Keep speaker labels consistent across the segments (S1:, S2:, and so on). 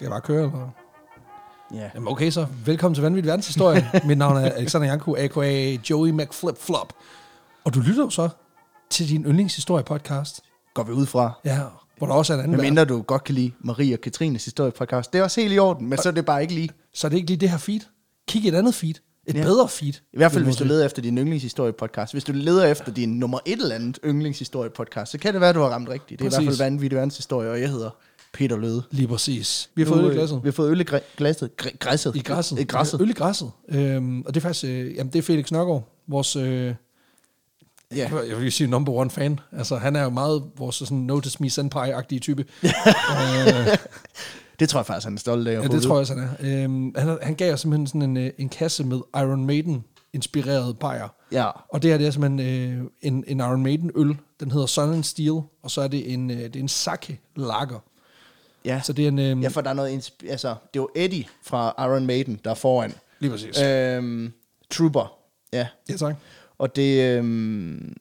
S1: jeg bare køre? Eller?
S2: Ja.
S1: Jamen okay så, velkommen til Vanvittig Verdenshistorie. Mit navn er Alexander Janku, a.k.a. Joey McFlip Flop. Og du lytter jo så til din yndlingshistorie-podcast.
S2: Går vi ud fra.
S1: Ja, hvor der også er en anden
S2: Men
S1: vært.
S2: mindre du godt kan lide Marie og Katrines historiepodcast. Det er også helt i orden, men så er det bare ikke lige.
S1: Så er det ikke lige det her feed. Kig i et andet feed. Et
S2: Ja.
S1: ja. bedre feed.
S2: I hvert fald, hvis du leder efter din yndlingshistorie-podcast. Hvis du leder efter din nummer et eller andet yndlingshistorie-podcast, så kan det være, du har ramt rigtigt. Det er i hvert
S1: Præcis.
S2: fald vanvittig verdenshistorie, og jeg hedder Peter Løde.
S1: Lige præcis. Vi har fået
S2: Nu,
S1: øl
S2: øh,
S1: i glasset.
S2: Vi har fået øl i græ- glasset. Græ- græsset.
S1: I græsset.
S2: I græsset.
S1: Øl i græsset. Øhm, og det er faktisk, øh, jamen det er Felix Nørgaard, vores, øh,
S2: Ja.
S1: ja. jeg vil sige number one fan. Altså han er jo meget vores sådan notice me senpai-agtige type. Øh,
S2: Det tror jeg faktisk, han er stolt af.
S1: Ja, det tror jeg også, han er. Øhm, han, han gav os simpelthen sådan en, øh, en kasse med Iron Maiden-inspireret bajer.
S2: Ja.
S1: Og det her, det er simpelthen øh, en, en Iron Maiden-øl. Den hedder Sun and Steel, og så er det en, øh, det er en sake-lager.
S2: Ja.
S1: Så det er en... Øh,
S2: ja, for der er noget... Insp- altså, det var Eddie fra Iron Maiden, der er foran.
S1: Lige præcis.
S2: Øhm, Trooper. Ja.
S1: ja, tak.
S2: Og det... Øhm,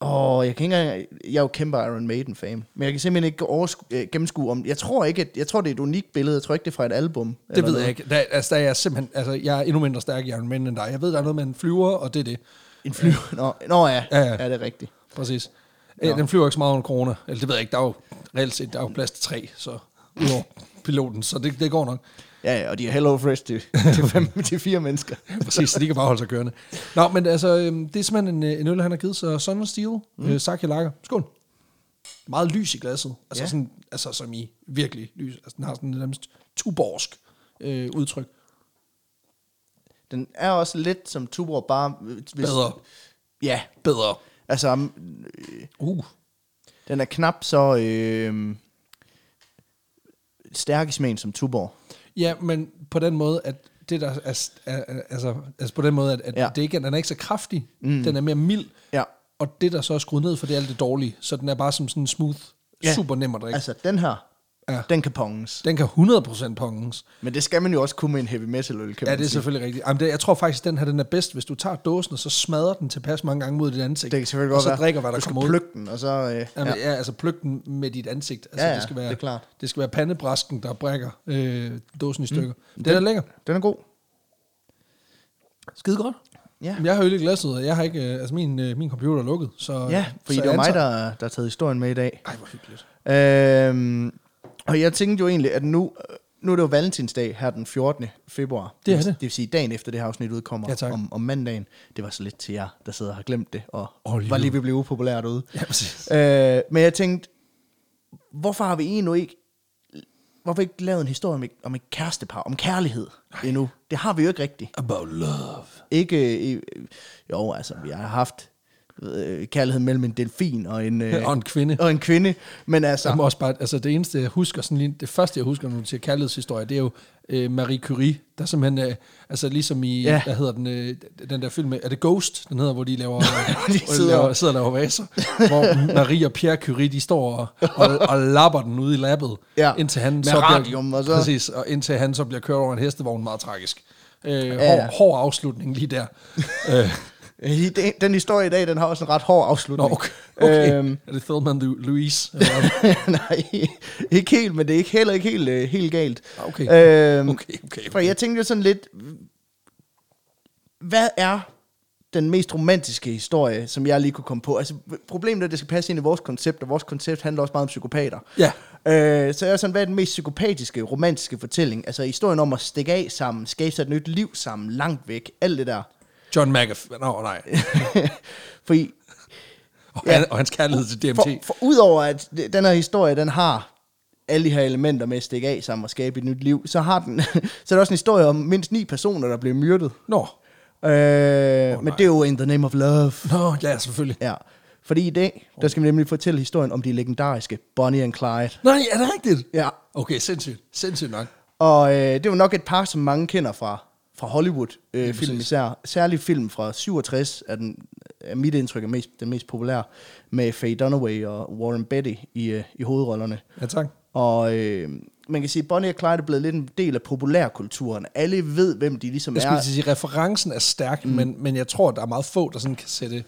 S2: åh, jeg kan ikke engang... Jeg er jo kæmpe Iron Maiden-fan. Men jeg kan simpelthen ikke oversku- øh, gennemskue om... Jeg tror ikke, at, jeg tror, det er et unikt billede. Jeg tror ikke, det er fra et album.
S1: Det
S2: eller
S1: ved
S2: noget.
S1: jeg ikke. Der, altså, der er jeg simpelthen... Altså, jeg er endnu mindre stærk i Iron Maiden end dig. Jeg ved, der er noget med en flyver, og det er det.
S2: En flyver. Nå, nå ja.
S1: Ja,
S2: Ja,
S1: ja.
S2: ja. det er rigtigt.
S1: Præcis. Ja. Den flyver ikke så meget under corona. Eller det ved jeg ikke. Der er jo reelt set, der er jo plads til tre, så... Udover piloten, så det, det går nok.
S2: Ja, ja, og de er Hello Fresh til, til, fem, til fire mennesker.
S1: Præcis, så de kan bare holde sig kørende. Nå, men altså, øhm, det er simpelthen en, øh, en øl, han har givet, så Sun and Steel, mm. øh, Sake Lager. Skål. Meget lys i glasset. Altså,
S2: Ja.
S1: ja. sådan, altså som i virkelig lys. Altså, den har sådan en nærmest tuborgsk øh, udtryk.
S2: Den er også lidt som Tuborg, bare... øh, Hvis,
S1: Bedre.
S2: Ja,
S1: Bedre.
S2: altså... mm, øh,
S1: Uh.
S2: Den er knap så... Øh, stærk i smagen som Tuborg.
S1: Ja, men på den måde, at det der er, er, er altså, altså på den måde, at, at
S2: Ja.
S1: ja. det ikke, den er ikke så kraftig, mm. den er mere mild,
S2: Ja.
S1: og det der så er skruet ned for, det er alt det dårlige, så den er bare som sådan en smooth,
S2: Ja.
S1: ja. super nem at drikke. Altså,
S2: Altså, den her,
S1: Ja.
S2: ja. den kan ponges.
S1: den kan 100% pongens.
S2: Men det skal man jo også kunne med en heavy metal øl, kan
S1: Ja,
S2: man
S1: det er
S2: sige.
S1: selvfølgelig rigtigt. Jamen, det, jeg tror faktisk, den her den er bedst, hvis du tager dåsen, og så smadrer den tilpas mange gange mod dit ansigt.
S2: Det kan selvfølgelig
S1: og
S2: godt
S1: så
S2: være.
S1: drikker, hvad der
S2: du skal
S1: kommer ud.
S2: plukke den, og så... Øh,
S1: Jamen,
S2: ja.
S1: ja. ja, altså pløk den med dit ansigt. Altså,
S2: Ja, ja,
S1: det, skal være,
S2: det er klart.
S1: det skal være pandebræsken, der brækker øh, dåsen i stykker. Mm, den er lækker.
S2: Den er god.
S1: Skide godt.
S2: Ja.
S1: Jamen, Jeg har øl i glasset, og jeg har ikke, øh, altså min, øh, min computer er lukket. Så,
S2: Ja, fordi
S1: så
S2: det var
S1: jeg
S2: mig,
S1: antager-
S2: der, der har taget historien med i dag.
S1: Ej, hvor hyggeligt.
S2: Øhm, og jeg tænkte jo egentlig, at nu, øh, nu er det jo valentinsdag her den 14. februar.
S1: Det er det.
S2: Det vil sige dagen efter det her afsnit udkommer
S1: Ja, tak.
S2: om, om mandagen. Det var så lidt til jer, der sidder og har glemt det, og
S1: Åh,
S2: oh,
S1: lige
S2: var
S1: nu.
S2: lige ved at blive upopulær derude.
S1: Ja, præcis.
S2: Øh, men jeg tænkte, hvorfor har vi endnu ikke, hvorfor ikke lavet en historie om et, om et kærestepar, om kærlighed endnu? Det har vi jo ikke rigtigt.
S1: About love.
S2: Ikke, øh, øh, jo altså, vi har haft øh, kærlighed mellem en delfin og en, øh,
S1: Og en kvinde.
S2: og en kvinde, men altså,
S1: Jeg må også bare, altså det eneste, jeg husker, sådan lige, det første, jeg husker, når du siger kærlighedshistorie, det er jo øh, Marie Curie, der simpelthen, øh, altså ligesom i,
S2: Ja.
S1: ja. hvad hedder den, øh, den der film, med- er det Ghost, den hedder, hvor de laver, hvor de
S2: sidder-
S1: sidder. laver sidder og laver vaser, hvor Marie og Pierre Curie, de står og, og, og lapper den ude i labbet,
S2: Ja.
S1: indtil han
S2: Med
S1: så
S2: radium,
S1: bliver,
S2: og så-
S1: præcis, og indtil han så bliver kørt over en hestevogn, meget tragisk. Øh, ja,
S2: Ja, ja.
S1: Hård, hård afslutning lige der. øh,
S2: I den- den historie i dag, den har også en ret hård
S1: nå,
S2: afslutning.
S1: okay. okay.
S2: Øhm,
S1: Øhm. Er det Thelma Lu- Louise? Eller hvad?
S2: nej, ikke helt, men det er ikke heller ikke helt, øh, helt galt.
S1: Okay.
S2: Øhm,
S1: Okay, okay,
S2: For
S1: okay.
S2: jeg tænkte jo sådan lidt, hvad er den mest romantiske historie, som jeg lige kunne komme på? Altså, problemet er, at det skal passe ind i vores koncept, og vores koncept handler også meget om psykopater.
S1: Ja.
S2: Øh, så jeg er sådan, hvad er den mest psykopatiske, romantiske fortælling? Altså, historien om at stikke af sammen, skabe sig et nyt liv sammen, langt væk, alt det der.
S1: John McAfee. Nå, nej.
S2: Fordi
S1: Og,
S2: Ja.
S1: ja. han, og hans kærlighed til DMT.
S2: For, for udover at det- den her historie, den har alle de her elementer med at stikke af sammen og skabe et nyt liv, så, har den, så er der også en historie om mindst ni personer, der blev myrdet.
S1: Nå.
S2: Øh, oh, men det er jo in the name of love.
S1: Nå, ja, selvfølgelig.
S2: Ja. Fordi i dag, der skal vi nemlig fortælle historien om de legendariske Bonnie and Clyde.
S1: Nej, er det rigtigt?
S2: Ja.
S1: Okay, sindssygt. Sindssygt nok.
S2: Og øh, det er jo nok et par, som mange kender fra, fra Hollywood-film øh,
S1: præcis.
S2: film især. Særlig film fra 67 er, den, er mit indtryk er mest, den mest populære, med Faye Dunaway og Warren Beatty i, øh, i hovedrollerne.
S1: Ja, tak.
S2: Og øh, man kan sige, at Bonnie og Clyde er blevet lidt en del af populærkulturen. Alle ved, hvem de ligesom
S1: Jeg skulle
S2: er.
S1: til at sige, referencen er stærk, mm. men, men jeg tror, der er meget få, der sådan kan sætte...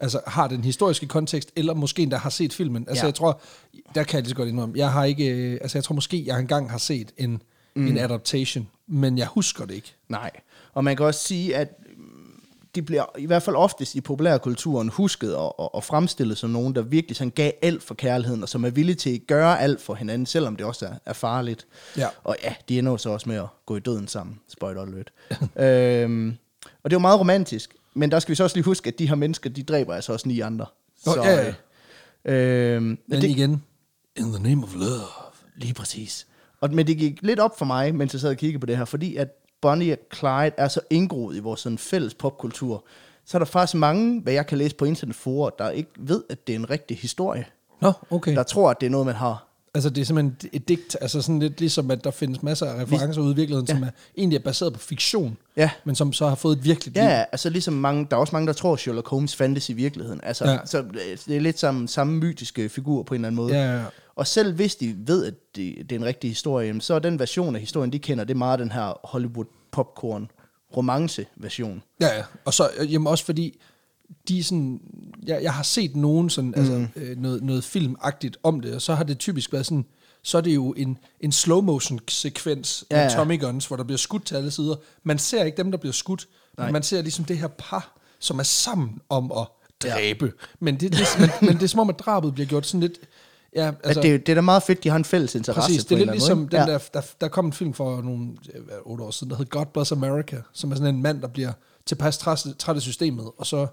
S1: altså har den historiske kontekst, eller måske endda har set filmen. Altså ja.
S2: Ja.
S1: jeg tror, der kan jeg lige så godt indrømme, jeg har ikke, øh, altså jeg tror måske, jeg engang har set en, mm. en adaptation, men jeg husker det ikke.
S2: Nej. Og man kan også sige, at mm, de bliver i hvert fald oftest i populærkulturen husket og, og, og fremstillet som nogen, der virkelig sådan gav alt for kærligheden, og som er villige til at gøre alt for hinanden, selvom det også er, er farligt.
S1: Ja.
S2: Og ja, de ender jo så også med at gå i døden sammen. Spoiler alert. øhm, og det er jo meget romantisk, men der skal vi så også lige huske, at de her mennesker, de dræber altså også ni andre.
S1: Nå, ja, ja.
S2: øh, øhm,
S1: Men det, igen, in the name of love.
S2: Lige præcis. Og, men det gik lidt op for mig, mens jeg sad og kiggede på det her, fordi at Bonnie og Clyde er så indgroet i vores sådan fælles popkultur, så er der faktisk mange, hvad jeg kan læse på internetforer, der ikke ved, at det er en rigtig historie.
S1: Nå, okay.
S2: Der tror, at det er noget, man har.
S1: Altså det er simpelthen et digt, altså sådan lidt ligesom, at der findes masser af referencer ude i virkeligheden, ja. som er, egentlig er baseret på fiktion,
S2: Ja.
S1: men som så har fået et virkeligt liv.
S2: Ja, altså ligesom mange, der er også mange, der tror, at Sherlock Holmes fandtes i virkeligheden. Altså, ja.
S1: Ja.
S2: så øh, det er lidt samme, samme mytiske figur på en eller anden måde.
S1: Ja, ja, ja.
S2: Og selv hvis de ved, at det, det er en rigtig historie, jamen, så er den version af historien, de kender, det er meget den her Hollywood popcorn romance version.
S1: Ja, ja. Og så øh, jamen også fordi, de er sådan, jeg, jeg har set nogen sådan, mm. altså, øh, noget, noget filmagtigt om det, og så har det typisk været sådan, så er det jo en, en slow motion sekvens
S2: Ja,
S1: ja,
S2: ja.
S1: med Tommy Guns, hvor der bliver skudt til alle sider. Man ser ikke dem, der bliver skudt, Nej. men man ser ligesom det her par, som er sammen om at dræbe. Ja. Men, det, det, men, men det er som om, at drabet bliver gjort sådan lidt... Ja,
S2: Altså, at det, det er da meget fedt, de har en fælles interesse
S1: Præcis,
S2: på
S1: det er
S2: en
S1: lidt
S2: eller
S1: ligesom
S2: anden måde,
S1: den ja. der, der, der kom en film for nogle øh, hvad, otte år siden, der hed God Bless America, som er sådan en mand, der bliver tilpas træs- træt af systemet, og så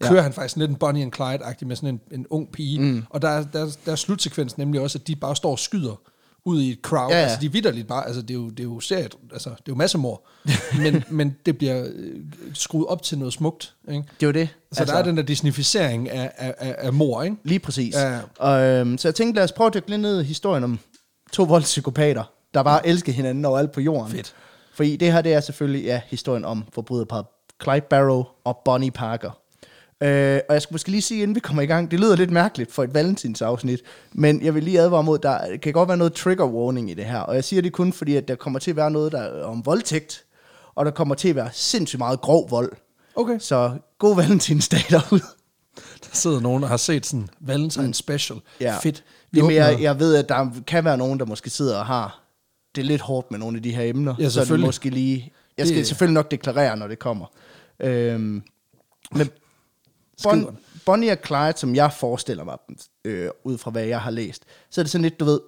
S1: kører ja. han faktisk lidt en Bonnie and Clyde-agtig med sådan en, en ung pige, mm. og der, er- der, er- der er slutsekvensen nemlig også, at de bare står og skyder ud i et crowd, ja,
S2: Ja,
S1: ja.
S2: ja.
S1: altså de er vidderligt bare, altså det er jo, det er jo seriet, altså det er jo massemord, men, men det bliver øh, skruet op til noget smukt, ikke?
S2: Det er jo det.
S1: Så altså, der er den der disnificering af, af, af, af mor, ikke?
S2: Lige præcis.
S1: Ja, ja.
S2: Og, øhm, så jeg tænkte, lad os prøve at dykke lidt ned i historien om to voldspsykopater, der bare elsker hinanden overalt på jorden.
S1: Fedt.
S2: Fordi det her, det er selvfølgelig ja, historien om forbryderpar Clyde Barrow og Bonnie Parker. Øh, og jeg skulle måske lige sige, inden vi kommer i gang, det lyder lidt mærkeligt for et valentinsafsnit, men jeg vil lige advare mod, der kan godt være noget trigger warning i det her, og jeg siger det kun fordi, at der kommer til at være noget der er om voldtægt, og der kommer til at være sindssygt meget grov vold.
S1: Okay.
S2: Så god valentinsdag derude.
S1: Der sidder nogen, der har set sådan Valentine Special.
S2: Mm. Ja.
S1: Fedt. Vi
S2: Jamen,
S1: åbner-
S2: jeg, jeg ved, at der kan være nogen, der måske sidder og har det lidt hårdt med nogle af de her emner.
S1: Ja,
S2: så er det
S1: selvfølgelig.
S2: måske lige... Jeg skal det...
S1: Det-
S2: selvfølgelig nok deklarere, når det kommer. Øhm, men bon,
S1: Skriver.
S2: Bonnie og Clyde, som jeg forestiller mig, dem, øh, ud fra hvad jeg har læst, så er det sådan lidt, du ved,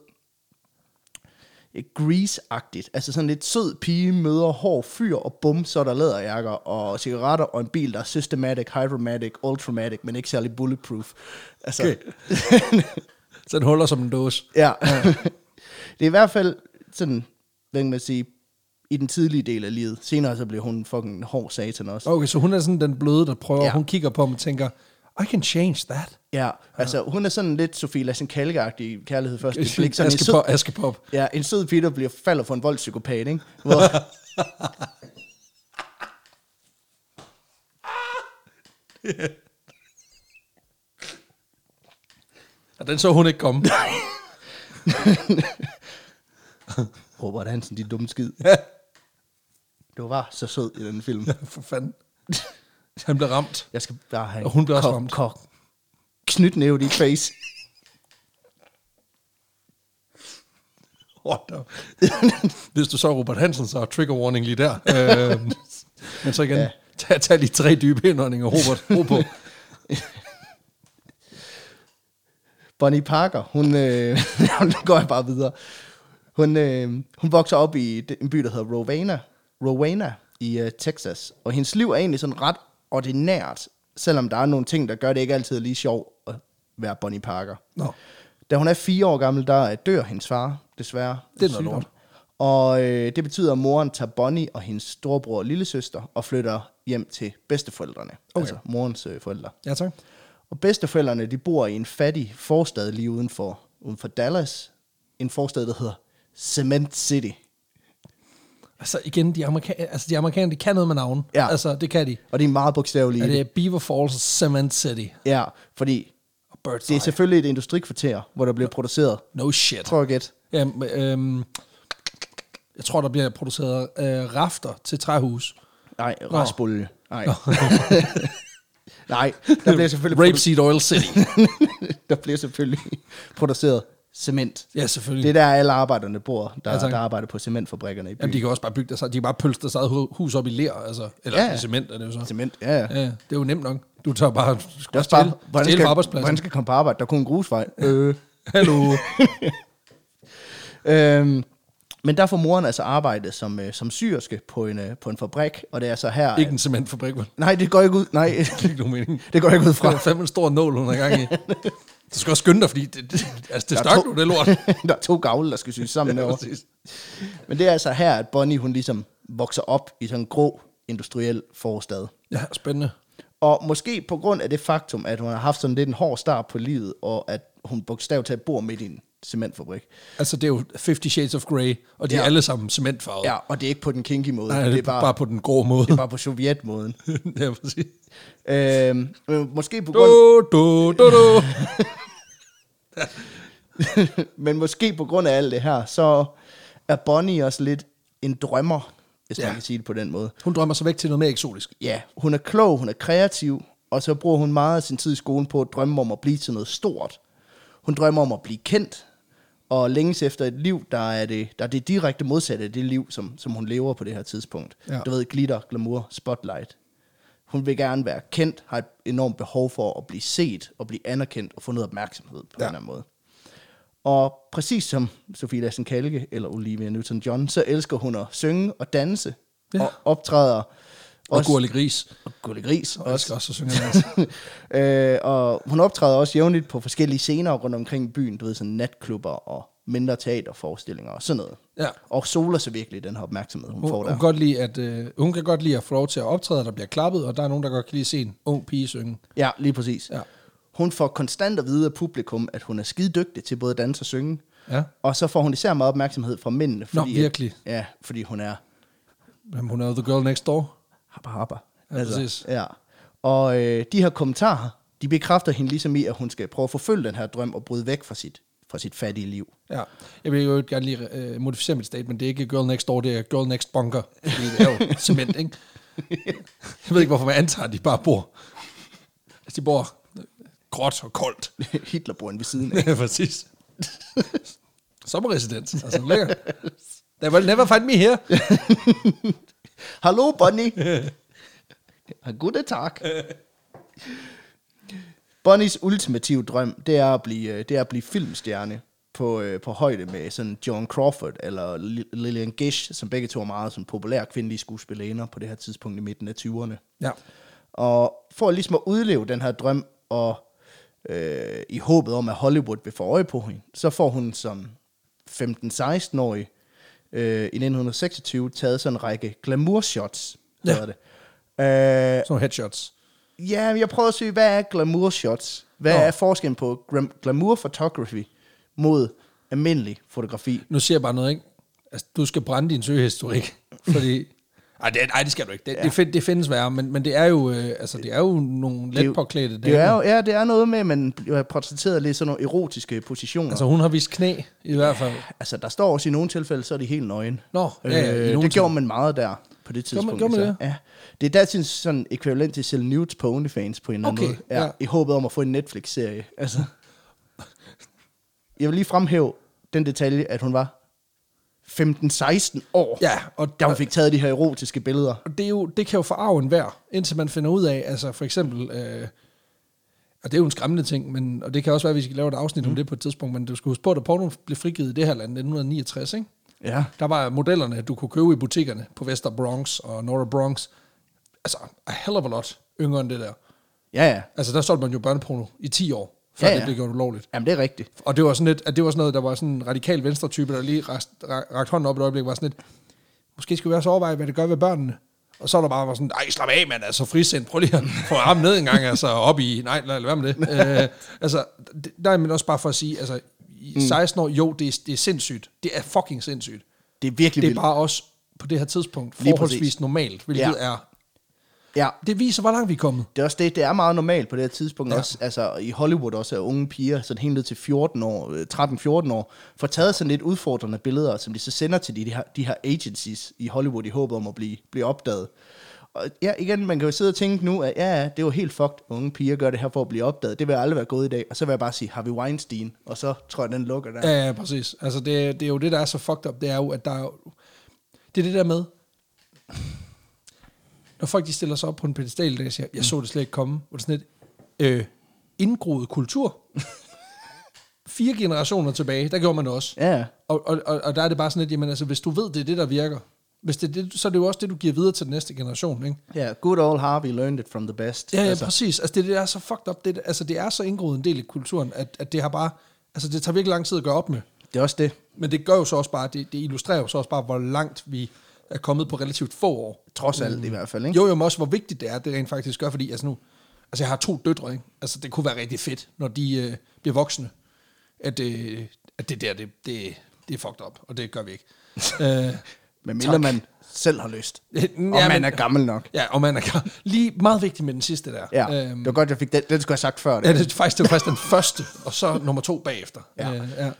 S2: grease-agtigt. Altså sådan lidt sød pige møder hård fyr, og bum, så er der læderjakker og cigaretter og en bil, der er systematic, hydromatic, ultramatic, men ikke særlig bulletproof. Altså,
S1: Okay. Så den holder som en dåse.
S2: Ja. Øh. det er i hvert fald sådan, hvad kan man sige, i den tidlige del af livet. Senere så blev hun en fucking hård satan også.
S1: Okay, så hun er sådan den bløde, der prøver.
S2: Ja.
S1: Ja. Hun kigger på ham og tænker, I can change that.
S2: Ja, altså hun er sådan lidt Sofie Lassen Kalke-agtig kærlighed først. i blik. Sådan en sød,
S1: Askepop. Askepop.
S2: ja, en sød pige, der bliver, falder for en voldspsykopat, ikke? Hvor,
S1: Og den så hun ikke komme.
S2: Robert Hansen, de dumme skid.
S1: ja,
S2: Du var så sød i den film.
S1: for fanden. Han blev ramt.
S2: Jeg skal bare have en
S1: Og hun blev også
S2: kok-
S1: ramt.
S2: kok- knytnæve i dit face.
S1: What the? Hvis du så Robert Hansen, så er trigger warning lige der. øhm, men så igen,
S2: Ja.
S1: ja. tag, tag lige tre dybe indåndinger, Robert. Ro på.
S2: Bonnie Parker, hun, øh, nu går jeg bare videre. Hun, øh, hun vokser op i d- en by, der hedder Rowena, Rowena i øh, Texas. Og hendes liv er egentlig sådan ret ordinært, selvom der er nogle ting, der gør det ikke altid lige sjovt at være Bonnie Parker.
S1: Nå.
S2: Da hun er fire år gammel, der øh, dør hendes far, desværre.
S1: Det er noget
S2: Sygdom.
S1: lort.
S2: Og øh, det betyder, at moren tager Bonnie og hendes storebror og lillesøster og flytter hjem til bedsteforældrene. Okay.
S1: Okay.
S2: Altså morens øh, forældre.
S1: Ja, tak.
S2: Og bedsteforældrene, de bor i en fattig forstad lige uden for, uden for Dallas. En forstad, der hedder Cement City.
S1: Altså igen, de, amerika- altså, de amerikanere, de kan noget med navn.
S2: Ja.
S1: Altså, det kan de.
S2: Og det er meget bogstaveligt.
S1: Ja, det er Beaver Falls Cement City.
S2: Ja, fordi
S1: Og Bird's
S2: det er
S1: Eye.
S2: selvfølgelig et industrikvarter, hvor der bliver produceret.
S1: No shit.
S2: Prøv at gætte.
S1: Jamen, øhm, jeg tror, der bliver produceret øh, rafter til træhus.
S2: Nej, raspolje. Nej. Nej, der bliver selvfølgelig, produ-
S1: Rapeseed Oil City.
S2: der bliver selvfølgelig produceret cement.
S1: ja, selvfølgelig.
S2: Det er der, alle arbejderne bor, der,
S1: Mm. Ja,
S2: ja,
S1: tak.
S2: der arbejder på cementfabrikkerne i byen.
S1: Jamen, de kan også bare bygge deres, de kan bare pølse deres eget hu- hus op i ler, altså. Eller
S2: Ja,
S1: ja,
S2: ja.
S1: i cement, er det jo så.
S2: Cement, ja, ja.
S1: Ja, ja, det er jo nemt nok. Du tager bare, du
S2: Det er
S1: skal
S2: også bare,
S1: stjæle,
S2: hvordan
S1: stjæle fra
S2: skal, hvordan
S1: arbejdspladsen.
S2: skal jeg komme på arbejde? Der er kun en grusvej. Øh.
S1: Hallo.
S2: Øhm, men der får moren altså arbejde som, øh, som syrske på en, øh, på en fabrik, og det er så her... øh,
S1: Ikke en cementfabrik, vel?
S2: Nej, det går ikke ud. Nej,
S1: Det er ikke nogen mening.
S2: det går ikke ud
S1: Det var
S2: fra.
S1: fandme en stor nål, hun har gang i. Du skal også skynde dig, fordi det, det, altså, det
S2: Der er
S1: stak
S2: to-
S1: nu, det lort.
S2: der er to gavle, der skal syes sammen
S1: Ja,
S2: over.
S1: præcis.
S2: Men det er altså her, at Bonnie hun ligesom vokser op i sådan en grå industriel forstad.
S1: Ja, spændende.
S2: Og måske på grund af det faktum, at hun har haft sådan lidt en hård start på livet, og at hun bogstaveligt talt bor midt i en cementfabrik.
S1: Altså, det er jo 50 Shades of Grey, og de
S2: Ja.
S1: er alle sammen cementfarvede.
S2: Ja, og det er ikke på den kinky måde.
S1: Nej, det er bare, bare på den grå måde.
S2: det er bare på sovjetmåden.
S1: ja, præcis.
S2: øhm, øh, måske på
S1: Du,
S2: grund,
S1: du, du, du.
S2: men måske på grund af alt det her, så er Bonnie også lidt en drømmer, hvis ja.
S1: Ja.
S2: man kan sige det på den måde.
S1: Hun drømmer sig væk til noget mere eksotisk.
S2: ja, hun er klog, hun er kreativ, og så bruger hun meget af sin tid i skolen på at drømme om at blive til noget stort. Hun drømmer om at blive kendt, og længes efter et liv, der er det, der er det direkte modsatte af det liv, som, som hun lever på det her tidspunkt.
S1: Ja.
S2: Ja. Du ved, glitter, glamour, spotlight. Hun vil gerne være kendt, har et enormt behov for at blive set, og blive anerkendt, og få noget opmærksomhed på ja. en
S1: Ja.
S2: eller anden måde. Og præcis som Sofie Lassen Kalke eller Olivia Newton-John, så elsker hun at synge og danse,
S1: Ja.
S2: ja. og optræder
S1: Og Gurli Gris.
S2: og Gulle Gris
S1: Og jeg skal
S2: også.
S1: også synge den.
S2: øh, og hun optræder også jævnligt på forskellige scener rundt omkring i byen, du ved, sådan natklubber og mindre teaterforestillinger og sådan noget.
S1: Ja.
S2: Og soler så virkelig den her opmærksomhed, hun, hun
S1: Hun,
S2: får
S1: hun,
S2: der.
S1: kan godt lide, at, øh, hun kan godt lide at få lov til at optræde, og der bliver klappet, og der er nogen, der godt kan lide at se en ung pige synge.
S2: Ja, lige præcis.
S1: Ja.
S2: Hun får konstant at vide af publikum, at hun er skide dygtig til både at danse og synge.
S1: Ja.
S2: Og så får hun især meget opmærksomhed fra mændene.
S1: Nå,
S2: at-
S1: virkelig.
S2: Ja, fordi hun er
S1: Jamen, hun er jo The Girl Next Door.
S2: Habba habba.
S1: Ja, præcis.
S2: Altså, Ja. Og øh, de her kommentarer, de bekræfter hende ligesom i, at hun skal prøve at forfølge den her drøm og bryde væk fra sit, fra sit fattige liv.
S1: Ja. Jeg vil jo gerne lige øh, modificere mit statement. Det er ikke Girl Next Door, det er Girl Next Bunker. Fordi det er jo cement, ikke? Jeg ved ikke, hvorfor man antager, at de bare bor. Altså, de bor øh, gråt og koldt.
S2: Hitler bor ved siden af.
S1: Ja, præcis. Sommerresidens. Altså, lækker. They will never find me here.
S2: Hallo, Bonnie. Ja, Gode tak. Bonnies ultimative drøm, det er at blive, øh, det er at blive filmstjerne på, øh, på højde med sådan John Crawford eller Li- Lillian Gish, som begge to er meget sådan, populære kvindelige skuespillerinder på det her tidspunkt i midten af 20'erne.
S1: Ja.
S2: Og for ligesom at udleve den her drøm, og øh, i håbet om, at Hollywood vil få øje på hende, så får hun som 15-16-årig øh, i 1926 taget sådan en række glamour-shots,
S1: Ja.
S2: hedder det. Øh,
S1: Sådan nogle headshots.
S2: ja, jeg prøver at søge, hvad er glamour-shots? Hvad
S1: Nå.
S2: er forskellen på glam- glamour-photography mod almindelig fotografi?
S1: Nu siger jeg bare noget, ikke? Altså, du skal brænde din søgehistorik, fordi... Ej, det, nej, det skal du ikke. Det, ja. det, find, det findes værre, men, men det er jo, øh, altså, det er jo nogle
S2: jo-
S1: let påklædte
S2: Det er jo, ja, det er noget med, at man bliver portrætteret lidt i sådan nogle erotiske positioner.
S1: Altså, hun har vist knæ, i hvert fald.
S2: Altså, der står også i nogle tilfælde, så er de helt nøgen.
S1: Nå, ja, ja, i nogle
S2: øh,
S1: tilfælde.
S2: det gjorde man meget der på det
S1: Gjorde
S2: tidspunkt.
S1: man- gjorde man
S2: især.
S1: det?
S2: Ja. Det er datidens sådan ekvivalent til selv nudes på OnlyFans på en eller anden
S1: Okay,
S2: måde. Ja,
S1: ja.
S2: I håbet om at få en Netflix-serie. Altså. Jeg vil lige fremhæve den detalje, at hun var 15-16 år,
S1: Ja, og
S2: da hun fik taget de her erotiske billeder.
S1: Og det, er jo, det kan jo forarve en vær, indtil man finder ud af, altså for eksempel, øh, og det er jo en skræmmende ting, men, og det kan også være, at vi skal lave et afsnit mm. om det på et tidspunkt, men du skal huske på, at da porno blev frigivet i det her land i 1969, ikke?
S2: Ja.
S1: der var modellerne, du kunne købe i butikkerne på Vester Bronx og North Bronx, altså a hell of a lot yngre end det der.
S2: Ja, ja.
S1: Altså der solgte man jo børneporno i 10 år, før
S2: Ja,
S1: ja,
S2: ja.
S1: ja. det blev gjort ulovligt.
S2: Jamen, det er rigtigt.
S1: Og det var sådan lidt, at det var sådan noget, der var sådan en radikal venstre type, der lige rakt, rakt hånden op et øjeblik, var sådan lidt, måske skulle vi også overveje, hvad det gør ved børnene. Og så er der bare var sådan, ej, slap af, mand, altså frisind, prøv lige at få armen ned en gang, altså op i, nej, lad, lad være med det. øh, altså, det- der er man også bare for at sige, altså, i 16 år, jo, det er, det er sindssygt. Det er fucking sindssygt.
S2: Mm. Det er virkelig
S1: Det er
S2: vildt.
S1: bare også på det her tidspunkt
S2: Lige præcis.
S1: forholdsvis normalt, hvilket
S2: Ja.
S1: ja. er...
S2: Ja.
S1: Det viser, hvor langt vi er kommet.
S2: Det er også det, det er meget normalt på det her tidspunkt ja. også. Altså i Hollywood også er unge piger, sådan helt ned til 14 år, øh, 13-14 år, får taget sådan lidt udfordrende billeder, som de så sender til de, de, her, de her agencies i Hollywood i håbet om at blive, blive opdaget. Og ja, igen, man kan jo sidde og tænke nu, at ja, ja, det var helt fucked, unge piger gør det her for at blive opdaget. Det vil aldrig være gået i dag. Og så vil jeg bare sige Harvey Weinstein, og så tror jeg, den lukker der.
S1: Ja, ja, præcis. Altså, det, det er jo det, der er så fucked up, det er jo, at der er jo, Det er det der med, når folk de stiller sig op på en pedestal i dag, og siger, jeg så det slet ikke komme, hvor det er sådan et øh, indgroet kultur. Fire generationer tilbage, der gjorde man det også.
S2: Ja,
S1: Og, og, og, og der er det bare sådan lidt, jamen altså, hvis du ved, det er det, der virker, hvis det, er det, så er det jo også det, du giver videre til den næste generation, ikke?
S2: ja, good old Harvey learned it from the best.
S1: Ja, ja, altså.
S2: altså,
S1: præcis. Altså, det, det er så fucked up. Det, altså, det er så indgroet en del i kulturen, at, at det har bare... Altså, det tager virkelig lang tid at gøre op med.
S2: det er også det.
S1: Men det gør jo så også bare, det, det illustrerer jo så også bare, hvor langt vi er kommet på relativt få år. Mm.
S2: Trods alt i hvert fald, ikke?
S1: Jo, jo, men også hvor vigtigt det er, det rent faktisk gør, fordi altså nu, altså jeg har to døtre, ikke? Altså det kunne være rigtig fedt, når de øh, bliver voksne, at, øh, at det der, det, det, det er fucked up, og det gør vi ikke. øh,
S2: Men mindre man selv har lyst.
S1: Ja,
S2: og man
S1: men-
S2: er gammel nok.
S1: ja, og man er lige meget vigtigt med den sidste der.
S2: Ja, øhm, det var godt, jeg fik den. Den skulle jeg have sagt før. Det.
S1: Ja, det er faktisk, det var faktisk den første, og så nummer to bagefter.
S2: Ja.
S1: Øh, ja.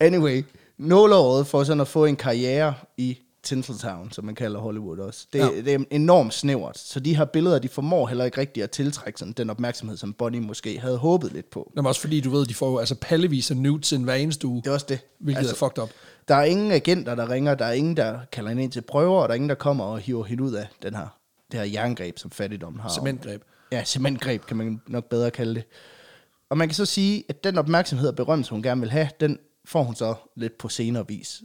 S2: Anyway, nåleåret for sådan at få en karriere i Tinseltown, som man kalder Hollywood også. Det,
S1: Ja.
S2: ja. det er enormt snævert. Så de her billeder, de formår heller ikke rigtigt at tiltrække sådan den opmærksomhed, som Bonnie måske havde håbet lidt på.
S1: Jamen også fordi, du ved, de får jo altså pallevis af nudes ind hver eneste uge,
S2: Det er også det.
S1: hvilket altså, er fucked up.
S2: Der er ingen agenter, der ringer, der er ingen, der kalder hende ind til prøver, og der er ingen, der kommer og hiver hende ud af den her, det her jerngreb, som fattigdommen har.
S1: Cementgreb.
S2: Ja, cementgreb kan man nok bedre kalde det. Og man kan så sige, at den opmærksomhed og berømmelse, hun gerne vil have, den får hun så lidt på senere vis.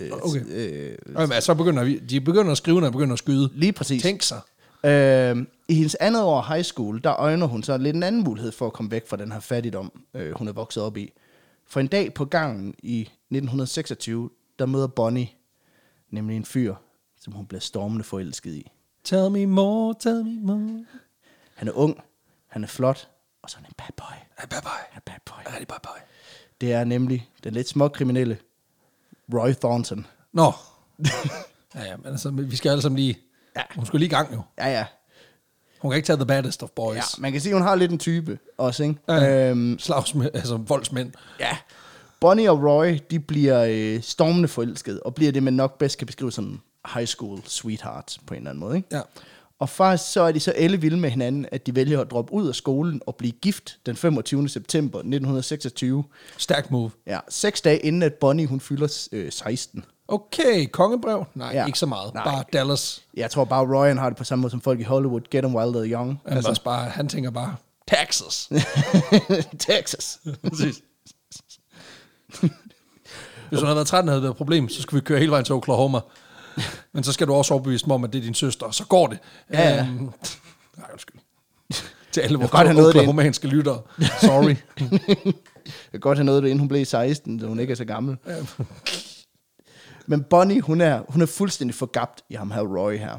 S2: Øh,
S1: Okay.
S2: Øh,
S1: Jamen, altså, så begynder vi, de begynder at skrive, når de begynder at skyde.
S2: lige præcis.
S1: Tænk sig.
S2: Øh, I hendes andet år high school, der øjner hun så lidt en anden mulighed for at komme væk fra den her fattigdom, øh, hun er vokset op i. For en dag på gangen i 1926, der møder Bonnie nemlig en fyr, som hun bliver stormende forelsket i.
S1: Tell me more, tell me more.
S2: Han er ung, han er flot, og så er han en bad boy.
S1: Hey, bye bye.
S2: Han er bad boy.
S1: Hey, bye bye.
S2: Det er nemlig den lidt småkriminelle Roy Thornton.
S1: Nå. ja, ja, men altså, vi skal alle sammen lige... Ja.
S2: Ja.
S1: Hun skulle lige i gang jo.
S2: Ja, ja.
S1: Hun kan ikke tage the baddest of boys.
S2: ja.
S1: Ja.
S2: Man kan sige, at hun har lidt en type også, ikke?
S1: Ja.
S2: Øhm,
S1: Slagsmænd, altså voldsmænd.
S2: Ja. Bonnie og Roy, de bliver øh, stormende forelskede, og bliver det, man nok bedst kan beskrive som high school sweethearts på en eller anden måde. Ikke?
S1: Ja.
S2: Og faktisk så er de så alle vilde med hinanden, at de vælger at droppe ud af skolen og blive gift den 25. september 1926.
S1: Stærk move.
S2: Ja, seks dage inden, at Bonnie hun fylder øh, 16.
S1: Okay, kongebrev? Nej, ja.
S2: Ja.
S1: ikke så meget. Nej.
S2: Nej.
S1: Bare Dallas.
S2: Jeg tror bare, Roy han har det på samme måde som folk i Hollywood. Get 'em while they're young.
S1: Han, altså. bare, han tænker bare, taxes.
S2: Texas.
S1: Præcis. Hvis hun havde været 13, havde det været et problem, så skulle vi køre hele vejen til Oklahoma. Men så skal du også overbevise dem om, at det er din søster, og så går det.
S2: Ja, ja.
S1: Øhm, nej, undskyld. Til alle vores
S2: godt have noget af det ind.
S1: oklahomanske lyttere. Sorry.
S2: Jeg kan godt have noget af det, inden hun blev 16, så hun ikke er så gammel. Men Bonnie, hun er, hun er fuldstændig forgabt i ham her Roy her.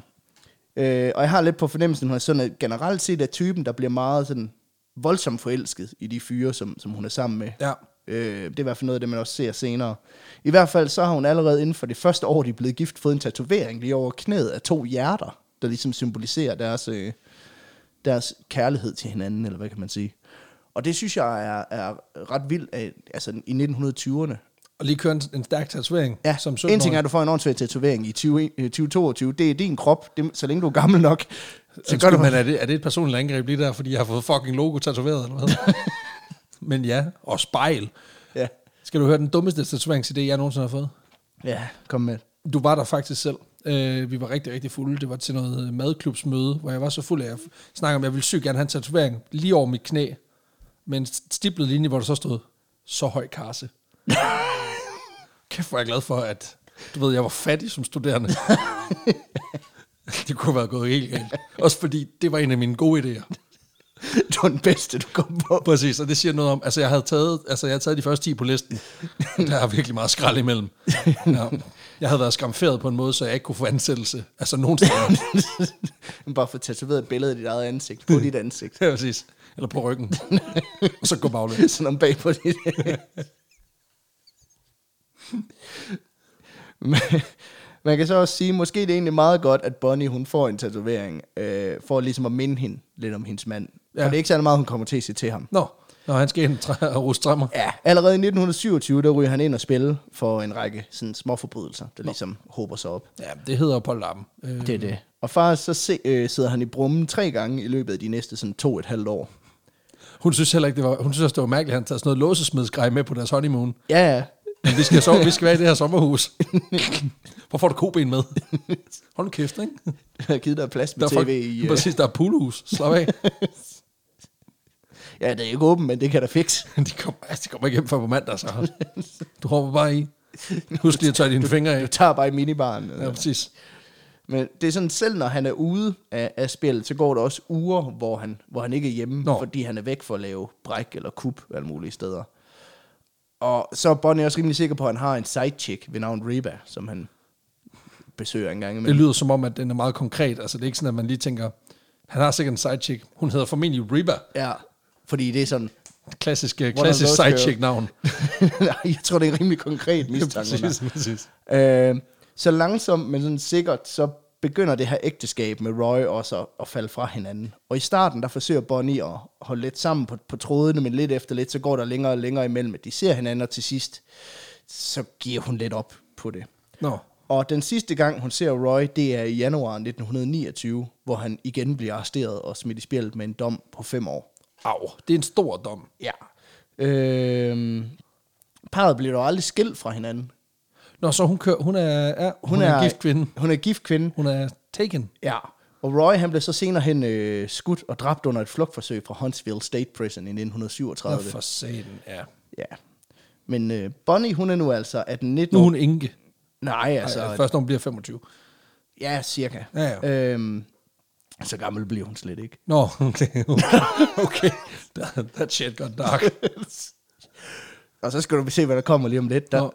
S2: Øh, og jeg har lidt på fornemmelsen, hun er sådan at generelt set er typen, der bliver meget sådan voldsomt forelsket i de fyre, som, som hun er sammen med.
S1: Ja.
S2: Øh, det er i hvert fald noget af det, man også ser senere. I hvert fald så har hun allerede inden for det første år, de er blevet gift, fået en tatovering lige over knæet af to hjerter, der ligesom symboliserer deres, øh, deres kærlighed til hinanden, eller hvad kan man sige. Og det synes jeg er, er ret vildt, at, altså i 1920'erne,
S1: Og lige køre en, en stærk tatovering.
S2: Ja,
S1: som
S2: som
S1: 17
S2: en ting er, at du får en åndssvær tatovering i 20, øh, 2022. Det er din krop, det, så længe du er gammel nok. Så gør
S1: Undskyld,
S2: du,
S1: men er det, er det et personligt angreb lige der, fordi jeg har fået fucking logo tatoveret eller hvad? men ja, og spejl.
S2: ja.
S1: Skal du høre den dummeste tatoveringsidé, jeg nogensinde har fået?
S2: ja, kom med.
S1: Du var der faktisk selv. Øh, vi var rigtig, rigtig fulde. Det var til noget øh, madklubsmøde, hvor jeg var så fuld af, at jeg f- snakkede om, at jeg ville sygt gerne have en tatovering lige over mit knæ. Med en st- stiplet linje, hvor der så stod, så høj karse. Kæft, hvor er jeg glad for, at du ved, jeg var fattig som studerende. det kunne have været gået helt galt. Også fordi det var en af mine gode idéer.
S2: Det var den bedste, du kom på.
S1: Præcis, og det siger noget om, altså jeg havde taget, altså jeg havde taget de første 10 på listen. Der er virkelig meget skrald imellem. Ja. Jeg havde været skamferet på en måde, så jeg ikke kunne få ansættelse. Altså nogen steder.
S2: Bare få tatoveret et billede af dit eget ansigt, på dit ansigt.
S1: Ja, præcis. Eller på ryggen. Og så gå baglæns.
S2: Sådan om bag på dit Men- Man kan så også sige, måske det er egentlig meget godt, at Bonnie hun får en tatovering, øh, for ligesom at minde hende lidt om hendes mand.
S1: Ja.
S2: Ja. For det er ikke særlig meget, hun kommer til at sige til ham.
S1: Nå, når han skal ind træ- og ruste træmmer.
S2: Ja, allerede i 1927, der ryger han ind og spille for en række sådan, små forbrydelser, der ligesom håber sig op.
S1: Ja, det hedder jo på lappen. Øh,
S2: Det er det. Og faktisk så se, øh, sidder han i brummen tre gange i løbet af de næste sådan to og et halvt år.
S1: Hun synes heller ikke, det var, hun synes også, det var mærkeligt, at han tager sådan noget låsesmedsgrej med på deres honeymoon.
S2: Ja, ja.
S1: Men vi skal, sove, vi skal være i det her sommerhus. Hvor får du koben med? Hold nu kæft, ikke?
S2: Jeg har givet dig plads
S1: Der
S2: med
S1: er,
S2: tv
S1: folk,
S2: i... Øh,
S1: præcis, der er poolhus. Slap af.
S2: ja, det er ikke åbent, men det kan der fikse.
S1: De kommer, altså, de kommer ikke hjem før på mandag, så. Du hopper bare i. Husk lige at tørre dine fingre af.
S2: Du tager bare i minibaren. øh,
S1: Ja, præcis.
S2: Men det er sådan, selv når han er ude af, af spillet, så går der også uger, hvor han, hvor han ikke er hjemme,
S1: Nå.
S2: Nå. fordi han er væk for at lave bræk eller kup alle mulige steder. Og så er Bonnie også rimelig sikker på, at han har en sidechick ved navn Reba, som han besøger en gang
S1: Det
S2: imellem.
S1: lyder som om, at den er meget konkret. Altså, det er ikke sådan, at man lige tænker, han har sikkert en sidechick. Hun hedder formentlig Reba.
S2: ja, fordi det er sådan...
S1: Klassisk, øh,
S2: of
S1: klassisk
S2: those
S1: sidechick-navn.
S2: Nej, jeg tror, det er en rimelig konkret mistanke. hun har.
S1: Præcis, præcis.
S2: Øh, så langsomt, men sådan sikkert, så begynder det her ægteskab med Roy også at, at falde fra hinanden. Og i starten, der forsøger Bonnie at holde lidt sammen på, på trådene, men lidt efter lidt, så går der længere og længere imellem, at de ser hinanden, og til sidst, så giver hun lidt op på det.
S1: Nå,
S2: Og den sidste gang, hun ser Roy, det er i januar 1929, hvor han igen bliver arresteret og smidt i spjældet med en dom på fem år.
S1: au. Det er en stor dom.
S2: Ja. Øh, parret bliver dog aldrig skilt fra hinanden.
S1: Nå, så hun, kører, hun, er, ja, hun, hun er, en gift kvinde.
S2: Hun er gift kvinde.
S1: Hun er taken.
S2: Ja, og Roy han blev så senere hen øh, skudt og dræbt under et flugtforsøg fra Huntsville State Prison i
S1: Nå,
S2: 1937.
S1: for satan, ja.
S2: Ja. Men øh, Bonnie, hun er nu altså at 19...
S1: Nu er hun enke.
S2: Nej, altså...
S1: Altså,
S2: Nej,
S1: først når hun bliver 25.
S2: Ja, cirka.
S1: Ja,
S2: ja. Øhm, så gammel bliver hun slet ikke.
S1: Nå, okay. okay. That, that shit got dark.
S2: Og så skal du se, hvad der kommer lige om lidt. Der,
S1: Nå.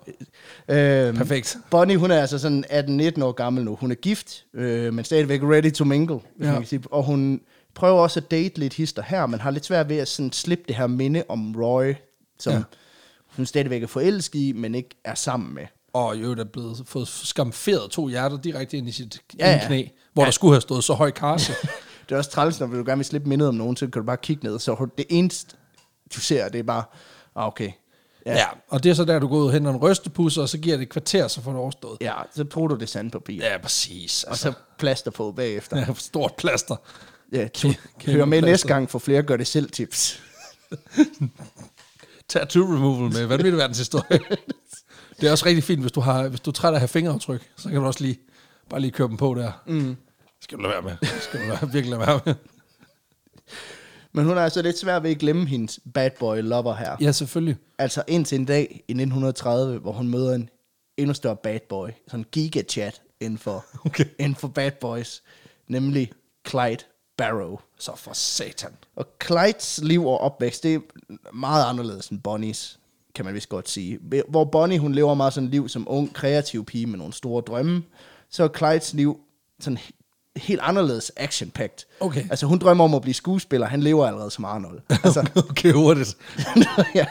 S2: øhm,
S1: Perfekt.
S2: Bonnie, hun er altså sådan 18-19 år gammel nu. Hun er gift, øh, men stadigvæk ready to mingle, hvis
S1: Ja.
S2: ja. man kan sige. Og hun prøver også at date lidt hister her, men har lidt svært ved at sådan slippe det her minde om Roy, som
S1: Ja.
S2: ja. hun stadigvæk er forelsket i, men ikke er sammen med.
S1: Og i øvrigt er blevet fået skamferet to hjerter direkte ind i sit
S2: Ja,
S1: ja,
S2: ja.
S1: knæ, hvor ja. der skulle have stået så høj karse.
S2: Det er også træls, når du gerne vil slippe mindet om nogen, så kan du bare kigge ned, så det eneste, du ser, det er bare, ah, okay.
S1: ja. ja. Og det er så der, du går ud og henter en rystepusser, og så giver det et kvarter, så får det overstået.
S2: ja, så bruger du det sandpapir, ja,
S1: Ja, præcis.
S2: og
S1: Altså,
S2: så plaster på bagefter.
S1: ja, stort plaster.
S2: Ja, du
S1: Kæmpe
S2: hører med
S1: plaster.
S2: næste gang for flere gør det selv tips.
S1: Tattoo removal med vanvittig verdenshistorie. det er også rigtig fint, hvis du, har, hvis du er træt af at have fingeraftryk, så kan du også lige, bare lige køre dem på der. Mm. Skal du lade være med. Skal du lade, virkelig lade være med.
S2: Men hun er altså lidt svær ved at glemme hendes bad boy lover her. Ja.
S1: Ja, selvfølgelig.
S2: Altså indtil en dag i 1930, hvor hun møder en endnu større bad boy. Sådan en gigachat inden for,
S1: Okay.
S2: inden for bad boys. Nemlig Clyde Barrow.
S1: Så for satan.
S2: Og Clydes liv og opvækst, det er meget anderledes end Bonnies, kan man vist godt sige. Hvor Bonnie, hun lever meget sådan et liv som ung, kreativ pige med nogle store drømme, så er Clydes liv sådan he- helt anderledes action -packed.
S1: Okay.
S2: Altså hun drømmer om at blive skuespiller, han lever allerede som Arnold. Altså,
S1: Okay, hurtigt.
S2: ja.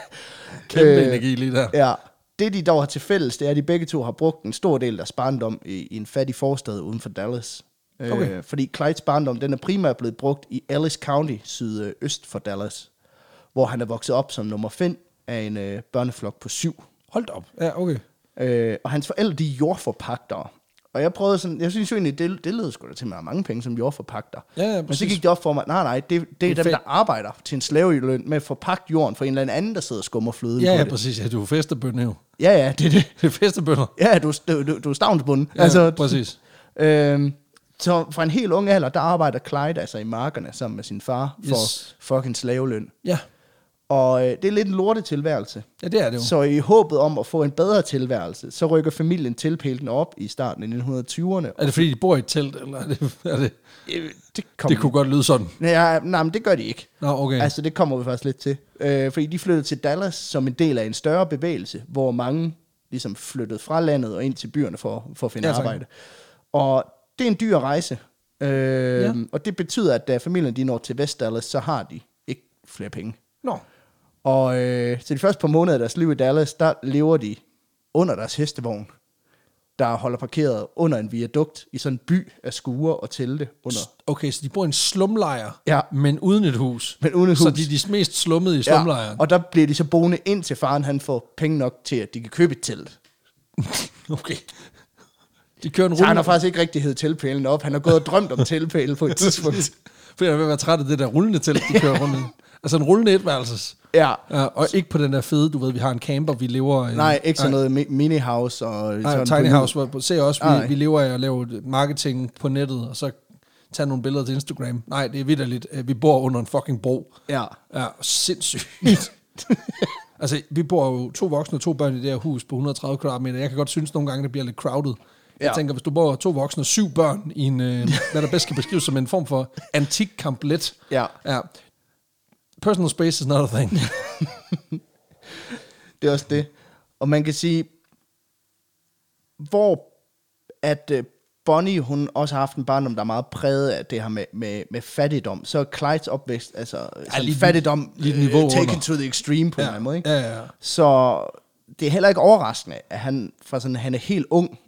S1: Kæmpe øh, energi lige der.
S2: Ja. Det, de dog har til fælles, det er, at de begge to har brugt en stor del af deres barndom i, i en fattig forstad uden for Dallas.
S1: Okay.
S2: Okay. Øh, fordi Clydes barndom, den er primært blevet brugt i Ellis County, sydøst for Dallas, hvor han er vokset op som nummer 5 af en øh, børneflok på syv.
S1: Hold da op. Ja, okay.
S2: Øh, og hans forældre, de er jordforpagtere. Og jeg prøvede sådan, jeg synes jo egentlig, det, det lød sgu da til, at man har mange penge som jordforpagter.
S1: Ja, ja,
S2: Men så
S1: præcis.
S2: gik det op for mig, nej, nej, det, det er
S1: Det er
S2: dem, der
S1: fedt.
S2: arbejder til en slaveløn med at forpagte jorden for en eller anden, der sidder og skummer fløden
S1: Ja,
S2: på
S1: ja,
S2: det.
S1: præcis. Ja, du er festebønne jo.
S2: Ja, ja, det er det.
S1: Det er festebønner.
S2: Ja, du, du, du, du er stavnsbunden.
S1: Ja, præcis.
S2: Øhm, så fra en helt ung alder, der arbejder Clyde altså i markerne sammen med sin far for
S1: Yes.
S2: fucking slaveløn.
S1: Ja,
S2: Og øh, det er lidt en lortet tilværelse.
S1: ja det er det jo. Så.
S2: Så i håbet om at få en bedre tilværelse, så rykker familien tilpælten op i starten af 1920'erne.
S1: Er det fordi, de bor i et telt, eller er det... Er det
S2: Øh, Det, kom,
S1: det kunne godt lyde sådan.
S2: Ja, nej, men det gør de ikke.
S1: Nå, okay.
S2: Altså, det kommer vi faktisk lidt til. Øh, fordi de flyttede til Dallas som en del af en større bevægelse, hvor mange ligesom flyttede fra landet og ind til byerne for, for at finde
S1: Ja,
S2: ja,
S1: tak.
S2: arbejde. Og det er en dyr rejse. Øh,
S1: Ja.
S2: ja. Og det betyder, at da familien de når til Vest Dallas, så har de ikke flere penge.
S1: Nå,
S2: Og øh, så de første par måneder af deres liv i Dallas, der lever de under deres hestevogn, der holder parkeret under en viadukt i sådan en by af skuer og telte under.
S1: okay, så de bor i en slumlejr,
S2: Ja.
S1: men uden et hus.
S2: Men uden et
S1: Så
S2: hus.
S1: de er de mest slummede i slumlejren.
S2: og der bliver de så boende ind til faren, han får penge nok til, at de kan købe et telt.
S1: Okay. De kører en
S2: Så han har
S1: rulle,
S2: faktisk ikke rigtig hed teltpælen op. Han har gået og drømt om teltpælen på et tidspunkt.
S1: fordi jeg er ved at være træt af det der rullende telt, de kører rundt i. Altså en rullende etværelses.
S2: Ja.
S1: Ja, og ikke på den der fede, du ved, vi har en camper, vi lever... øh,
S2: Nej, ikke sådan noget mi- mini-house og...
S1: Nej,
S2: sådan Ah,
S1: Tiny
S2: på-
S1: House, hvor, se også, vi,
S2: Nej.
S1: vi lever af at lave marketing på nettet, og så tage nogle billeder til Instagram. Nej, det er vidderligt. øh, Vi bor under en fucking bro.
S2: Ja.
S1: Ja, sindssygt. altså, vi bor jo to voksne og to børn i det her hus på 130 kvadratmeter. Jeg kan godt synes nogle gange, det bliver lidt crowded. Jeg
S2: Ja.
S1: tænker, hvis du bor to voksne og syv børn i en, øh, hvad der bedst kan beskrives som en form for antik kamplet.
S2: Ja.
S1: ja. Personal space is not a thing.
S2: Det er også det. Og man kan sige, hvor at øh, Bonnie, hun også har haft en barndom, der er meget præget af det her med, med, med fattigdom, så er Clydes opvækst, altså ja,
S1: lige-
S2: lige, fattigdom,
S1: lige et niveau
S2: øh, taken
S1: under.
S2: to the extreme på ja. en eller anden måde. Ikke?
S1: ja, ja, ja.
S2: Så det er heller ikke overraskende, at han, fra sådan, han er helt ung,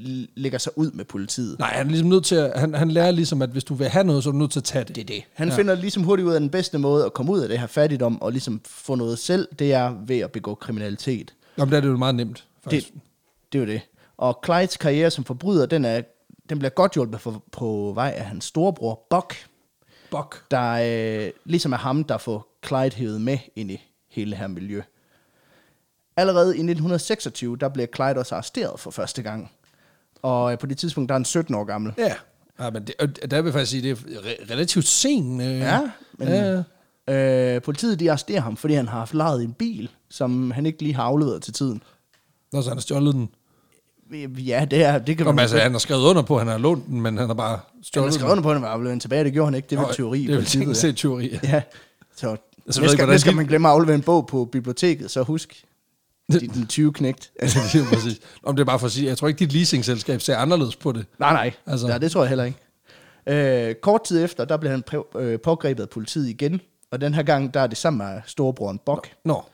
S2: l- lægger sig ud med politiet.
S1: Nej, han er ligesom nødt til at, han, han lærer ligesom, at hvis du vil have noget, så er du nødt til at tage det.
S2: Det er det. Han ja. finder ligesom hurtigt ud af den bedste måde at komme ud af det her fattigdom og ligesom få noget selv, det er ved at begå kriminalitet.
S1: Jamen, der er det jo meget nemt, faktisk.
S2: Det, det er jo det. Og Clydes karriere som forbryder, den, er, den bliver godt hjulpet for, på vej af hans storebror, Buck,
S1: Bok.
S2: der øh, ligesom er ham, der får Clyde hævet med ind i hele det her miljø. Allerede i 1926, der bliver Clyde også arresteret for første gang. Og øh, på det tidspunkt, der er han 17 år gammel.
S1: Ja. ja men det, og der vil jeg faktisk sige, det er re- relativt sen. Øh,
S2: Ja, men
S1: ja.
S2: øh, politiet de arresterer ham, fordi han har haft lejet en bil, som han ikke lige har afleveret til tiden.
S1: Nå, så han har stjålet den.
S2: Ja, det, er, det kan
S1: Nå, men
S2: man
S1: altså, han har skrevet under på, at han har lånt den, men han har bare
S2: Han
S1: stjålet
S2: har skrevet under på, at han var afleveret den tilbage. Det gjorde han ikke. Det
S1: den.
S2: var
S1: Nå,
S2: teori. i
S1: Det er jo
S2: princippet,
S1: teknisk set teori. Ja.
S2: Ja, så
S1: Altså, jeg ved
S2: altså, næste,
S1: ikke,
S2: gang,
S1: hvordan
S2: næste
S1: de-
S2: gang man glemmer at aflevere en bog på biblioteket, så husk din 20 knægt. Altså,
S1: det er jo præcis. Om det er bare for at sige, jeg tror ikke, dit leasingselskab ser anderledes på det.
S2: nej, nej,
S1: Altså.
S2: altså. nej, det tror jeg heller ikke. Øh, kort tid efter, der bliver han præ- øh, pågrebet af politiet igen, og den her gang, der er det sammen med storebroren Bok.
S1: Nå,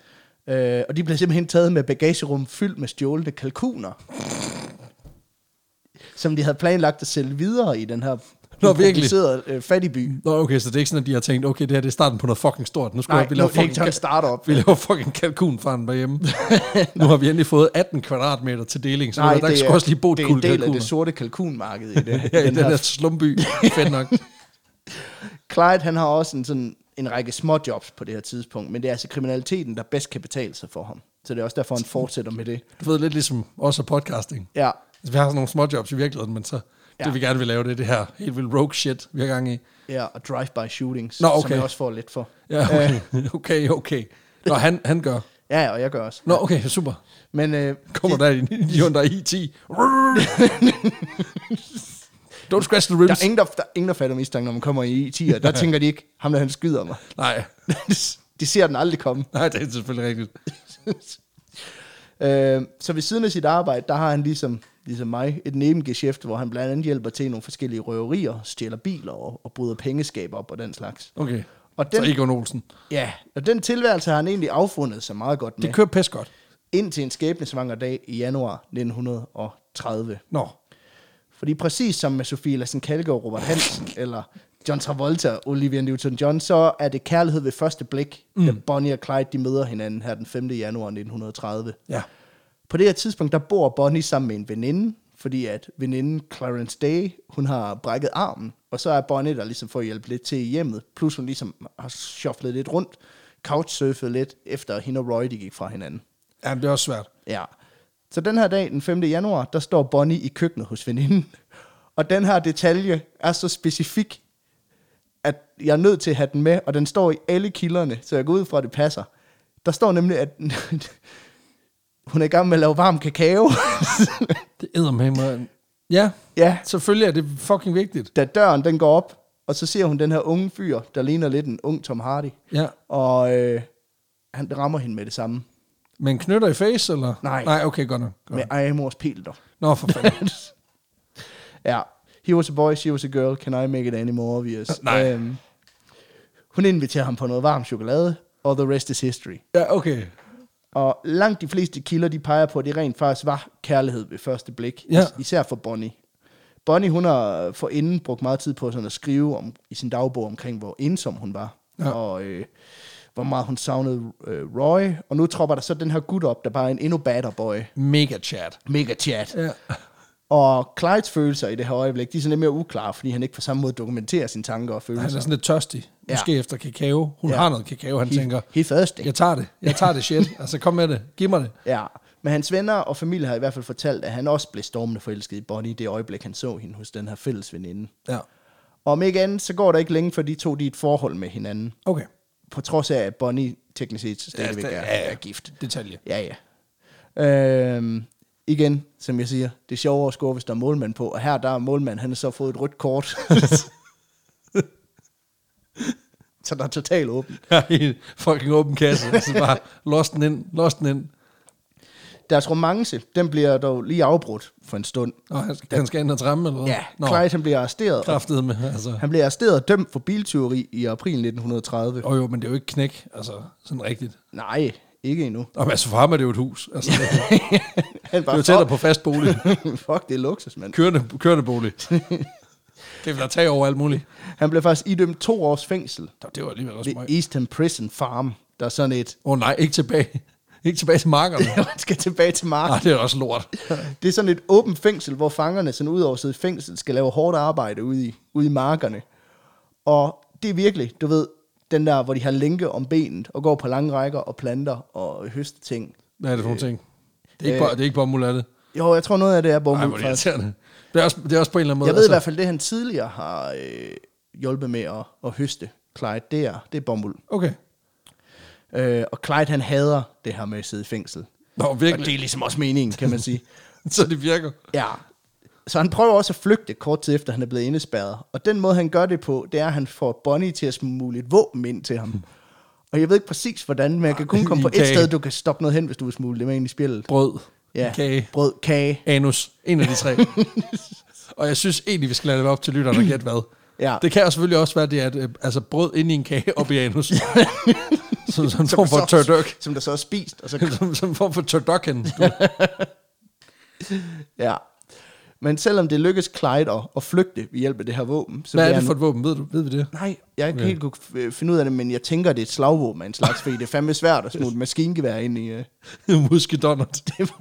S2: Øh, og de bliver simpelthen taget med bagagerum fyldt med stjålne kalkuner, som de havde planlagt at sælge videre i den her
S1: Nå, virkelig?
S2: improviserede, øh, fattigby.
S1: Nå okay, så det er ikke sådan, at de har tænkt, okay, det her det er starten på noget fucking stort. Nu skal
S2: Nej,
S1: vi
S2: nu
S1: lave
S2: er det
S1: fucking,
S2: ikke sådan en startup.
S1: vi laver fucking kalkunfarm derhjemme. nu har vi endelig fået 18 kvadratmeter til deling, så Nej, der
S2: det
S1: skal
S2: er-
S1: også lige bo et
S2: det er
S1: kul
S2: en del af
S1: kalkuner.
S2: det sorte kalkunmarked i det,
S1: ja, i den, der slumby. Fedt nok.
S2: Clyde, han har også en, sådan, en række små jobs på det her tidspunkt, men det er altså kriminaliteten, der bedst kan betale sig for ham. Så det er også derfor, han fortsætter med det.
S1: Du ved, lidt ligesom også podcasting.
S2: Ja,
S1: Altså, vi har sådan nogle småjobs i virkeligheden, men så ja.
S2: Ja.
S1: det vi gerne vil lave, det er det her helt vildt rogue shit, vi har gang i.
S2: ja og drive-by shootings,
S1: Nå,
S2: som
S1: okay.
S2: jeg også får lidt for. Øh,
S1: Ja, okay, okay, okay. Nå, han, han gør.
S2: Ja, ja, og jeg gør også.
S1: Nå, okay, super.
S2: Men øh,
S1: Kommer der en E idiot, der er i 10. Don't scratch the
S2: der,
S1: rims.
S2: er ingen, der, der er ingen, der fatter mistanke, når man kommer i 10'er. Der tænker de ikke, ham der han skyder mig.
S1: Nej.
S2: De ser den aldrig komme.
S1: Nej, det er selvfølgelig rigtigt.
S2: Øh, så ved siden af sit arbejde, der har han ligesom, ligesom mig et nebengeschæft, hvor han blandt andet hjælper til i nogle forskellige røverier, stjæler biler og, og bryder pengeskaber op og den slags.
S1: Okay.
S2: Og
S1: Den...
S2: den-
S1: Så Egon Olsen.
S2: Ja, og den tilværelse har han egentlig affundet sig meget godt med,
S1: Det kører pæs godt.
S2: indtil en skæbnesvanger dag i januar 1930.
S1: Nå.
S2: Fordi præcis som med Sofie Lassen Kalgaard, Robert Hansen, eller John Travolta, Olivia Newton-John, så er det kærlighed ved første blik, mm. da Bonnie og Clyde de møder hinanden her den 5. januar 1930.
S1: Ja.
S2: På det her tidspunkt, der bor Bonnie sammen med en veninde, fordi at veninden Clarence Day, hun har brækket armen, og så er Bonnie der ligesom får hjælp lidt til i hjemmet, plus hun ligesom har shufflet lidt rundt, couchsurfet lidt, efter hende og Roy de gik fra hinanden.
S1: Jamen, det er også svært.
S2: Ja. Så den her dag, den 5. januar, der står Bonnie i køkkenet hos veninden. Og den her detalje er så specifik, at jeg er nødt til at have den med, og den står i alle kilderne, så jeg går ud fra, at det passer. Der står nemlig, at hun er i gang med at lave varm kakao.
S1: Det æder med mig. Ja.
S2: ja,
S1: Selvfølgelig er det fucking vigtigt.
S2: da døren den går op, og så ser hun den her unge fyr, der ligner lidt en ung Tom Hardy.
S1: Ja.
S2: Og øh, han rammer hende med det samme.
S1: Men knytter i face, eller?
S2: Nej.
S1: Nej, okay, godt nok. Godt.
S2: Med
S1: nok.
S2: I am mors Peter.
S1: Nå, for fanden.
S2: Ja. He was a boy, she was a girl. Can I make it any more obvious?
S1: Nej.
S2: Øhm, hun inviterer ham på noget varm chokolade, og the rest is history.
S1: ja, okay.
S2: Og langt de fleste kilder, de peger på, at det rent faktisk var kærlighed ved første blik.
S1: Ja.
S2: is- Især for Bonnie. Bonnie, hun har forinden brugt meget tid på sådan at skrive om, i sin dagbog omkring, hvor ensom hun var.
S1: Ja.
S2: Og øh, hvor meget hun savnede øh, Roy. Og nu tropper der så den her gut op, der bare er en endnu badder boy.
S1: Mega chat.
S2: Mega chat.
S1: Ja.
S2: Og Clydes følelser i det her øjeblik, de er sådan lidt mere uklare, fordi han ikke på samme måde dokumenterer sine tanker og følelser.
S1: Han er sådan lidt tørstig. Måske ja. efter kakao. Hun
S2: Ja.
S1: ja. har noget kakao, han
S2: He-
S1: tænker,
S2: he thirsty.
S1: jeg tager det. Jeg tager det shit. altså, kom med det. Giv mig det.
S2: Ja, men hans venner og familie har i hvert fald fortalt, at han også blev stormende forelsket i Bonnie i det øjeblik, han så hende hos den her fælles veninde.
S1: Ja.
S2: Og om ikke andet, så går der ikke længe, før de to de er i et forhold med hinanden.
S1: Okay.
S2: På trods af, at Bonnie teknisk set stadigvæk er, er gift.
S1: Detalje.
S2: Ja, ja. Øhm, igen, som jeg siger, det er sjovere at score, hvis der er målmand på. Og her, der er målmand, han har så fået et rødt kort. så der er totalt åbent.
S1: Ja, i en fucking åben kasse. Altså bare, lost den ind, lost den ind.
S2: Deres romance, den bliver dog lige afbrudt for en stund.
S1: Nå, han skal, han skal ind og tramme, eller hvad?
S2: Ja,
S1: Nå,
S2: Clyde han bliver arresteret, og
S1: kraftede med, altså.
S2: Han blev arresteret og dømt for biltyveri i april 1930.
S1: Jo, jo, men det er jo ikke knæk, altså, sådan rigtigt.
S2: Nej, ikke endnu.
S1: Og altså, for ham er det jo et hus. Altså, det er
S2: Han
S1: jo tættere på fast bolig.
S2: Fuck, det er luksus, mand.
S1: Kørende, kørende bolig. Det vil der tage over alt muligt.
S2: Han blev faktisk idømt to års fængsel
S1: Nå, Det var alligevel også
S2: ved
S1: meget.
S2: Eastern Prison Farm. Der er sådan et...
S1: Åh oh, nej, ikke tilbage. Ikke tilbage til markerne.
S2: Han skal tilbage til
S1: Nej,
S2: marken.
S1: det er også lort.
S2: Det er sådan et åbent fængsel, hvor fangerne, sådan ud over at sidde i fængsel, skal lave hårdt arbejde ude i, ude i markerne. Og det er virkelig, du ved, den der, hvor de har lænke om benet og går på lange rækker og planter og høster ting.
S1: Hvad er det for nogle ting? Det er ikke,
S2: Øh.
S1: bo- det er ikke bomuld, er det?
S2: Jo, jeg tror noget af det er bomuld.
S1: Nej, hvor er det Altså-
S2: faktisk.
S1: irriterende. Det er, også, det er også på en eller anden måde.
S2: Jeg ved i hvert fald, det han tidligere har øh, hjulpet med at, at høste Clyde, det er, det er bomuld.
S1: Okay.
S2: Øh, og Clyde, han hader det her med at sidde i fængsel.
S1: Nå,
S2: Og det
S1: virkelig.
S2: er ligesom også meningen, kan man sige.
S1: Så det virker.
S2: Ja. Så han prøver også at flygte kort tid efter, han er blevet indespærret. Og den måde, han gør det på, det er, at han får Bonnie til at smule et våben ind til ham. Og jeg ved ikke præcis, hvordan, men jeg kan kun komme på
S1: Hmm. I
S2: et
S1: kage.
S2: sted, du kan stoppe noget hen, hvis du vil smule det med ind i spillet.
S1: Brød.
S2: Ja,
S1: Kage.
S2: brød, kage.
S1: Anus. En af de tre. og jeg synes egentlig, vi skal lade det være op til lytterne og gætte hvad.
S2: Ja.
S1: Det kan jo selvfølgelig også være det, at øh, altså, brød ind i en kage op i anus. som, som en form for
S2: Så-
S1: tørdøk.
S2: Som der så er spist, og så
S1: som, som en form for tørdokken.
S2: Ja. Men selvom det lykkes Clyde at, at flygte ved hjælp af det her våben, så
S1: Hvad er
S2: bliver
S1: det for et våben? Ved, du, ved vi det?
S2: han... Nej, jeg kan
S1: Okay.
S2: okay. helt kunne f- finde ud af det, men jeg tænker, det er et slagvåben af en slags, fordi det er fandme svært at smule et maskingevær ind i. øh.
S1: Muskedonald. Det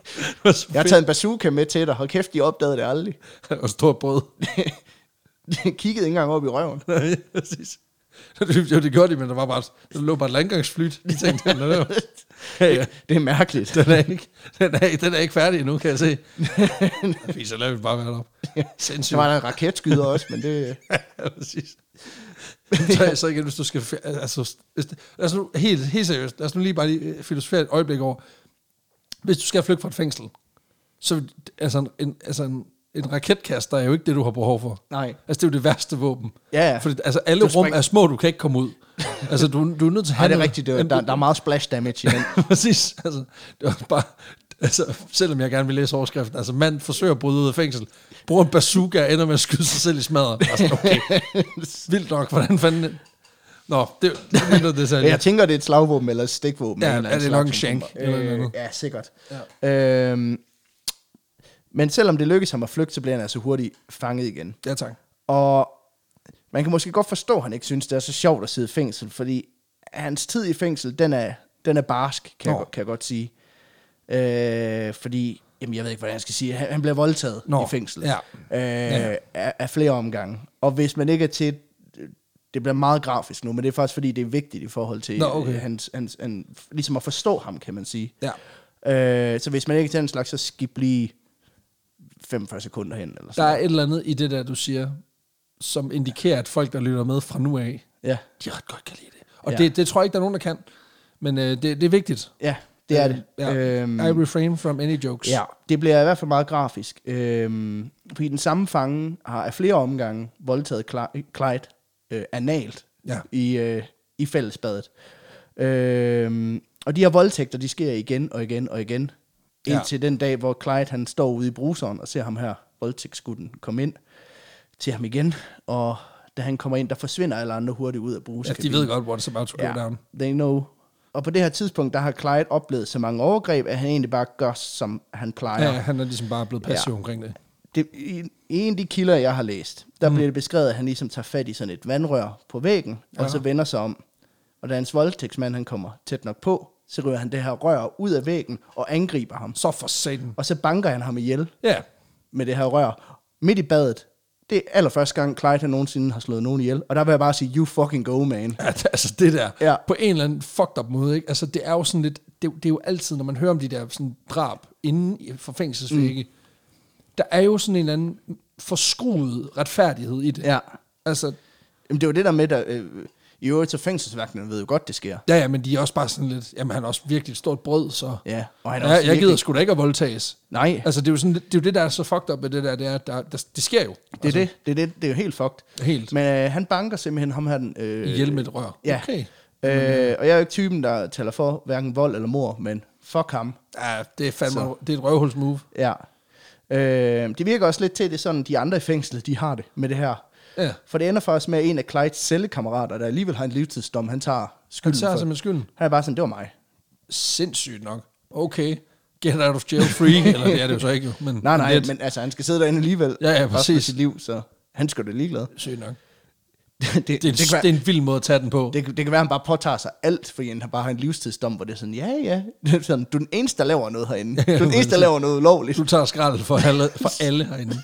S1: var så
S2: Jeg har
S1: fedt.
S2: taget en bazooka med til dig, hold kæft, de opdagede det aldrig.
S1: Og stor brød.
S2: De kiggede ikke engang op i røven.
S1: Nej, præcis. Jo, det gjorde de, men der var bare, der lå bare et landgangsflyt. De tænkte, den er, ja, ja,
S2: Det er mærkeligt.
S1: den, er ikke, den, er, den er ikke færdig endnu, kan jeg se. Fordi så lader vi den bare være op.
S2: Så
S1: Sindssygt.
S2: var der en raketskyder også, men det...
S1: Ja, præcis. så, så igen, hvis du skal... Altså, hvis, lad os nu, helt, helt seriøst, lad os nu lige bare lige øh, filosofere et øjeblik over. Hvis du skal flygte fra et fængsel, så vil- altså, en- en, altså en, en raketkaster er jo ikke det, du har behov for.
S2: Nej.
S1: Altså, det er jo det værste våben.
S2: Ja, ja.
S1: Fordi, altså, alle
S2: Du
S1: rum
S2: springer-
S1: er små, du kan ikke komme ud. Altså, du, du er nødt til at
S2: Nej,
S1: have
S2: det er
S1: noget-
S2: rigtigt. Det var, der, der er meget splash damage i den.
S1: Præcis. Altså, det var bare, altså, selvom jeg gerne vil læse overskriften, altså mand forsøger at bryde ud af fængsel, bruger en bazooka og ender med at skyde sig selv i smadret. Altså, okay. Vildt nok, hvordan fanden... Nå, det det er mindre det
S2: Men jeg
S1: særlige.
S2: tænker, det er et slagvåben eller et stikvåben.
S1: Ja,
S2: af en eller
S1: er det
S2: anden
S1: nok
S2: slags,
S1: en
S2: som
S1: shank
S2: kommer.
S1: eller noget
S2: øh,
S1: andet?
S2: Ja, sikkert. Ja. Øhm, men selvom det lykkes ham at flygte, så bliver han altså hurtigt fanget igen.
S1: Ja, tak.
S2: Og man kan måske godt forstå, at han ikke synes, det er så sjovt at sidde i fængsel, fordi hans tid i fængsel, den er, den er barsk, kan, jeg,
S1: Nå.
S2: godt- kan jeg godt sige. Øh, fordi, jamen jeg ved ikke, hvordan jeg skal sige, det. han, han bliver voldtaget
S1: Nå,
S2: i fængsel
S1: ja.
S2: øh,
S1: Ja.
S2: Af, af flere omgange. Og hvis man ikke er til, det bliver meget grafisk nu, men det er faktisk, fordi det er vigtigt i forhold til,
S1: Nå, okay.
S2: øh, hans, hans, han, ligesom at forstå ham, kan man sige.
S1: Ja.
S2: Øh, så hvis man ikke er til den slags, så skib lige 45 sekunder hen. Eller
S1: Der
S2: sådan.
S1: er et eller andet i det der, du siger, som indikerer, at folk, der lytter med fra nu af,
S2: Ja.
S1: de ret godt kan lide det. Og
S2: Ja.
S1: ja. det, det tror jeg ikke, der er nogen, der kan. Men øh, det, det er vigtigt.
S2: Ja, det er
S1: Øh,
S2: det.
S1: Ja. Øhm, I refrain from any jokes.
S2: Ja, det bliver i hvert fald meget grafisk. Øhm, fordi den samme fange har af flere omgange voldtaget Cla- Clyde øh, analt
S1: Ja.
S2: i, øh, i fællesbadet. Øhm, og de her voldtægter, de sker igen og igen og igen.
S1: Ja.
S2: Indtil den dag, hvor Clyde han står ude i bruseren og ser ham her, voldtægtsgutten, komme ind til ham igen. Og da han kommer ind, der forsvinder alle andre hurtigt ud af
S1: Ja,
S2: bruseren.
S1: de ved godt, what's about to go down.
S2: They know. Og på det her tidspunkt, der har Clyde oplevet så mange overgreb, at han egentlig bare gør, som han plejer.
S1: Ja, han er ligesom bare blevet passiv ja. omkring det.
S2: Det, i, I en af de kilder, jeg har læst, der mm. bliver det beskrevet, at han ligesom tager fat i sådan et vandrør på væggen, ja. og så vender sig om. Og da hans voldtægtsmand han kommer tæt nok på, så ryger han det her rør ud af væggen og angriber ham.
S1: Så for satan.
S2: Og så banker han ham ihjel.
S1: Ja,
S2: med det her rør, midt i badet. Det er allerførste gang, Clyde han nogensinde har slået nogen ihjel. Og der vil jeg bare sige, you fucking go, man.
S1: Ja, det- altså det der,
S2: Ja.
S1: ja. på en eller anden fucked up måde, ikke? Altså det er jo sådan lidt, det, er jo- det er jo altid, når man hører om de der sådan drab inden i- for fængselsvægge, mm. der er jo sådan en eller anden forskruet retfærdighed i det.
S2: Ja.
S1: Altså,
S2: Jamen, det var det der med, der, øh, i øvrigt så fængselsvagterne ved jo godt, det sker.
S1: ja, ja, men de er også bare sådan lidt, jamen han er også virkelig et stort brød, så...
S2: Ja, og han er
S1: Ja,
S2: også
S1: jeg
S2: virkelig-
S1: gider sgu da ikke at voldtages.
S2: Nej.
S1: Altså, det er jo, sådan, det er jo det, der er så fucked up med det der, det er, at der, der, det sker jo. Altså,
S2: Det er det. Det er, det. det er jo helt fucked.
S1: Helt.
S2: Men øh, han banker simpelthen ham her den... Øh,
S1: Ihjel med et rør.
S2: Ja.
S1: Okay.
S2: Øh, og jeg er jo ikke typen, der taler for hverken vold eller mor, men fuck ham.
S1: Ja, det er fandme,
S2: Så.
S1: det er et røvhulsmove.
S2: Ja. Øh, det virker også lidt til, at det er sådan, de andre i fængslet, de har det med det her.
S1: Ja.
S2: For det ender faktisk med, at en af Clydes cellekammerater, der alligevel har en livstidsdom, han tager
S1: Han
S2: skylden
S1: tager
S2: for.
S1: simpelthen skylden.
S2: Han er bare sådan, det var mig.
S1: Sindssygt nok. Okay, get out of jail free, eller det er det jo så ikke, jo, men
S2: Nej, nej,
S1: lidt.
S2: men altså, han skal sidde derinde alligevel.
S1: Ja, ja,
S2: Også med
S1: præcis.
S2: sit liv, så han skal da ligeglad.
S1: Sygt nok.
S2: det, det,
S1: Det er, en,
S2: kan
S1: det,
S2: være-
S1: det er en vild måde at tage den på. Det,
S2: Det, kan- det kan være, at han bare påtager sig alt, fordi han bare har en livstidsdom, hvor det er sådan, ja, ja, det er sådan, du er den eneste, der laver noget herinde. Du er den eneste, der laver noget ulovligt.
S1: du tager skrald for alle, for alle herinde.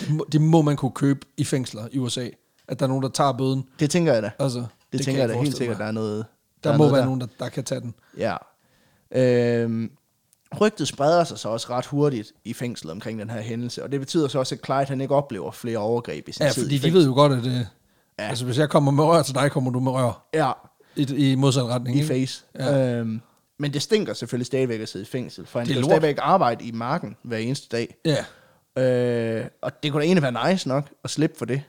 S1: Det må, det må man kunne købe i fængsler i USA, at der er nogen, der tager bøden.
S2: Det tænker jeg da. Det,
S1: Altså, det,
S2: det
S1: kan
S2: tænker jeg da
S1: ikke
S2: helt
S1: forestille
S2: sikkert, der er noget...
S1: Der, der må
S2: noget
S1: være nogen, der, der kan tage den.
S2: Ja. Øhm, rygtet spreder sig så også ret hurtigt i fængslet omkring den her hændelse, og det betyder så også, at Clyde han ikke oplever flere overgreb i sin
S1: Ja,
S2: tid
S1: fordi
S2: i
S1: de Altså, ved jo godt, at øh,
S2: Ja.
S1: ja. altså, hvis jeg kommer med rør til dig, kommer du med rør
S2: Ja,
S1: i, i modsat retning.
S2: i
S1: ikke?
S2: face. Ja.
S1: Ja.
S2: Øhm, men det stinker selvfølgelig stadigvæk at sidde i fængsel, for han
S1: Det er
S2: kan jo
S1: lort.
S2: stadigvæk arbejde i marken hver eneste dag.
S1: Ja,
S2: Øh, og det kunne da egentlig være nice nok at slippe for det.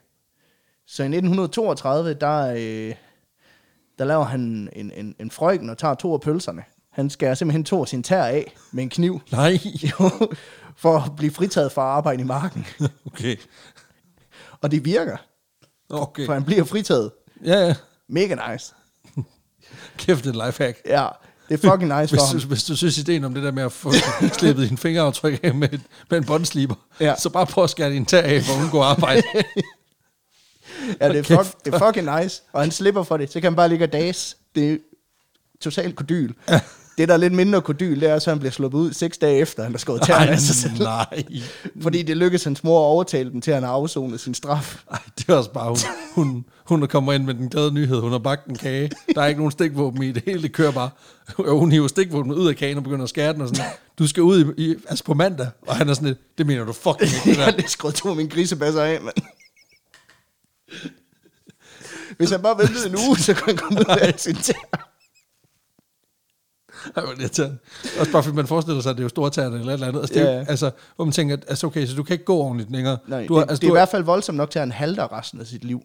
S2: Så i 1932, der, øh, der laver han en, en, en frøken og tager to af pølserne. Han skærer simpelthen to af sine tær af med en kniv.
S1: nej.
S2: Jo, for at blive fritaget fra at arbejde i marken.
S1: Okay.
S2: Og det virker,
S1: Okay.
S2: for han bliver fritaget.
S1: Ja, ja.
S2: Mega nice.
S1: Kæft, det er et lifehack.
S2: Ja, det er fucking nice
S1: Hvis
S2: for ham.
S1: du, hvis du synes ideen om det der med at få slippet dine fingeraftryk af med, et- med en båndsliber,
S2: Ja.
S1: ja. så bare prøv at skære din tag af for at undgå arbejde.
S2: Ja, det er, fuck, det er fucking nice. Og han slipper for det, så kan han bare ligge og dages. Det er totalt kodyl. Det, der er lidt mindre kodyl, det er, så han bliver sluppet ud seks dage efter, han har skåret tæerne af sig selv.
S1: nej.
S2: Fordi det lykkedes hans mor at overtale dem til, at han har afsonet sin straf.
S1: Ej, det er også bare, hun, hun, hun der kommer ind med den glade nyhed, hun har bagt en kage, der er ikke nogen stikvåben i det hele, det kører bare. Og hun hiver stikvåben ud af kagen og begynder at skære den og sådan, du skal ud i, i altså på mandag. Og han er sådan lidt, det mener du fucking ikke, det
S2: Jeg har
S1: der.
S2: lige skåret to af mine grisebasser af, mand. Hvis han bare ventede en uge, så kunne han komme ud af sin tæer.
S1: Ej, hvor er det irriterende. Også bare fordi man forestiller sig, at det er jo store tæerne eller et eller andet. Altså, det,
S2: Ja,
S1: ja.
S2: ja.
S1: altså, hvor man tænker, at altså, okay, så du kan ikke gå ordentligt længere.
S2: Nej,
S1: du har,
S2: det,
S1: altså,
S2: det er
S1: du
S2: i
S1: har-
S2: hvert fald voldsomt nok til, at han halter resten af sit liv.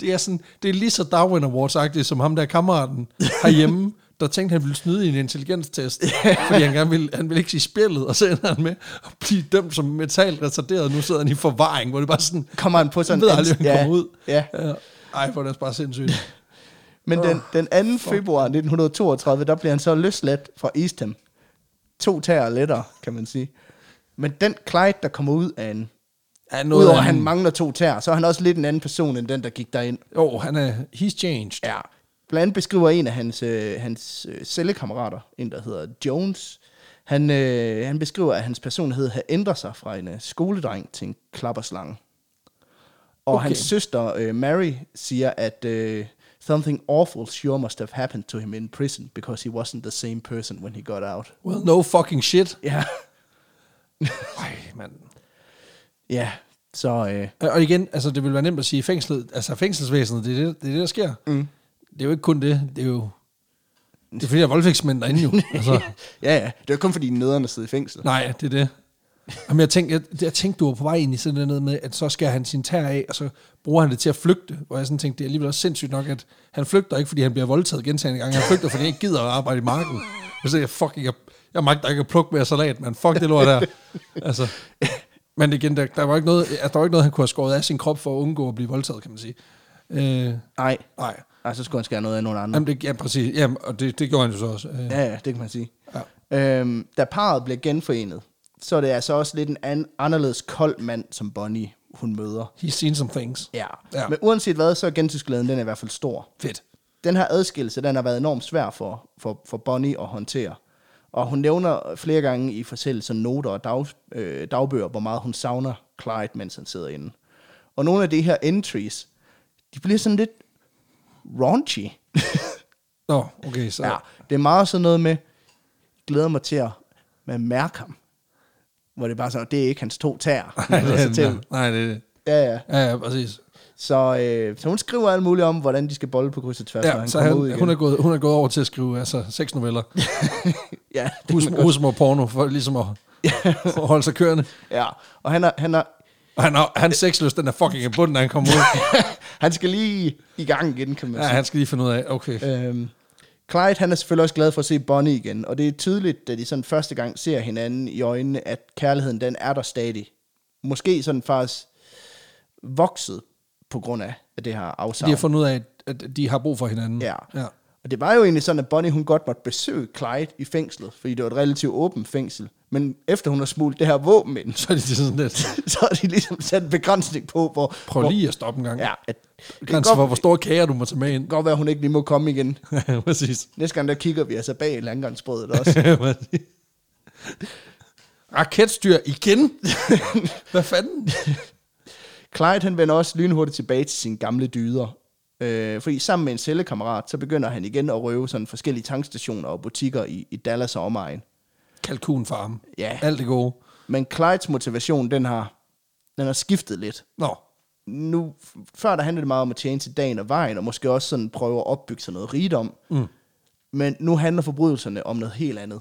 S1: Det er, sådan, det er lige så Darwin Awards-agtigt som ham der kammeraten herhjemme, der tænkte, han ville snyde i en intelligenstest, fordi han, gerne ville, han ville ikke sige spillet, og så ender han med at blive dømt som mentalt retarderet, nu sidder han i forvaring, hvor det bare sådan,
S2: Kommer han på sådan
S1: ved aldrig, han
S2: ja,
S1: kommer ud.
S2: Ja.
S1: Ja. Ej, hvor er det også bare sindssygt.
S2: Men den, den 2. februar 1932, der bliver han så løsladt fra Eastham. To tæer lettere, kan man sige. Men den Clyde, der kommer ud af en...
S1: Ja, noget
S2: Udover at
S1: af en-
S2: han mangler to tæer, så er han også lidt en anden person, end den, der gik derind.
S1: Jo, oh, han er, he's changed.
S2: Ja. Blandt andet beskriver en af hans, øh, hans øh, cellekammerater, en der hedder Jones, han, øh, han beskriver, at hans personlighed havde ændret sig fra en øh, skoledreng til en klapperslange. Og okay.
S1: Okay.
S2: hans søster, øh, Mary, siger, at øh, something awful sure must have happened to him in prison, because he wasn't the same person when he got out.
S1: Well, no fucking shit.
S2: Ja,
S1: Ej, mand.
S2: ja. så øh,
S1: Og igen, altså det vil være nemt at sige, fængslet, altså fængselsvæsenet, det er det, det, er det der sker. Mm. Det er jo ikke kun det, det er jo... Det er fordi, der er voldtægtsmænd derinde jo. Altså.
S2: ja, ja. Det var kun fordi nederne sidder i fængsel.
S1: Nej, det er det. Jamen, jeg, tænkte, jeg, jeg tænkte, du var på vej ind i sådan noget med, at så skærer han sin tær af, og så bruger han det til at flygte. Hvor jeg sådan tænkte, det er alligevel også sindssygt nok, at han flygter ikke, fordi han bliver voldtaget gentagende gange. Han flygter, fordi han ikke gider at arbejde i marken. Og så jeg, fucking, jeg, jeg magter ikke at plukke mere salat, men fuck det lort der. Altså, men igen, der, der, var ikke noget, altså, der var ikke noget, han kunne have skåret af sin krop for at undgå at blive voldtaget, kan man sige. Øh,
S2: Nej,
S1: nej,
S2: Ej, så skulle han skære noget af nogle andre.
S1: Jamen, det, ja, præcis. Jamen, og det, det gjorde han jo så også. Øh,
S2: Ja, ja, det kan man sige.
S1: Ja.
S2: Øhm, da parret bliver genforenet, så er det altså også lidt en an- anderledes kold mand, som Bonnie hun møder.
S1: he's seen some things.
S2: Ja. ja.
S1: Ja.
S2: Men uanset hvad, så er gensynsglæden den er i hvert fald stor.
S1: Fedt.
S2: Den her adskillelse, den har været enormt svær for, for, for Bonnie at håndtere. Og hun nævner flere gange i forskellige noter og dag, øh, dagbøger, hvor meget hun savner Clyde, mens han sidder inde. Og nogle af de her entries, de bliver sådan lidt raunchy.
S1: Nå, okay, så...
S2: ja, det er meget sådan noget med, jeg glæder mig til at man mærker ham. Hvor det er bare sådan, det er ikke hans to tæer.
S1: Nej, det
S2: Altså
S1: er,
S2: til-
S1: det. nej, det er det.
S2: Ja, ja.
S1: Ja, ja, præcis.
S2: Så, øh, så hun skriver alt muligt om, hvordan de skal bolde på kryds og tværs, når
S1: Ja,
S2: han
S1: så
S2: kommer
S1: han,
S2: ud igen.
S1: hun, er gået, hun er gået over til at skrive altså, seks noveller.
S2: ja, det kan man
S1: Husmor,
S2: godt-
S1: husmor porno, for ligesom at, at holde sig kørende.
S2: ja, og han, er, han, er,
S1: Og han, har, han sexløs, den er fucking i bunden, da han kommer ud.
S2: han skal lige i gang igen, kan man
S1: Ja,
S2: sige.
S1: han skal lige finde ud af, okay.
S2: Øhm, Clyde, han er selvfølgelig også glad for at se Bonnie igen, og det er tydeligt, da de sådan første gang ser hinanden i øjnene, at kærligheden, den er der stadig. Måske sådan faktisk vokset på grund af at det her
S1: De
S2: afsavn.
S1: har fundet ud af, at de har brug for hinanden.
S2: Ja.
S1: ja.
S2: Og det var jo egentlig sådan, at Bonnie hun godt måtte besøge Clyde i fængslet, fordi det var et relativt åbent fængsel. Men efter hun har smuglet det her våben ind,
S1: Så er de sådan lidt,
S2: så har de ligesom sat en begrænsning på, hvor...
S1: prøv
S2: hvor,
S1: lige at stoppe en gang.
S2: Ja, at, det kan
S1: Grænser for,
S2: godt,
S1: hvor store kager du må tage med ind.
S2: godt være, at hun ikke lige må komme igen.
S1: Præcis.
S2: Næste gang, der kigger vi altså bag landgangsbrødet også.
S1: Raketstyr igen? Hvad fanden?
S2: Clyde han vender også lynhurtigt tilbage til sine gamle dyder. Øh, fordi sammen med en cellekammerat, så begynder han igen at røve sådan forskellige tankstationer og butikker i, i Dallas og omegn.
S1: Kalkunfarm.
S2: Ja.
S1: Alt det gode.
S2: Men Clydes motivation, den har, den har skiftet lidt.
S1: Nå,
S2: Nu, før der handlede det meget om at tjene til dagen og vejen, og måske også sådan prøve at opbygge sig noget rigdom. Mm. Men nu handler forbrydelserne om noget helt andet.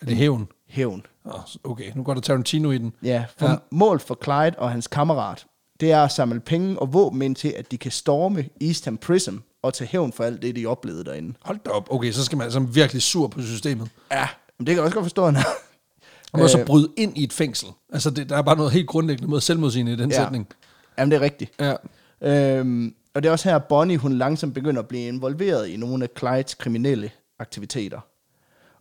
S1: er det hævn?
S2: Hævn.
S1: Nå, okay, nu går der Tarantino i den.
S2: Ja, for
S1: Ja.
S2: ja. målet for Clyde og hans kammerat, det er at samle penge og våben ind til, at de kan storme Eastham Prison og tage hævn for alt det, de oplevede derinde.
S1: Hold da op. Okay, så skal man altså virkelig sur på systemet.
S2: Ja, men det kan jeg også godt forstå, han er.
S1: Og man øh, så bryde ind i et fængsel. Altså, det, der er bare noget helt grundlæggende mod selvmodsigende i den ja. sætning.
S2: Jamen, det er rigtigt.
S1: Ja.
S2: Øhm, og det er også her, Bonnie, hun langsomt begynder at blive involveret i nogle af Clydes kriminelle aktiviteter.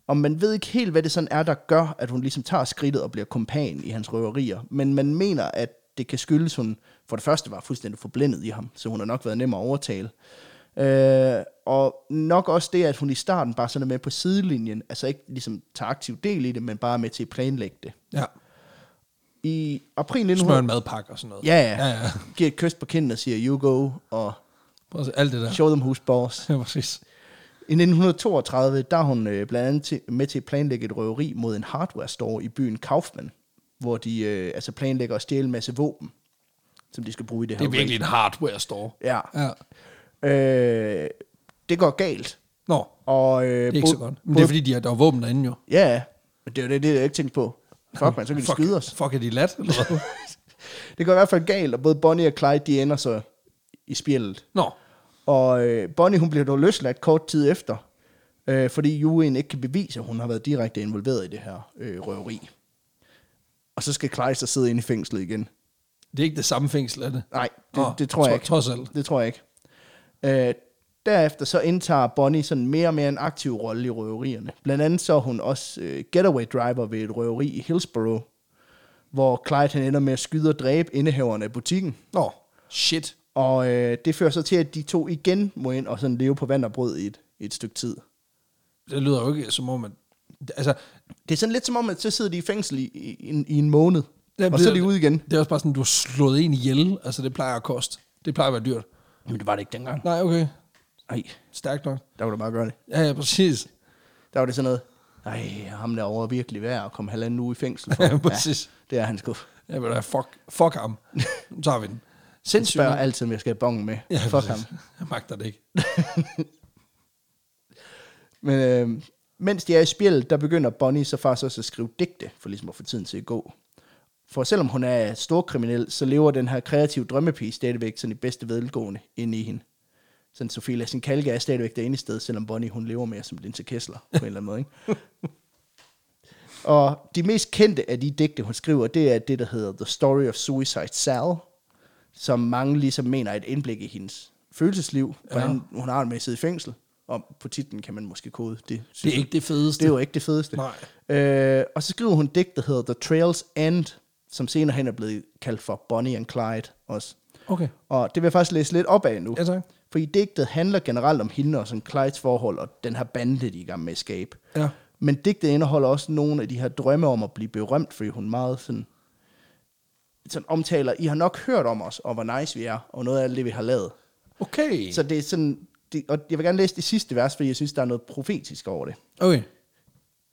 S2: Og man ved ikke helt, hvad det sådan er, der gør, at hun ligesom tager skridtet og bliver kompan i hans røverier. Men man mener, at det kan skyldes, hun for det første var fuldstændig forblændet i ham, så hun har nok været nem at overtale. Øh, og nok også det, at hun i starten bare sådan er med på sidelinjen, altså ikke ligesom tager aktiv del i det, men bare er med til at planlægge det.
S1: ja.
S2: I april
S1: Smør
S2: 1900...
S1: en madpakke og sådan noget.
S2: Ja, ja.
S1: ja, ja.
S2: Giver et kys på kinden og siger, you go, og
S1: Prøv at se, alt det der.
S2: show them who's boss.
S1: Ja, præcis.
S2: I 1932, der er hun øh, blandt andet til, med til at planlægge et røveri mod en hardware store i byen Kaufman, hvor de øh, altså planlægger at stjæle en masse våben, som de skal bruge i det her
S1: Det er
S2: røveri.
S1: virkelig en hardware store.
S2: Ja.
S1: Ja.
S2: Øh, det går galt.
S1: Nå,
S2: Og, øh,
S1: det er ikke så godt. Men det er fordi, de har, der er våben derinde jo.
S2: Ja, men det er jo det, det, jeg ikke tænkte på. Fuck, man, så kan de
S1: Fuck,
S2: skyde os.
S1: Fuck, er de lat? Eller hvad?
S2: Det går i hvert fald galt, og både Bonnie og Clyde, de ender så i spjældet.
S1: Nå,
S2: Og øh, Bonnie, hun bliver dog løsladt kort tid efter, øh, fordi juryen ikke kan bevise, at hun har været direkte involveret i det her øh, røveri. Og så skal Kleist så sidde inde i fængslet igen.
S1: det er ikke det samme fængsel, er det?
S2: Nej, det,
S1: Nå,
S2: det tror jeg
S1: tro-
S2: ikke.
S1: Trods alt.
S2: Det tror jeg ikke. Øh, derefter så indtager Bonnie sådan mere og mere en aktiv rolle i røverierne. Blandt andet så er hun også øh, getaway driver ved et røveri i Hillsborough, hvor Clyde han ender med at skyde og dræbe indehaverne af butikken.
S1: Nå, shit.
S2: Og øh, det fører så til, at de to igen må ind og sådan leve på vand og brød i et, i et stykke tid.
S1: Det lyder jo ikke, som om man... Altså,
S2: Det er sådan lidt som om, at så sidder de i fængsel i, i, i en- i en måned,
S1: Jamen,
S2: og så er
S1: det-
S2: de ude igen.
S1: det er også bare sådan, du har slået en ihjel. Altså, det plejer at koste. Det plejer at være dyrt.
S2: Men det var det ikke dengang.
S1: Nej, okay.
S2: Nej,
S1: Stærkt nok.
S2: der var det bare at gøre det.
S1: Ja, ja, præcis.
S2: Der var det sådan noget, nej, ham derovre er virkelig værd at komme halvanden uge i fængsel for.
S1: Ja, præcis.
S2: Ja, det er han sgu.
S1: Jeg vil da, fuck, fuck ham. Nu tager vi den. Sindssygt.
S2: Spørger
S1: nok.
S2: altid, om jeg skal have bongen med. Ja, Fuck
S1: præcis.
S2: ham.
S1: Jeg magter det ikke.
S2: Men øh, mens de er i spjældet, der begynder Bonnie så faktisk også at skrive digte, for ligesom at få tiden til at gå. For selvom hun er storkriminel, så lever den her kreative drømmepige stadigvæk sådan i bedste velgående inde i hende. Sådan Sofie Lassen Kalke er stadigvæk derinde i stedet, selvom Bonnie hun lever mere som Linse Kessler på en eller anden måde. Ikke? Og de mest kendte af de digte, hun skriver, det er det, der hedder The Story of Suicide Sal, som mange ligesom mener er et indblik i hendes følelsesliv, hvordan hun har det med at sidde i fængsel. Og på titlen kan man måske kode det.
S1: Det er ikke det fedeste.
S2: Det er jo ikke det fedeste. Øh, og så skriver hun et digt, der hedder The Trails End, som senere hen er blevet kaldt for Bonnie and Clyde også.
S1: Okay.
S2: Og det vil jeg faktisk læse lidt op af nu.
S1: Ja, tak.
S2: For i digtet handler generelt om hende og sådan Clydes forhold og den her bande, de er i gang med at skabe.
S1: Ja.
S2: Men digtet indeholder også nogle af de her drømme om at blive berømt, fordi hun meget sådan, sådan omtaler, I har nok hørt om os, og hvor nice vi er, og noget af alt det, vi har lavet.
S1: Okay.
S2: Så det er sådan, det, og jeg vil gerne læse det sidste vers, fordi jeg synes, der er noget profetisk over det.
S1: Okay.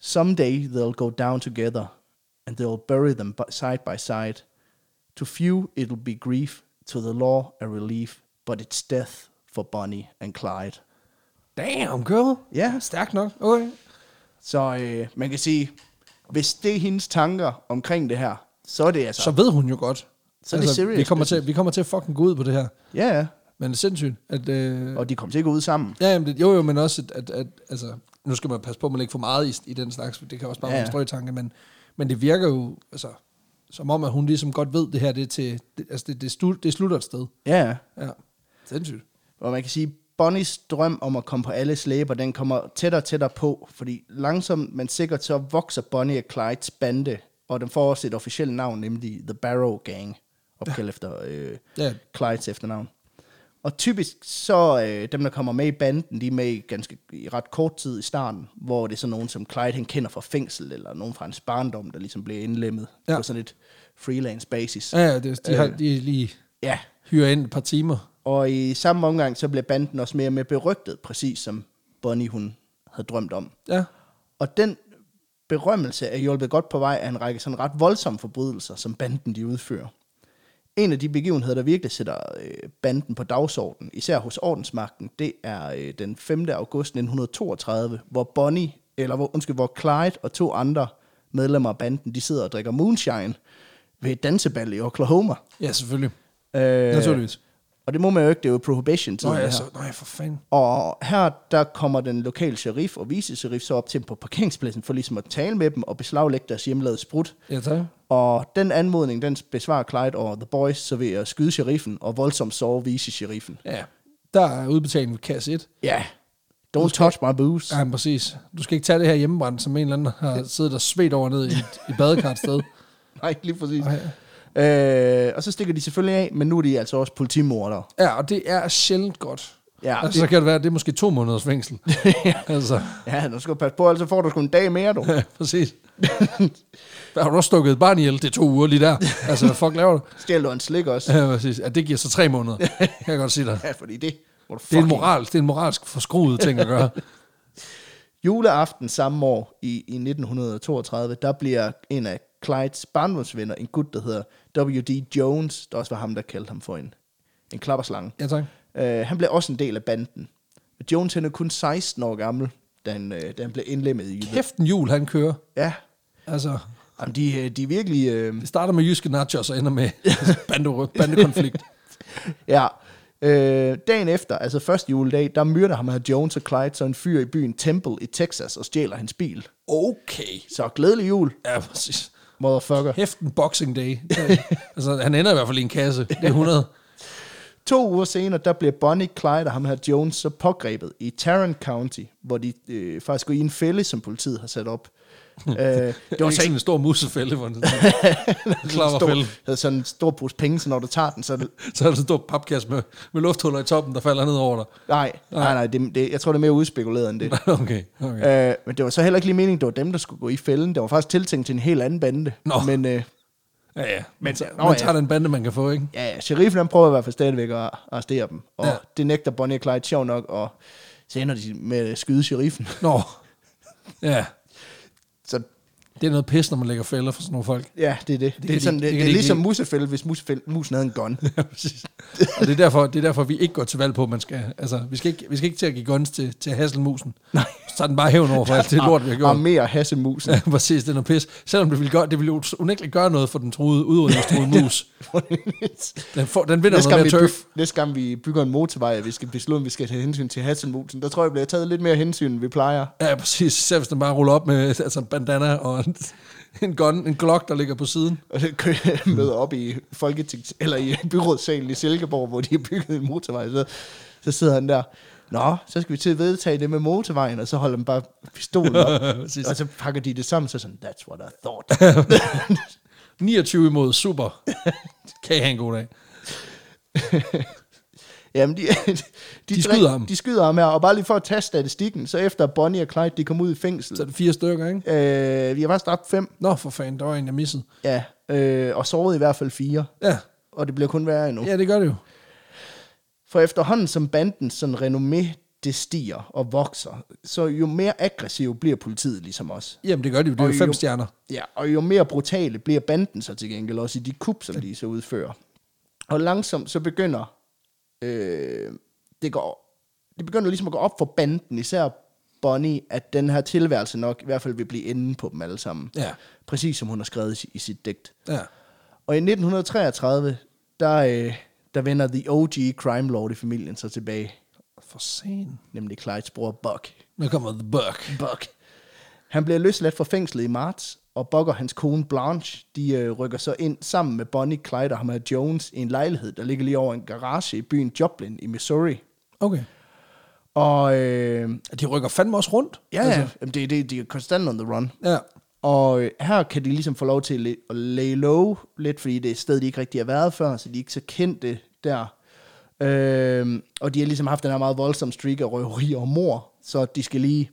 S2: Someday they'll go down together and they'll bury them bu- side by side. To few it'll be grief, to the law a relief, but it's death for Bonnie and Clyde.
S1: Damn, girl.
S2: Ja.
S1: Stærk nok. Okay.
S2: Så øh, man kan sige, hvis det er hendes tanker omkring det her, så er det altså...
S1: Så ved hun jo godt. Altså,
S2: Så er det serious
S1: vi kommer, til,
S2: business.
S1: vi kommer til at fucking gå ud på det her.
S2: Ja, ja.
S1: Men det er sindssygt, at... Øh,
S2: Og de kommer til at gå ud sammen.
S1: ja, jamen, det, jo, jo, men også, at, at, at, altså, nu skal man passe på, at man ikke får meget i, i den slags, for det kan også bare
S2: Ja,
S1: ja. være
S2: ja.
S1: en strøgtanke, men, men det virker jo, altså, som om, at hun ligesom godt ved, det her, det, er til, det, altså, det, det, slu, det slutter et sted.
S2: Ja, ja.
S1: Ja, sindssygt.
S2: Og man kan sige, Bonnies drøm om at komme på alles læber, den kommer tættere og tættere på, fordi langsomt, men sikkert, så vokser Bonnie og Clydes bande, og den får også et officielt navn, nemlig The Barrow Gang, opkaldt efter øh,
S1: Ja.
S2: Clydes efternavn. Og typisk så øh, dem, der kommer med i banden, de er med i, ganske, i ret kort tid i starten, hvor det er sådan nogen, som Clyde han kender fra fængsel, eller nogen fra hans barndom, der ligesom bliver indlemmet
S1: Ja.
S2: på sådan et freelance basis.
S1: Ja, ja det, de, har,
S2: Øh.
S1: de lige
S2: ja.
S1: hyrer ind et par timer.
S2: Og i samme omgang, så blev banden også mere og mere berygtet, præcis som Bonnie hun havde drømt om.
S1: Ja.
S2: Og den berømmelse er hjulpet godt på vej af en række sådan ret voldsomme forbrydelser, som banden de udfører. En af de begivenheder, der virkelig sætter øh, banden på dagsordenen, især hos ordensmagten, det er øh, den 5. august 1932, hvor Bonnie, eller hvor, undskyld, hvor Clyde og to andre medlemmer af banden, de sidder og drikker moonshine ved et dansebal i Oklahoma.
S1: Ja, selvfølgelig.
S2: Øh,
S1: Naturligvis.
S2: Og det må man jo ikke, det er jo prohibition-tiden.
S1: Nå ja,
S2: det her.
S1: så, nej, for fanden.
S2: Og her, der kommer den lokale sheriff og vice-sheriff så op til dem på parkeringspladsen for ligesom at tale med dem og beslaglægge deres hjemmelavede sprut.
S1: Ja, tak.
S2: Og den anmodning, den besvarer Clyde og The Boys, så ved at skyde sheriffen og voldsomt sove vice-sheriffen.
S1: Ja. Der er udbetalingen ved kasse 1.
S2: Ja, yeah. don't touch my booze.
S1: Ja, men præcis. Du skal ikke tage det her hjemmebrændt, som en eller anden har siddet og svedt over ned i et, et badekar et sted.
S2: Nej, lige præcis.
S1: Ej.
S2: Øh, og så stikker de selvfølgelig af, men nu er de altså også politimordere.
S1: Ja, og det er sjældent godt.
S2: Ja,
S1: altså, så kan det være, at det er måske to måneders fængsel. altså,
S2: Ja, nu skal du passe på, ellers så får du sgu en dag mere, du.
S1: ja, præcis. Der har du også stukket et barn ihjel, det er to uger lige der. Altså, hvad fuck laver du?
S2: Stjæl du en slik også.
S1: Ja, præcis. Ja, det giver så tre måneder, kan jeg godt sige dig.
S2: Ja, fordi det må du
S1: Det er, en
S2: fucking-
S1: moral, det er en moralsk forskruet ting at gøre.
S2: Juleaften samme år i, i 1932, der bliver en af Clydes barndomsvenner, en gut, der hedder W.D. Jones, der også var ham, der kaldte ham for en, en klapperslange.
S1: Ja, tak.
S2: Øh, han blev også en del af banden. Jones han er kun 16 år gammel, da han, øh, da han blev indlemmet i Jylland.
S1: Kæft en jul, han kører.
S2: Ja,
S1: Altså,
S2: Jamen, de, øh, de er virkelig... Øh,
S1: det starter med jyske nachos og ender med bande- bandekonflikt.
S2: ja. Øh, dagen efter, altså første juledag, der myrder ham her Jones og Clyde så en fyr i byen Temple i Texas og stjæler hans bil.
S1: Okay.
S2: Så glædelig jul,
S1: Ja, præcis.
S2: motherfucker.
S1: Hæft en boxing day. Det- altså, han ender i hvert fald i en kasse. Det er 100.
S2: To uger senere, der bliver Bonnie, Clyde og ham her Jones så pågrebet i Tarrant County, hvor de øh, faktisk går i en fælde, som politiet har sat op. øh,
S1: Hmm.
S2: det
S1: Det
S2: var
S1: var
S2: så
S1: sådan
S2: ikke
S1: en stor musefælde, hvor den
S2: sådan en
S1: klapperfælde.
S2: stor, havde sådan en stor pose penge, så når du tager den, så er det...
S1: Så er der sådan en stor papkasse med, med lufthuller i toppen, der falder ned over dig.
S2: Nej, nej, nej, det, det, jeg tror, det er mere udspekuleret end det.
S1: Okay, okay.
S2: øh, men det var så heller ikke lige meningen, det var dem, der skulle gå i fælden. Det var faktisk tiltænkt til en helt anden bande.
S1: Nå.
S2: Men øh,
S1: Ja, ja.
S2: men-
S1: Man,
S2: nå,
S1: tager,
S2: ja.
S1: man tager den bande, man kan få, ikke?
S2: ja, ja, sheriffen han prøver i hvert fald stadigvæk at arrestere dem. Og
S1: Ja.
S2: det nægter Bonnie og Clyde sjov nok, og så ender de med at skyde sheriffen.
S1: Nå. Ja.
S2: så
S1: Det er noget pis, når man lægger fælder for sådan nogle folk.
S2: Ja, det er det. Det, det,
S1: kan
S2: er,
S1: de-
S2: sådan,
S1: det
S2: det,
S1: kan
S2: det,
S1: de
S2: det er
S1: ikke
S2: ligesom
S1: lide.
S2: musefælde, hvis musefælde, musen havde en gun.
S1: Ja, præcis. Og det er, derfor, det er derfor, vi ikke går til valg på, at man skal... Altså, vi skal ikke, vi skal ikke til at give guns til, til Hasselmusen. Nej. Så tager den bare hævn over for alt det lort, vi har gjort.
S2: Armer hassemusen.
S1: Ja, præcis, det er noget pis. Selvom det ville, gøre, det ville jo unægteligt gøre noget for den truede, udrydningstruede mus. Den, får, den vinder
S2: næste,
S1: noget
S2: gang
S1: mere
S2: vi
S1: turf.
S2: by, næste gang vi bygger en motorvej, og vi skal beslutte, om vi skal tage hensyn til hasselmusen, der tror jeg, vi bliver taget lidt mere hensyn, end vi plejer.
S1: Ja, præcis. Selv hvis den bare ruller op med altså en bandana og en, en, gun, en glock, der ligger på siden.
S2: Og det kø-
S1: Hmm.
S2: møder op i Folketings, eller i byrådssalen i Silkeborg, hvor de har bygget en motorvej. Så, så sidder han der, Nå, så skal vi til at vedtage det med motorvejen, og så holder han bare pistolen op,
S1: Præcis.
S2: og så pakker de det sammen, så sådan, that's what I thought.
S1: 29 imod, super. kan I have en god dag.
S2: Jamen, de, de,
S1: De skyder ham.
S2: De skyder ham her, og bare lige for at tage statistikken, så efter Bonnie og Clyde, de kom ud i fængsel.
S1: Så er det fire stykker, ikke?
S2: Øh, vi har faktisk dræbt fem,
S1: Nå, for fanden, der var en, jeg missede.
S2: ja, øh, og såret i hvert fald fire,
S1: Ja,
S2: og det bliver kun værre endnu.
S1: ja det gør det jo.
S2: For efterhånden som bandens sådan renommé, det stiger og vokser, så jo mere aggressiv bliver politiet ligesom os.
S1: Jamen, det gør det jo. Det er
S2: Og
S1: jo fem
S2: jo-
S1: stjerner.
S2: Ja, og jo mere brutale bliver banden så til gengæld også i de kup, som de så udfører. Og langsomt så begynder øh, det går, det begynder ligesom at gå op for banden, især Bonnie, at den her tilværelse nok i hvert fald vil blive enden på dem alle sammen.
S1: Ja.
S2: Præcis som hun har skrevet i, i sit digt.
S1: Ja.
S2: Og i 1933, der, øh, der vender The OG crime lord i familien så tilbage,
S1: For sen.
S2: nemlig Clydes bror Buck.
S1: Nu kommer The Buck.
S2: Buck. Han bliver løsladt fra fængslet i marts, og Buck og hans kone Blanche, de øh, rykker så ind sammen med Bonnie, Clyde og ham her Jones i en lejlighed, der ligger lige over en garage i byen Joplin i Missouri.
S1: Okay.
S2: Og øh,
S1: De rykker fandme også rundt.
S2: ja, altså, jamen, det, det, de er konstant on the run.
S1: Ja.
S2: Og øh, her kan de ligesom få lov til lidt at lay low lidt, fordi det er et sted, de ikke rigtig har været før, så de er ikke så kendte der. Øhm, og de har ligesom haft den her meget voldsomme streak af røveri og mor, så de skal lige,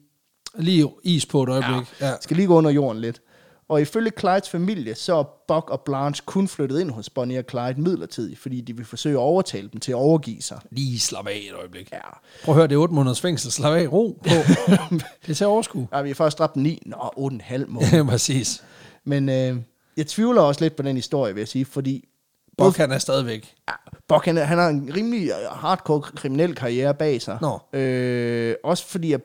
S1: Lige is på et øjeblik. Ja.
S2: skal lige gå under jorden lidt. Og ifølge Clydes familie, så er Buck og Blanche kun flyttet ind hos Bonnie og Clyde midlertidigt, fordi de vil forsøge at overtale dem til at overgive sig.
S1: Lige slap af et øjeblik.
S2: Ja.
S1: Prøv at høre, det er 8 måneders fængsel. Slap af. Ro på. det er til at overskue.
S2: Ej, vi har først dræbt 9, nå, 8,5 måneder.
S1: Ja, præcis.
S2: Men øh, jeg tvivler også lidt på den historie, vil jeg sige, fordi
S1: Buck, han er stadigvæk.
S2: Ja, Bok, han, han har en rimelig øh, hardcore kriminel karriere bag sig.
S1: Nå.
S2: Øh, også fordi, at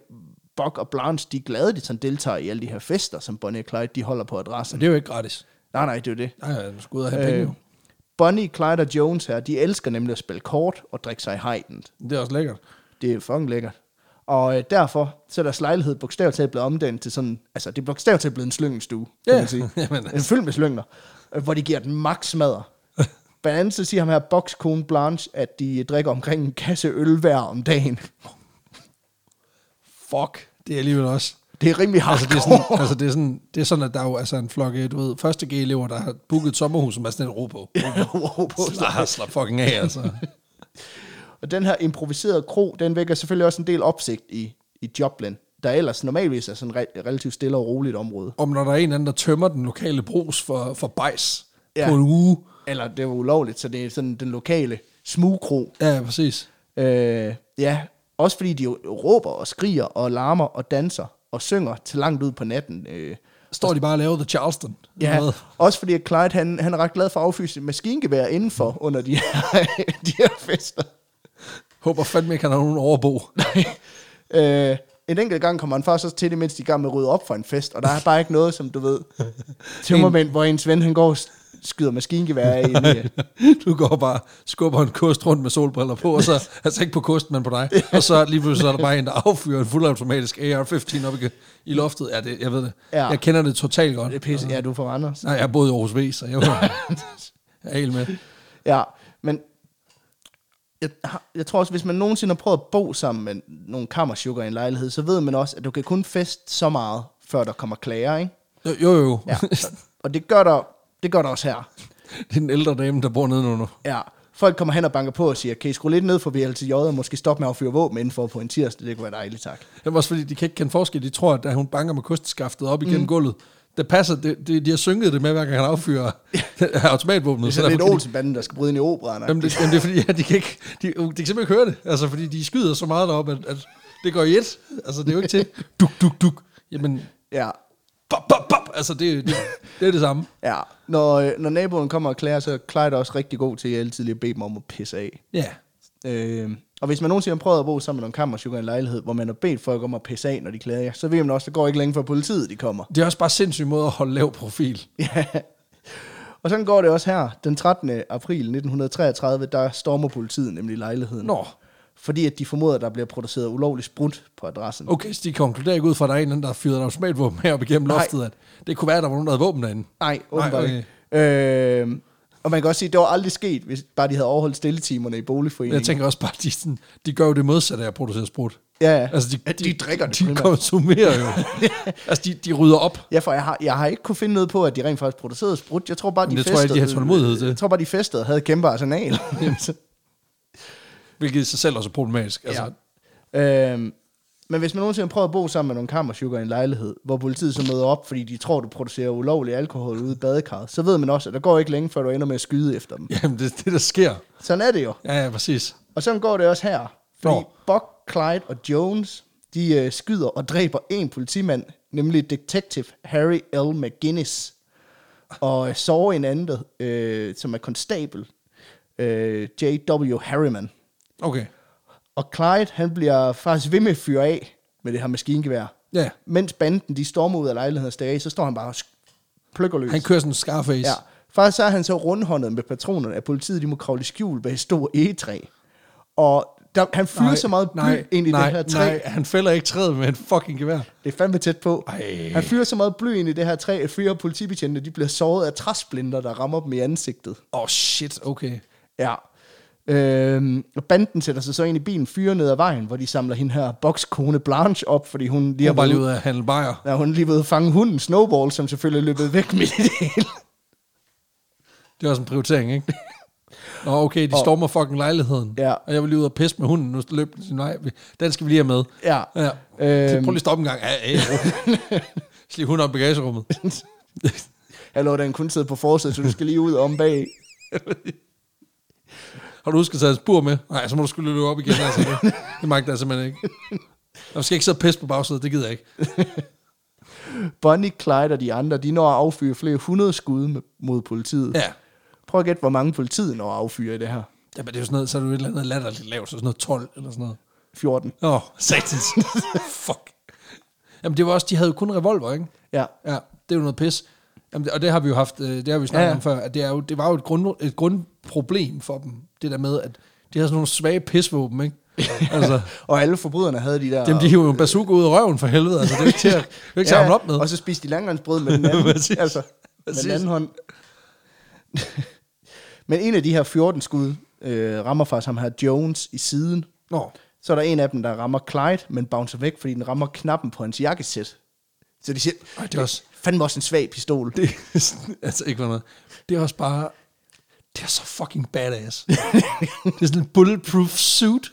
S2: Bok og Blanche, de er glade, de sådan deltager i alle de her fester, som Bonnie og Clyde, de holder på
S1: Så
S2: adressen.
S1: det er jo ikke gratis.
S2: Nej, nej, det er jo det.
S1: Nej, han skulle ud og have penge jo.
S2: Øh, Bonnie, Clyde og Jones her, de elsker nemlig at spille kort og drikke sig i hejden.
S1: Det er også lækkert.
S2: Det er fucking lækkert. Og øh, derfor, så er deres lejlighed bogstaveligt talt blevet omdannet til sådan, altså det er bogstaveligt talt blevet en slyngelstue, kan
S1: Ja,
S2: man sige.
S1: jamen altså.
S2: en fyldt med slyngler, øh, hvor de giver den max smadder. Blandt andet så siger ham her bokskone Blanche, at de øh, drikker omkring en kasse øl hver om dagen.
S1: Fuck. Det er alligevel også.
S2: Det er rimelig
S1: Altså
S2: hardcore.
S1: det, er sådan, altså, det er sådan, det er sådan, at der er jo altså en flok, øh, du ved, første G-elever, der har booket et sommerhus, som er sådan en ro på.
S2: wow, på.
S1: Slap, slap fucking af, altså.
S2: Og den her improviserede kro, den vækker selvfølgelig også en del opsigt i, i Joplin, der ellers normalvis er sådan re- relativt stille og roligt område.
S1: Om når der er en anden, der tømmer den lokale brus for, for bajs ja.
S2: Ja.
S1: på en uge.
S2: Eller det er jo ulovligt, så det er sådan den lokale smugkro.
S1: Ja, præcis.
S2: Øh, ja, også fordi de jo råber og skriger og larmer og danser og synger til langt ud på natten. Øh,
S1: Står de bare og laver The Charleston?
S2: Ja,
S1: Eller hvad?
S2: også fordi at Clyde, han, han er ret glad for at affyre sit maskingevær indenfor under de her, de her fester.
S1: Håber fandme ikke, han har nogen overbo.
S2: øh, en enkelt gang kommer han faktisk også til det, mens de er i gang med at rydde op for en fest, og der er bare ikke noget, som du ved, tømmermænd, hvor ens ven, han går og skyder maskingevær af. ind i.
S1: Du går bare skubber en kost rundt med solbriller på, og så, altså ikke på kosten, men på dig. Og så lige pludselig så er der bare en, der affyrer en fuldautomatisk AR-15 op i, i loftet. Ja, det, jeg ved det.
S2: Ja.
S1: Jeg kender det totalt godt.
S2: Det er pisse, ja, du får Anders.
S1: Nej, jeg boede i Aarhus V, så jeg var jeg er helt med.
S2: Ja, men jeg, har- jeg tror også, hvis man nogensinde har prøvet at bo sammen med nogle kammersugar i en lejlighed, så ved man også, at du kan kun feste så meget, før der kommer klager, ikke?
S1: Jo, jo. jo.
S2: Ja. Og det gør der, det gør der også her.
S1: det er en ældre dame, der bor nedenunder.
S2: Ja, folk kommer hen og banker på og siger, kan I skrue lidt ned for VLTJ og måske stoppe med at fyre våben indenfor på en tirsdag? Det kunne være dejligt, tak.
S1: Det var også fordi, de kan ikke kende forskel. De tror, at da hun banker med kostskaftet op igennem mm. gulvet, det passer, det, det, de har synket det med, hver gang han affyrer automatvåbnet.
S2: Det er
S1: derfor
S2: sådan lidt
S1: kan de-
S2: Olsenbanden, der skal bryde ind i operaen.
S1: Jamen det, jamen det er fordi, ja, de, kan ikke, de, de kan simpelthen ikke høre det, altså fordi de skyder så meget deroppe, at, at det går i et. Altså det er jo ikke til, duk, duk, duk. Jamen,
S2: Ja,
S1: bop, bop, bop. Altså det, det, det er det samme.
S2: ja. Når, øh, når naboen kommer og klager, så er Clyde også rigtig god til altid lige at bede dem om at pisse af.
S1: Ja.
S2: Øh, og hvis man nogensinde har prøvet at bo sammen med nogle kammersugar i en lejlighed, hvor man har bedt folk om at pisse af, når de klager, så ved man også, at det går ikke længe før politiet de kommer.
S1: Det er også bare sindssyg måde at holde lav profil.
S2: Og sådan går det også her. Den 13. april 1933, der stormer politiet nemlig lejligheden.
S1: Nå.
S2: Fordi at de formoder, at der bliver produceret ulovlig sprut på adressen.
S1: Okay, så de konkluderer ikke ud fra, at der er en eller anden, der har fyret et automatvåben her op igennem
S2: Nej.
S1: loftet, at det kunne være, at der var nogen, der havde våben derinde.
S2: Nej, åbenbart
S1: okay.
S2: okay. ikke. Øh, og man kan også sige, at det var aldrig sket, hvis bare de havde overholdt stilletimerne i
S1: Men
S2: boligforeningen.
S1: jeg tænker også bare, at de, sådan, de gør jo det modsatte af at producere sprut.
S2: ja, ja.
S1: Altså, de,
S2: At de drikker det
S1: De
S2: primært.
S1: konsumerer jo. altså, de, de rydder op.
S2: ja, for jeg har, jeg har ikke kunne finde noget på, at de rent faktisk producerede sprut. Jeg tror bare, de
S1: Men det tror jeg
S2: festede.
S1: ikke, de har tålmodighed til.
S2: Jeg tror bare, de festede og havde et kæmpe arsenal.
S1: Hvilket i sig selv også er problematisk. Altså, ja.
S2: Ja. Øhm, men hvis man nogensinde prøver at bo sammen med nogle kammersugar i en lejlighed, hvor politiet så møder op, fordi de tror, du producerer ulovlig alkohol ude i badekarret, så ved man også, at der går ikke længe, før du ender med at skyde efter dem.
S1: Jamen, det er det, der sker.
S2: Sådan er det jo.
S1: Ja, ja, præcis.
S2: Og sådan går det også her. Fordi
S1: Nå.
S2: Buck, Clyde og Jones, de øh, skyder og dræber en politimand, nemlig detective Harry L. McGinnis, og øh, sårer en anden, der, øh, som er konstabel, øh, J.W. Harriman.
S1: Okay.
S2: Og Clyde, han bliver faktisk ved med at fyre af med det her maskingevær.
S1: Ja.
S2: Mens banden, de stormer ud af lejlighedens dage, så står han bare og sk- plukker løs.
S1: Han kører sådan en Scarface.
S2: Ja. Faktisk så er han så rundhåndet med patronerne, at politiet de må kravle i skjul bag et stort egetræ. Og der, han fyrer så meget bly ind i
S1: nej,
S2: det her træ.
S1: Nej, han fælder ikke træet med en fucking gevær.
S2: Det er fandme tæt på.
S1: Ej.
S2: Han fyrer så meget bly ind i det her træ, at flere politibetjente de bliver såret af træsplinter, der rammer dem i ansigtet.
S1: Åh, oh, shit, okay.
S2: Ja. Øhm, og banden sætter sig så ind i bilen, fyrer ned ad vejen, hvor de samler hende her bokskone Blanche op, fordi hun lige
S1: Jeg
S2: har
S1: er bare
S2: været
S1: lige
S2: ude-
S1: ude af handle bajer.
S2: Ja, hun er lige ved at fange hunden Snowball, som selvfølgelig er løbet væk midt i det hele.
S1: Det er også en prioritering, ikke? Nå, okay, de stormer fucking lejligheden.
S2: Ja.
S1: Og jeg vil lige ud og pisse med hunden. Nu løb den sin vej. Den skal vi lige have med.
S2: Ja.
S1: ja.
S2: Øhm.
S1: Øhm. Prøv lige at stoppe en gang. Ja, ja. Slip hunden op i bagagerummet.
S2: Hallo, den kun sidder på forsædet, så du skal lige ud om bag.
S1: Har du husket at tage en spur med? Nej, så må du skulle løbe op igen. Altså. Det- Det magter jeg simpelthen ikke. Jeg skal ikke sidde og pisse på bagsædet. Det gider jeg ikke.
S2: Bonnie, Clyde og de andre, de når at affyre flere hundrede skud med- mod politiet.
S1: Ja.
S2: Prøv at gætte, hvor mange politiet når at affyre i det her.
S1: Jamen, det er jo sådan noget, så er det jo et eller andet latterligt lavt. Så sådan noget 12 eller sådan noget.
S2: 14.
S1: Åh, oh, satans. Fuck. Jamen, det var også, de havde jo kun revolver, ikke?
S2: Ja.
S1: Ja, det er jo noget pis. Jamen, det- og det har vi jo haft, øh, det har vi jo snakket ja,
S2: Ja, ja.
S1: ja. om før, at det, er jo, det var jo et, grund, et grundproblem for dem, det der med, at de havde sådan nogle svage pisvåben, ikke? altså,
S2: Og alle forbryderne havde de der...
S1: dem de hiver jo en bazooka ud af røven for helvede, altså det er jo ikke til at, det er jo ikke til at hamle op med.
S2: Og så spiste de langrensbrød med den anden,
S1: Præcis.
S2: altså, med
S1: Præcis.
S2: den anden hånd. Men en af de her 14 skud øh, rammer faktisk ham her Jones i siden.
S1: Nå,
S2: Så er der en af dem, der rammer Clyde, men bouncer væk, fordi den rammer knappen på hans jakkesæt. Så de siger,
S1: Ej, det er også-
S2: fandme også en svag pistol.
S1: det er sådan- altså ikke for noget. Det er også bare, det er så fucking badass. det er sådan en bulletproof suit.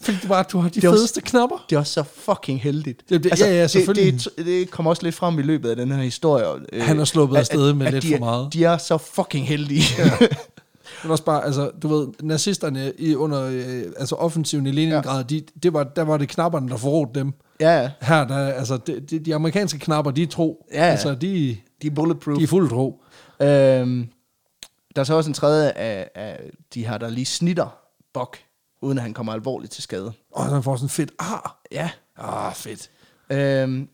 S1: Fordi det bare, du har de
S2: Det er også-
S1: fedeste knapper.
S2: Det er også så fucking heldigt. Altså,
S1: Det- det- ja, ja, selvfølgelig.
S2: Det, det, det kommer også lidt frem i løbet af den her historie. øh,
S1: Han er sluppet
S2: at-
S1: afsted med lidt
S2: de
S1: for
S2: er-
S1: meget.
S2: De er så fucking heldige. Ja.
S1: Men også bare, altså, du ved, nazisterne i, under øh, altså offensiven i Leningrad, ja. de, det var, der var det knapperne, der forrådte dem.
S2: ja,
S1: Her, der, altså, de, de, de amerikanske knapper, de er tro.
S2: Ja, ja.
S1: Altså, de,
S2: de er bulletproof.
S1: de er fuld tro.
S2: Øhm, der er så også en tredje af, af de her, der lige snitter Bok, uden at han kommer alvorligt til skade.
S1: Og så får sådan fedt ar.
S2: Ja.
S1: Ah, fedt.
S2: Øhm,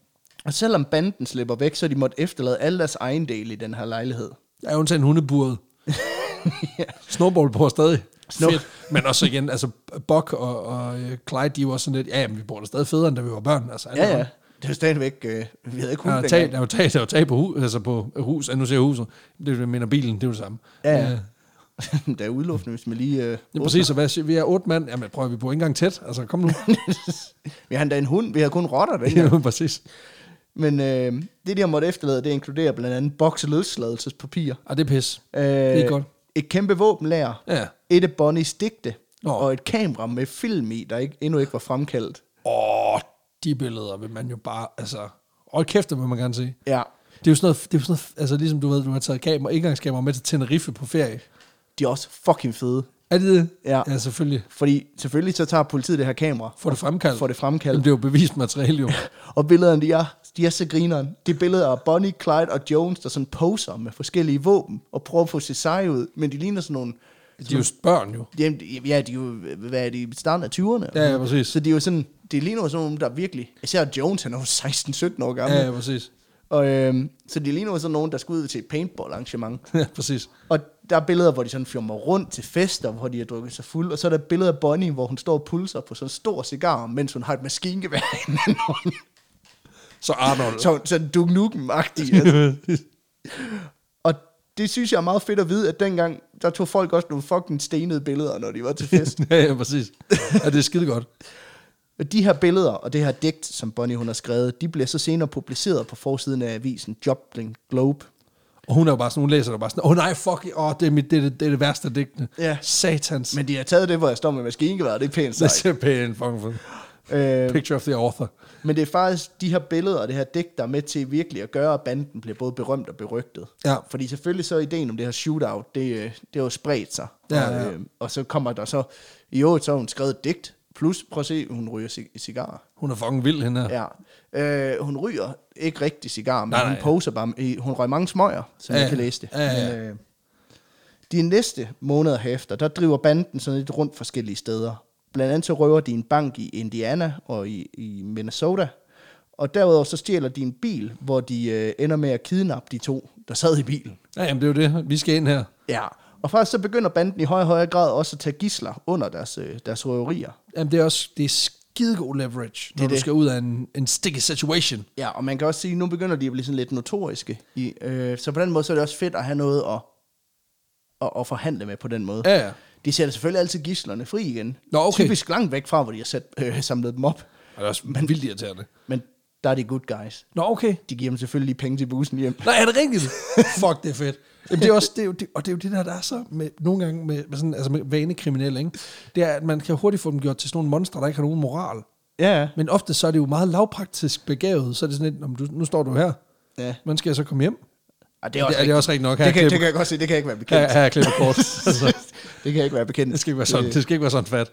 S2: og selvom banden slipper væk, så har de måtte efterlade alle deres egen del i den her lejlighed.
S1: Der er jo en hundeburet. ja. Snowball bor stadig.
S2: Snow-
S1: Fedt. Men også igen, altså, Buck og, og øh, Clyde, de var sådan lidt, ja, men vi bor da stadig federe, end da vi var børn. Altså, alle
S2: Ja, ja. Det er jo stadigvæk, øh, vi havde ikke
S1: Der
S2: hund
S1: er, tag,
S2: dengang.
S1: der, er jo tag, der er jo tag på hus, altså på hus, ja, nu ser jeg huset, det er jo, jeg mener bilen, det er jo det samme.
S2: Ja, ja.
S1: Øh,
S2: der er udluftende, hvis man lige... Øh,
S1: Ja,
S2: åbner.
S1: præcis, og hvad, siger- vi er otte mand. Jamen, prøv at vi bor ikke engang tæt. Altså, kom nu.
S2: Vi har endda en hund, vi har kun rotter dengang.
S1: ja, præcis.
S2: Men øh, det, de har måttet efterlade, det inkluderer blandt andet boks- og løsladelsespapir.
S1: Og det er pis.
S2: Øh,
S1: Det er godt.
S2: Et kæmpe våbenlager.
S1: Ja.
S2: Et af Bonnies digte.
S1: Nå.
S2: Og et kamera med film i, der ikke, endnu ikke var fremkaldt.
S1: Åh, de billeder vil man jo bare, altså... Hold kæft, det vil man gerne se.
S2: Ja.
S1: Det er jo sådan noget, det er jo sådan noget altså ligesom du ved, du har taget kamera, indgangskamera med til Tenerife på ferie.
S2: De er også fucking fede.
S1: Er det det?
S2: Ja.
S1: Ja, selvfølgelig.
S2: Fordi selvfølgelig så tager politiet det her kamera.
S1: Får det fremkaldt.
S2: Får det fremkaldt.
S1: Jamen, det er jo bevist materiale, jo.
S2: Og billederne, de er, de er så grineren. Det er billeder af Bonnie, Clyde og Jones, der sådan poser med forskellige våben og prøver at få sig seje ud. Men de ligner sådan nogle...
S1: De Altså, er jo børn, jo.
S2: Jamen, de- ja, de er jo, hvad er de, i starten af 20'erne?
S1: Ja, ja, præcis.
S2: Så de er jo sådan, det ligner jo sådan nogen, der virkelig, især Jones, han er jo 16-17 år gammel.
S1: Ja, ja, præcis.
S2: Og, øhm, så de ligner jo sådan nogen, der skal ud til et paintball-arrangement.
S1: Ja, præcis.
S2: Og der er billeder, hvor de sådan fjummer rundt til fester, hvor de har drukket sig fuld. Og så er der et billede af Bonnie, hvor hun står og pulser på sådan en stor cigar, mens hun har et maskingevær i den anden hånd.
S1: Så Arnold.
S2: Så, sådan Duke Nukem-agtig. Altså. Og det synes jeg er meget fedt at vide, at dengang, der tog folk også nogle fucking stenede billeder, når de var til fest.
S1: ja, ja, præcis. Ja, det er skide godt.
S2: Og de her billeder og det her digt, som Bonnie hun har skrevet, de bliver så senere publiceret på forsiden af avisen Joplin Globe.
S1: Og hun er jo bare sådan, hun læser der bare sådan, åh oh, nej, fuck, åh, det, er mit, det, er det, det er det værste af digtene.
S2: Ja.
S1: Satans. Men
S2: Men de har taget det, hvor jeg står med maskingevær, det er pænt
S1: det er
S2: sagt.
S1: simpelthen fucking fedt.
S2: Øh,
S1: Picture of the author.
S2: men det er faktisk de her billeder og det her digt, der er med til virkelig at gøre, at banden bliver både berømt og berygtet.
S1: Ja.
S2: Fordi selvfølgelig så er ideen om det her shootout, det, øh, det har jo spredt sig.
S1: Ja,
S2: og,
S1: ja.
S2: øh, og så kommer der så, i øvrigt så har hun skrevet et digt, plus, prøv at se, hun ryger cig- cigarer.
S1: Hun er fucking vild, hende her.
S2: Ja. Øh, hun ryger ikke rigtig cigar, men
S1: Nej,
S2: nej, hun
S1: nej.
S2: poser bare. med- Hun røg mange smøger,
S1: Ja,
S2: som ja,
S1: ja.
S2: jeg kan læse det.
S1: Ja, ja, ja.
S2: Men, øh, de næste måneder herefter, der driver banden sådan lidt rundt forskellige steder. Blandt andet så røver de en bank i Indiana og i, i Minnesota. Og derudover så stjæler de en bil, hvor de øh, ender med at kidnappe de to, der sad i bilen.
S1: Ja, jamen, det er jo det. Vi skal ind her.
S2: Ja. Og faktisk så begynder banden i højere og højere grad også at tage gisler under deres, øh, deres røverier.
S1: Jamen, det er også det er skidegod leverage, når
S2: er
S1: det du
S2: det.
S1: skal ud af en, en sticky situation.
S2: Ja, og man kan også sige, at nu begynder de at blive sådan lidt notoriske. I, øh, så på den måde, så er det også fedt at have noget at, at, at forhandle med på den måde.
S1: Ja, ja.
S2: De sætter selvfølgelig altid gislerne fri igen.
S1: Nå, okay.
S2: Typisk langt væk fra, hvor de har sat, øh, samlet dem op.
S1: Og det er også Men, vildt irriterende.
S2: Men der er de good guys.
S1: Nå, okay.
S2: De giver dem selvfølgelig lige penge til bussen hjem.
S1: Nej, er det rigtigt? Fuck, det er fedt. Jamen, det er også, det er jo, det, og det er jo det der, der er så med, nogle gange med, med, sådan, altså med vanekriminelle, ikke? Det er, at man kan hurtigt få dem gjort til sådan nogle monstre, der ikke har nogen moral.
S2: Ja,
S1: Men ofte så er det jo meget lavpraktisk begavet, så er det sådan lidt, "Nå, men du, nu står du her,
S2: ja.
S1: man skal jeg så komme hjem?
S2: Ej, det er
S1: Det er- det er også rigtigt nok. Her
S2: Det kan,
S1: klipper-
S2: det kan jeg godt se, det kan jeg ikke være
S1: Her,
S2: bekendt.
S1: her er klippet kort. Altså,
S2: det kan jeg ikke være bekendt.
S1: det skal ikke være sådan,
S2: Øh,
S1: det skal ikke være sådan fat.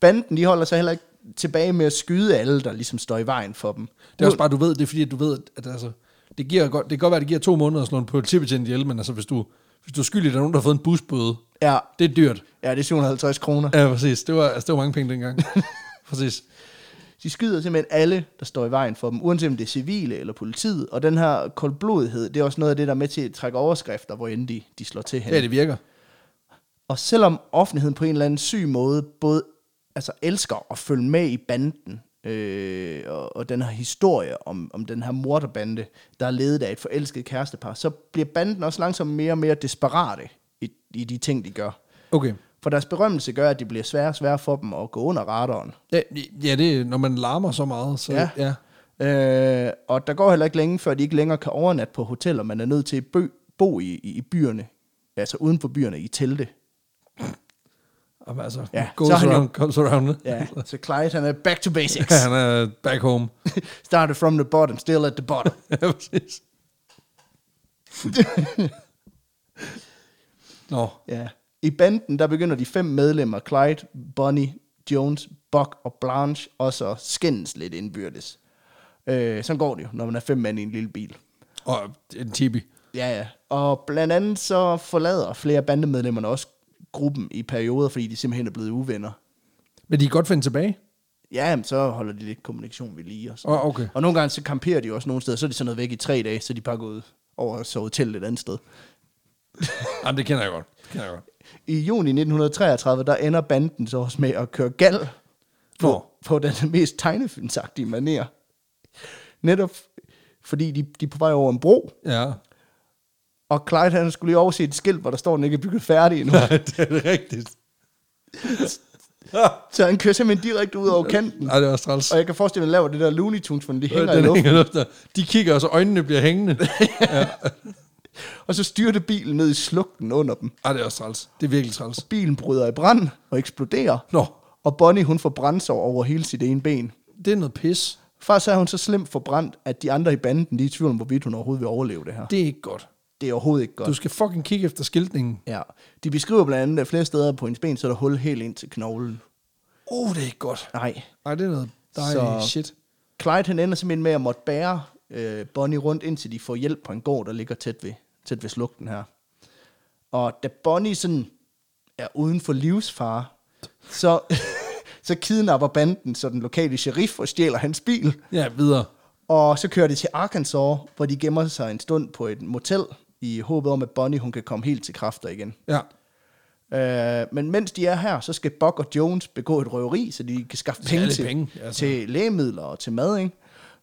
S2: Banden, de holder sig heller ikke tilbage med at skyde alle, der ligesom står i vejen for dem.
S1: Det er også bare, du ved, det er fordi, at du ved, at- at altså, det, giver godt, det kan godt være, at det giver to måneder at slå en politibetjent ihjel, men altså, hvis du, hvis du er skyldig, der er nogen, der har fået en busbøde,
S2: Ja,
S1: det er dyrt.
S2: ja, det er 750 kroner.
S1: Ja, præcis. Det var, altså, det var mange penge dengang. præcis.
S2: De skyder simpelthen alle, der står i vejen for dem, uanset om det er civile eller politiet. Og den her koldblodighed, det er også noget af det, der er med til at trække overskrifter, hvor end de, de slår til hen.
S1: Ja, det virker.
S2: Og selvom offentligheden på en eller anden syg måde både altså, elsker at følge med i banden, øh, og, og den her historie om, om den her morderbande, der er ledet af et forelsket kærestepar, så bliver banden også langsomt mere og mere desperate i, i de ting, de gør.
S1: Okay.
S2: For deres berømmelse gør, at det bliver sværere og sværere for dem at gå under radaren.
S1: Ja, ja det, er- når man larmer så meget, så ja.
S2: Ja.
S1: ja.
S2: Øh, og der går heller ikke længe, før de ikke længere kan overnatte på hoteller. Man er nødt til at bø, bo i, i, i byerne, altså uden for byerne, i telte.
S1: Jamen, altså, ja.
S2: Ja,
S1: goes
S2: så er han jo-
S1: around, comes around.
S2: Ja, så Clyde han er back to basics.
S1: Ja, han er back home.
S2: Started from the bottom, still at the bottom.
S1: ja, præcis. Nå,
S2: ja. I banden, der begynder de fem medlemmer, Clyde, Bonnie, Jones, Buck og Blanche, også at skændes lidt indbyrdes. Øh, sådan går det jo, når man er fem mænd i en lille bil.
S1: og en tibi.
S2: Ja, ja. Og blandt andet så forlader flere af bandemedlemmerne også gruppen i perioder, fordi de simpelthen er blevet uvenner.
S1: Men de kan godt finde tilbage.
S2: Ja, jamen, så holder de lidt kommunikation ved lige. Og, sådan.
S1: Åh, okay.
S2: og nogle gange så kamperer de jo også nogle steder, så er de sådan noget væk i tre dage, så er de bare gået over og sovet til et andet sted.
S1: Jamen, det kender jeg godt. Det kender jeg godt.
S2: I juni 1933, der ender banden så også med at køre gal på,
S1: Nå.
S2: på den mest tegnefilmsagtige manér. Netop fordi de, de er på vej over en bro,
S1: Ja.
S2: og Clyde han skulle lige overse et skilt, hvor der står, at den ikke er bygget færdig endnu.
S1: Nej, det er det rigtigt. Nej,
S2: så han kører simpelthen direkte ud over kanten.
S1: det er også træls.
S2: Og jeg kan forestille mig, at han laver det der Looney Tunes,
S1: Øh,
S2: hvor de hænger i
S1: Den
S2: luften.
S1: hænger i luften. De kigger, og så øjnene bliver hængende.
S2: Og så styrter bilen ned i slugten under dem.
S1: Ej, det er også træls. Det er virkelig træls.
S2: Bilen bryder i brand og eksploderer.
S1: Nå.
S2: Og Bonnie, hun får brændsår over hele sit ene ben.
S1: Det er noget pis.
S2: Faktisk er hun så slemt forbrændt, at de andre i banden, de er i tvivl om, hvorvidt hun overhovedet vil overleve det her.
S1: Det er ikke godt.
S2: Det er overhovedet ikke godt.
S1: Du skal fucking kigge efter skiltningen.
S2: Ja. De beskriver blandt andet, at flere steder på hendes ben, så er der hul helt ind til knoglen. Uh,
S1: Oh, det er ikke godt.
S2: Nej.
S1: Ej, det er noget dej,
S2: Så-
S1: shit.
S2: Clyde, han ender simpelthen med at måtte bære øh, Bonnie rundt, indtil de får hjælp på en gård, der ligger tæt ved, tæt ved slugten her. Og da Bonnie sådan er uden for livsfare, så, så kidnapper banden så den lokale sheriff og stjæler hans bil.
S1: Ja, videre.
S2: Og så kører de til Arkansas, hvor de gemmer sig en stund på et motel, i håbet om, at Bonnie hun kan komme helt til kræfter igen.
S1: Ja.
S2: Øh, men mens de er her, så skal Buck og Jones begå et røveri, så de kan skaffe
S1: Ja,
S2: penge,
S1: lidt
S2: til,
S1: penge, altså.
S2: til lægemidler og til mad, ikke?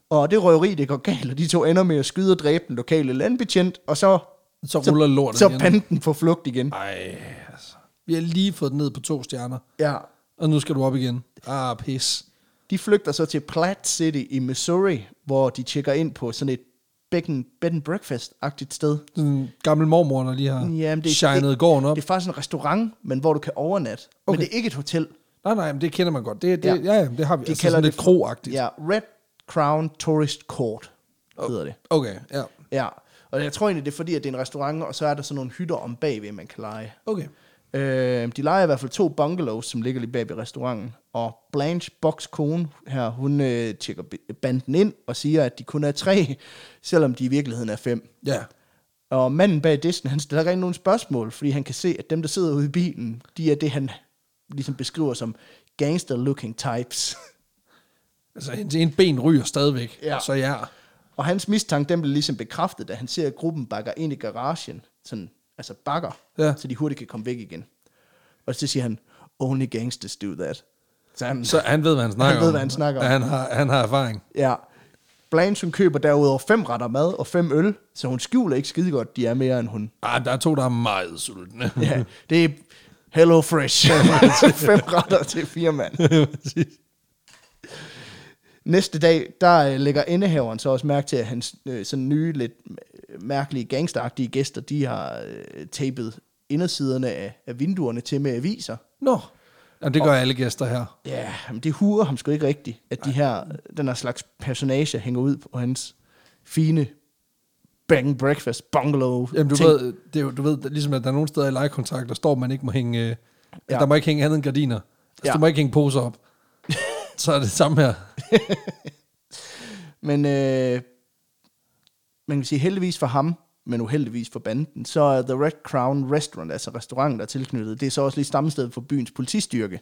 S2: Og det røveri, det går galt, og de to ender med at skyde og dræbe den lokale landbetjent, og så,
S1: Så ruller lortet
S2: så
S1: igen.
S2: panden på flugt igen.
S1: Ej, altså. Vi har lige fået den ned på to stjerner.
S2: Ja.
S1: Og nu skal du op igen. Ah, pis.
S2: De flygter så til Platte City i Missouri, hvor de tjekker ind på sådan et bacon, bed and breakfast-agtigt sted.
S1: Sådan en gammel mormor, der lige har
S2: Jamen, det er-
S1: shined gården op.
S2: Det er faktisk en restaurant, men hvor du kan overnatte.
S1: Okay.
S2: Men det er ikke et hotel.
S1: nej, nej, men det kender man godt. Det, det, ja.
S2: Ja.
S1: ja, ja, det har vi. altså
S2: De kalder
S1: sådan
S2: det
S1: lidt kroagtigt.
S2: Ja, Red Crown Tourist Court hedder det.
S1: Okay, ja.
S2: Ja, og jeg tror egentlig, det er fordi, at det er en restaurant, og så er der sådan nogle hytter om bagved, man kan lege.
S1: Okay.
S2: Øh, de leger i hvert fald to bungalows, som ligger lige bag ved restauranten. Og Blanche Box kone her, hun øh, tjekker b- banden ind og siger, at de kun er tre, selvom de i virkeligheden er fem.
S1: Ja.
S2: Og manden bag disken, han stiller rent nogle spørgsmål, fordi han kan se, at dem, der sidder ude i bilen, de er det, han ligesom beskriver som gangster-looking types.
S1: Altså, en, en ben ryger stadigvæk.
S2: Ja.
S1: Så ja.
S2: og hans mistanke, den bliver ligesom bekræftet, da han ser, at gruppen bakker ind i garagen, sådan, altså bakker,
S1: Ja.
S2: så de hurtigt kan komme væk igen. Og så siger han, only gangsters do that. Så han,
S1: Så han ved, hvad han snakker om.
S2: Han ved, hvad han snakker om.
S1: Ja, Han har, han har erfaring.
S2: Ja. Blanche, hun køber derudover fem retter mad og fem øl, så hun skjuler ikke skide godt, de er mere end hun.
S1: Ah, der er to, der er meget sultne.
S2: Ja, det er Hello Fresh. fem retter til fire mand. Næste dag, der øh, lægger indehaveren så også mærke til, at hans øh, sådan nye, lidt øh, mærkelige, gangsteragtige gæster, de har øh, tapet indersiderne af, af vinduerne til med aviser.
S1: Nå. Jamen, det gør alle gæster her.
S2: Ja, men det huer ham sgu ikke rigtigt, at de her, øh, den her slags personage hænger ud på hans fine bang breakfast bungalow.
S1: Jamen, du
S2: ting.
S1: ved, det er, jo- du ved, det er ligesom at der er nogle steder i lejekontrakter, der står, at man ikke må hænge, ja.
S2: Ja.
S1: der må ikke hænge andet end gardiner. Altså, ja.
S2: Ja.
S1: du må ikke hænge poser op. så er det samme her.
S2: Men øh, man kan sige heldigvis for ham, men uheldigvis for banden, så er The Red Crown Restaurant, altså restauranten, der er tilknyttet, det er så også lige stammestedet for byens politistyrke.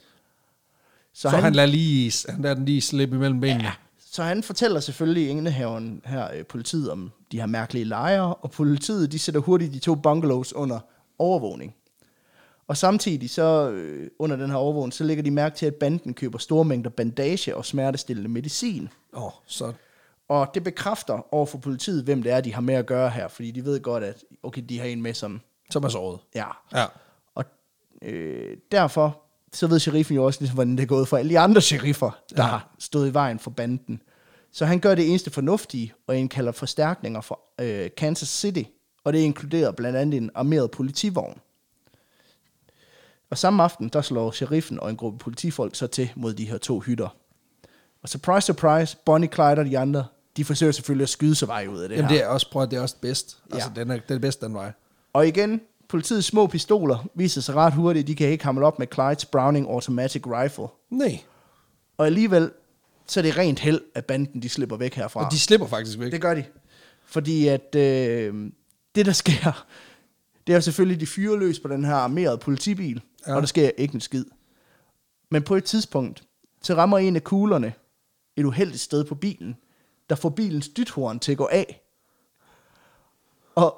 S1: Så, så han, han, lader lige, han lader den lige slippe imellem benene. Ja.
S2: Så han fortæller selvfølgelig indehaveren her, øh, politiet, om de her mærkelige lejre, og politiet de sætter hurtigt de to bungalows under overvågning. Og samtidig så øh, under den her overvågning, så lægger de mærke til, at banden køber store mængder bandage og smertestillende medicin.
S1: Oh, så
S2: Og det bekræfter over for politiet, hvem det er, de har med at gøre her, fordi de ved godt, at okay, de har en med som,
S1: som er såret.
S2: ja.
S1: Ja.
S2: Og øh, derfor, så ved sheriffen jo også, ligesom, hvordan det er gået for alle de andre sheriffer, der
S1: Ja.
S2: ja. har stået i vejen for banden. Så han gør det eneste fornuftige, og indkalder forstærkninger fra øh, Kansas City, og det inkluderer blandt andet en armeret politivogn. Og samme aften, der slår sheriffen og en gruppe politifolk så til mod de her to hytter. Og surprise, surprise, Bonnie, Clyde og de andre, de forsøger selvfølgelig at skyde sig vej ud af det
S1: Jamen,
S2: her.
S1: det er også, prøv at det er også bedst. Altså,
S2: Ja.
S1: den er, den er bedst den vej.
S2: Og igen, politiets små pistoler viser sig ret hurtigt, de kan ikke hamle op med Clyde's Browning Automatic Rifle.
S1: Nej,
S2: Og alligevel, så er det rent held, at banden de slipper væk herfra.
S1: og de slipper faktisk væk.
S2: Det gør de. Fordi at øh, det, der sker, det er jo selvfølgelig, de fyrer løs på den her armerede politibil,
S1: Ja.
S2: ja. og der sker ikke en skid. Men på et tidspunkt, så rammer en af kuglerne et uheldigt sted på bilen, der får bilens dythorn til at gå af. Og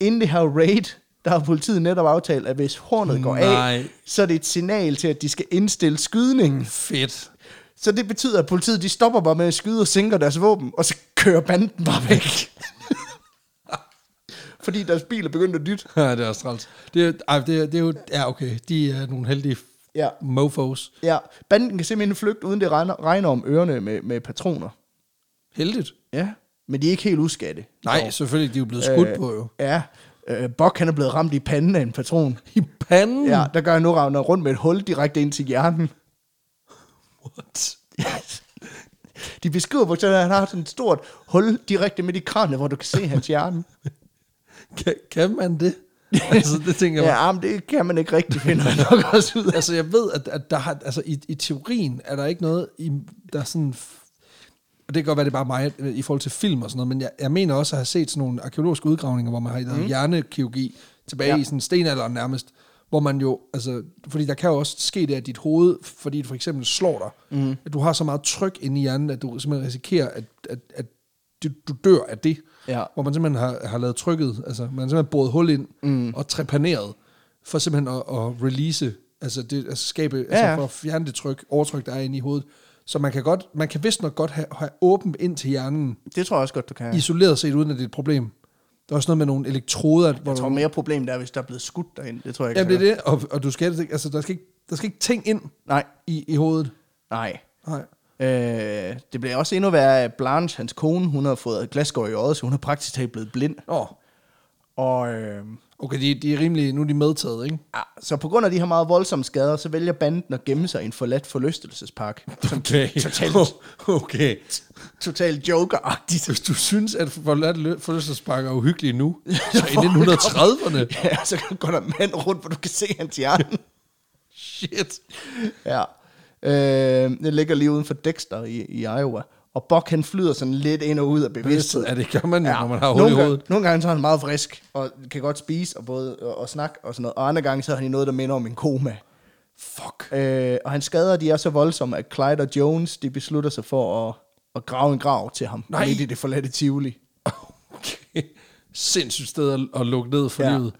S2: inden det her raid, der har politiet netop aftalt, at hvis hornet går
S1: Nej.
S2: af, så er det et signal til, at de skal indstille skydningen.
S1: Fedt.
S2: Så det betyder, at politiet de stopper bare med at skyde og sænker deres våben, og så kører banden bare væk. Fordi deres bil er begyndt at dytte.
S1: Ja, det er også træls. Det, er- ej, det, er- det er jo, ja, okay, de er nogle heldige
S2: Ja.
S1: mofos.
S2: Ja, banden kan simpelthen flygte, uden det regner, regner om ørerne med, med patroner.
S1: Heldigt.
S2: Ja. Men de er ikke helt uskatte.
S1: Nej, selvfølgelig, de er jo blevet skudt øh. på jo.
S2: Ja. Øh, Bok, han er blevet ramt i panden af en patron.
S1: I panden?
S2: Mm. Ja, der gør han nu ravner rundt med et hul direkte ind til hjernen.
S1: What?
S2: De beskriver, på, at han har sådan et stort hul direkte midt i kranet, hvor du kan se hans hjerne.
S1: Kan, kan man det? altså, det tænker jeg.
S2: Ja, men det kan man ikke rigtig finde nok også ud af.
S1: Altså, jeg ved, at, at der har, altså, i, i teorien er der ikke noget, i, der er sådan... f- Og det kan godt være, det er bare mig øh, i forhold til film og sådan noget, men jeg, jeg mener også at have set sådan nogle arkeologiske udgravninger, hvor man har lavet mm. hjernekirurgi tilbage ja.
S2: Ja.
S1: i sådan stenalderen nærmest, hvor man jo, altså, fordi der kan jo også ske det, at dit hoved, fordi det for eksempel slår dig, mm. at du har så meget tryk inde i hjernen, at du simpelthen risikerer, at, at, at du, du dør af det.
S2: Ja.
S1: Hvor man simpelthen har, har lavet trykket, altså man har simpelthen boret hul ind mm. og trepaneret, for simpelthen at, at release, altså, det, altså skabe, ja. altså
S2: ja.
S1: for at fjerne det tryk, overtryk, der er inde i hovedet. Så man kan, godt, man kan vist nok godt have, have åbent ind til hjernen,
S2: Det tror jeg også godt, du kan.
S1: ja. isoleret set, uden at det er et problem. Der er også noget med nogle elektroder, hvor
S2: Jeg tror
S1: du,
S2: mere problemet er, hvis der er blelet skudt derind. Det tror jeg ikke.
S1: jamen, det
S2: så
S1: er det, og, og du skal, altså, der, skal ikke, der skal ikke ting ind
S2: godt. Nej,
S1: i, i hovedet.
S2: nej.
S1: Nej.
S2: Øh, det bliver også endnu værre, at Blanche, hans kone, hun har fået glasgård i øjet, så hun er praktisk talt blevet blind.
S1: Åh,
S2: Og øh,
S1: okay, de, de er rimelig, nu er de medtaget, ikke?
S2: ah, så på grund af de her meget voldsomme skader, så vælger banden at gemme sig i en forladt forlystelsespark.
S1: Okay.
S2: Totalt.
S1: okay.
S2: Total joker-agtigt.
S1: Hvis du synes, at forladt lø- forlystelsesparker er uhyggelige nu, så i 1930'erne,
S2: Ja, så går der en mand rundt, hvor du kan se hans hjerne.
S1: shit.
S2: Ja. Øh, det ligger lige uden for Dexter i, i Iowa. Og Buck, han flyder sådan lidt ind og ud af bevidsthed.
S1: Ja, det gør man jo, når man har hul i
S2: nogle, gange,
S1: hovedet.
S2: nogle gange så er han meget frisk, og kan godt spise og, både, og, og snakke og sådan noget. Og andre gange så er han i noget, der minder om en koma.
S1: Fuck.
S2: Øh, og hans skader, de er så voldsomme, at Clyde og Jones, de beslutter sig for at, at grave en grav til ham.
S1: Nej.
S2: Midt i det forladte Tivoli.
S1: Okay. Sindssygt sted at, at lukke ned for ja. livet.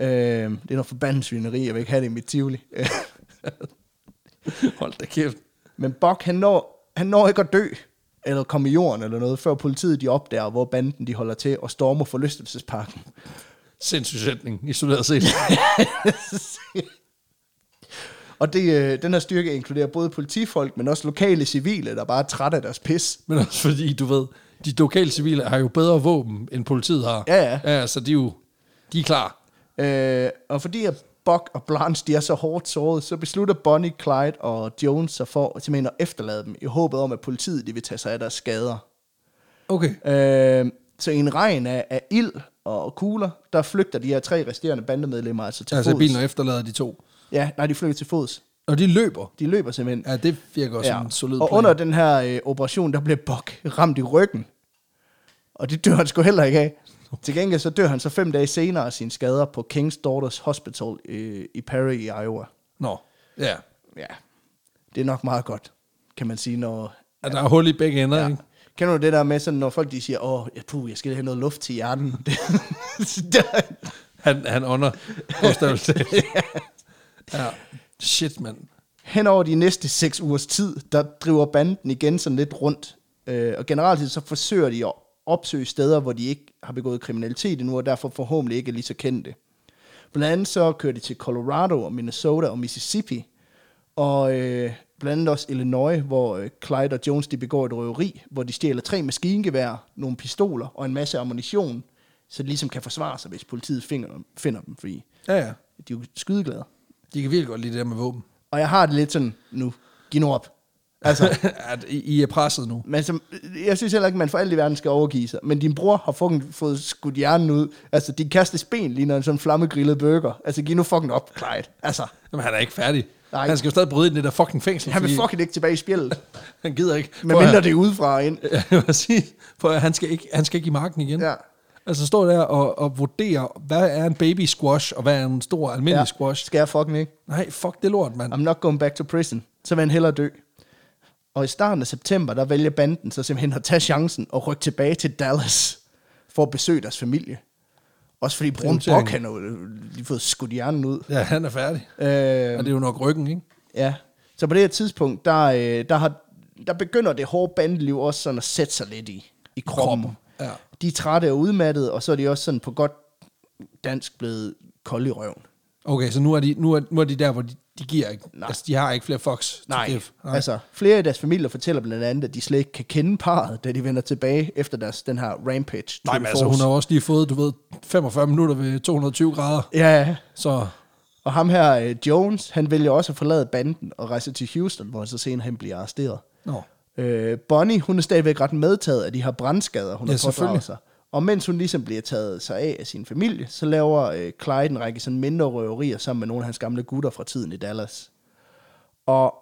S2: Øh, det er noget forbandet svineri, jeg vil ikke have det i mit Tivoli.
S1: Hold da kæft.
S2: Men Buck, han når, han når ikke at dø, eller komme i jorden eller noget, før politiet de opdager, hvor banden de holder til, og stormer forlystelsesparken.
S1: Sindssyg sætning, isoleret set.
S2: og det, øh, den her styrke inkluderer både politifolk, men også lokale civile, der bare er trætte af deres pis.
S1: Men også fordi, du ved, de lokale civile har jo bedre våben, end politiet har.
S2: Ja, ja.
S1: ja så de er jo, de er klar.
S2: Øh, og fordi at Buck og Blanche de er så hårdt såret, så beslutter Bonnie, Clyde og Jones sig for simpelthen at efterlade dem, i håbet om, at politiet de vil tage sig af deres skader.
S1: Okay.
S2: Øh, så i en regn af, af ild og kugler, der flygter de her tre resterende bandemedlemmer altså til
S1: Altså,
S2: fods.
S1: bilen efterlader de to.
S2: Ja, nej, de flygter til fods.
S1: Og de løber.
S2: De løber simpelthen.
S1: Ja, det virker også ja. en solid
S2: og
S1: plan.
S2: under den her øh, operation, der bliver Buck ramt i ryggen. Og det dør han sgu heller ikke af. Til gengæld så dør han så fem dage senere af sine skader på King's Daughters Hospital øh, i Perry i Iowa.
S1: Nå, ja.
S2: Ja, det er nok meget godt, kan man sige, når...
S1: At der er hul i begge ender, ja.
S2: Ja.
S1: ikke?
S2: Kender du det der med, sådan, når folk de siger, åh, ja, puh, jeg skal have noget luft til hjernen. Det- der-
S1: Han, han ånder bogstaveligt talt. ja. Shit, mand.
S2: Hen over de næste seks ugers tid, der driver banden igen sådan lidt rundt. Øh, og generelt set, så forsøger de at opsøge steder, hvor de ikke har begået kriminalitet endnu, og derfor forhåbentlig ikke er lige så kendte. Blandt andet så kører de til Colorado og Minnesota og Mississippi, og øh, blandt andet også Illinois, hvor øh, Clyde og Jones de begår et røveri, hvor de stjæler tre maskingeværer, nogle pistoler og en masse ammunition, så de ligesom kan forsvare sig, hvis politiet finder, finder dem, fordi
S1: Ja, ja.
S2: de er jo skydeglade.
S1: De kan virkelig godt lide det der med våben.
S2: Og jeg har det lidt sådan, nu, giv nu op.
S1: Altså, at I, I er presset nu.
S2: Men som, jeg synes heller ikke, man for alt i verden skal overgive sig. Men din bror har fucking fået skudt hjernen ud. Altså, din kærestes ben ligner en sådan flammegrillet burger. Altså, giv nu fucking op, Clyde. Altså,
S1: Jamen, han er ikke færdig.
S2: Nej.
S1: Nej. Han skal jo stadig bryde ind i det der fucking fængsel.
S2: han vil
S1: fordi
S2: fucking ikke tilbage i spjældet.
S1: Han gider ikke.
S2: Men
S1: Prøv at-
S2: mindre det er udefra og ind.
S1: Ja, præcis. For han skal, ikke, han skal ikke i marken igen.
S2: Ja.
S1: Altså står der og, og vurderer, hvad er en baby squash, og hvad er en stor almindelig ja. squash.
S2: Skal jeg fucking ikke?
S1: Nej, fuck det lort, mand.
S2: I'm not going back to prison. Så vil han hellere dø. Og i starten af september, der vælger banden så simpelthen at tage chancen og rykke tilbage til Dallas for at besøge deres familie. Også fordi Brun
S1: Prioritering.
S2: Bok, han har jo lige fået skudt hjernen ud.
S1: Ja, han er færdig.
S2: Øh,
S1: Og det er jo nok ryggen, ikke?
S2: Ja. Så på det her tidspunkt, der, øh, der, har, der begynder det hårde bandeliv også sådan at sætte sig lidt i, i kroppen.
S1: Kroppen, ja.
S2: De er trætte og udmattede, og så er de også sådan på godt dansk blevet kolde i røven.
S1: Okay, så nu er de, nu er, nu er de der, hvor de, de giver ikke.
S2: Nej.
S1: Nej. Altså, de har ikke flere fox. to
S2: Nej.
S1: give.
S2: Nej, altså flere af deres familier fortæller blandt andet, at de slet ikke kan kende parret, da de vender tilbage efter deres, den her rampage.
S1: Nej, men altså, hun har jo også lige fået, du ved, 45 minutter ved 220 grader.
S2: Ja,
S1: Så
S2: og ham her, øh, Jones, han vælger også at forlade banden og rejse til Houston, hvor han så senere hen bliver arresteret.
S1: Nå.
S2: Øh, Bonnie, hun er stadigvæk ret medtaget af de her brandskader, hun
S1: Ja,
S2: ja, har pådraget
S1: selvfølgelig.
S2: sig. Og mens hun ligesom bliver taget sig af af sin familie, så laver øh, Clyde en række sådan mindre røverier sammen med nogle af hans gamle gutter fra tiden i Dallas. Og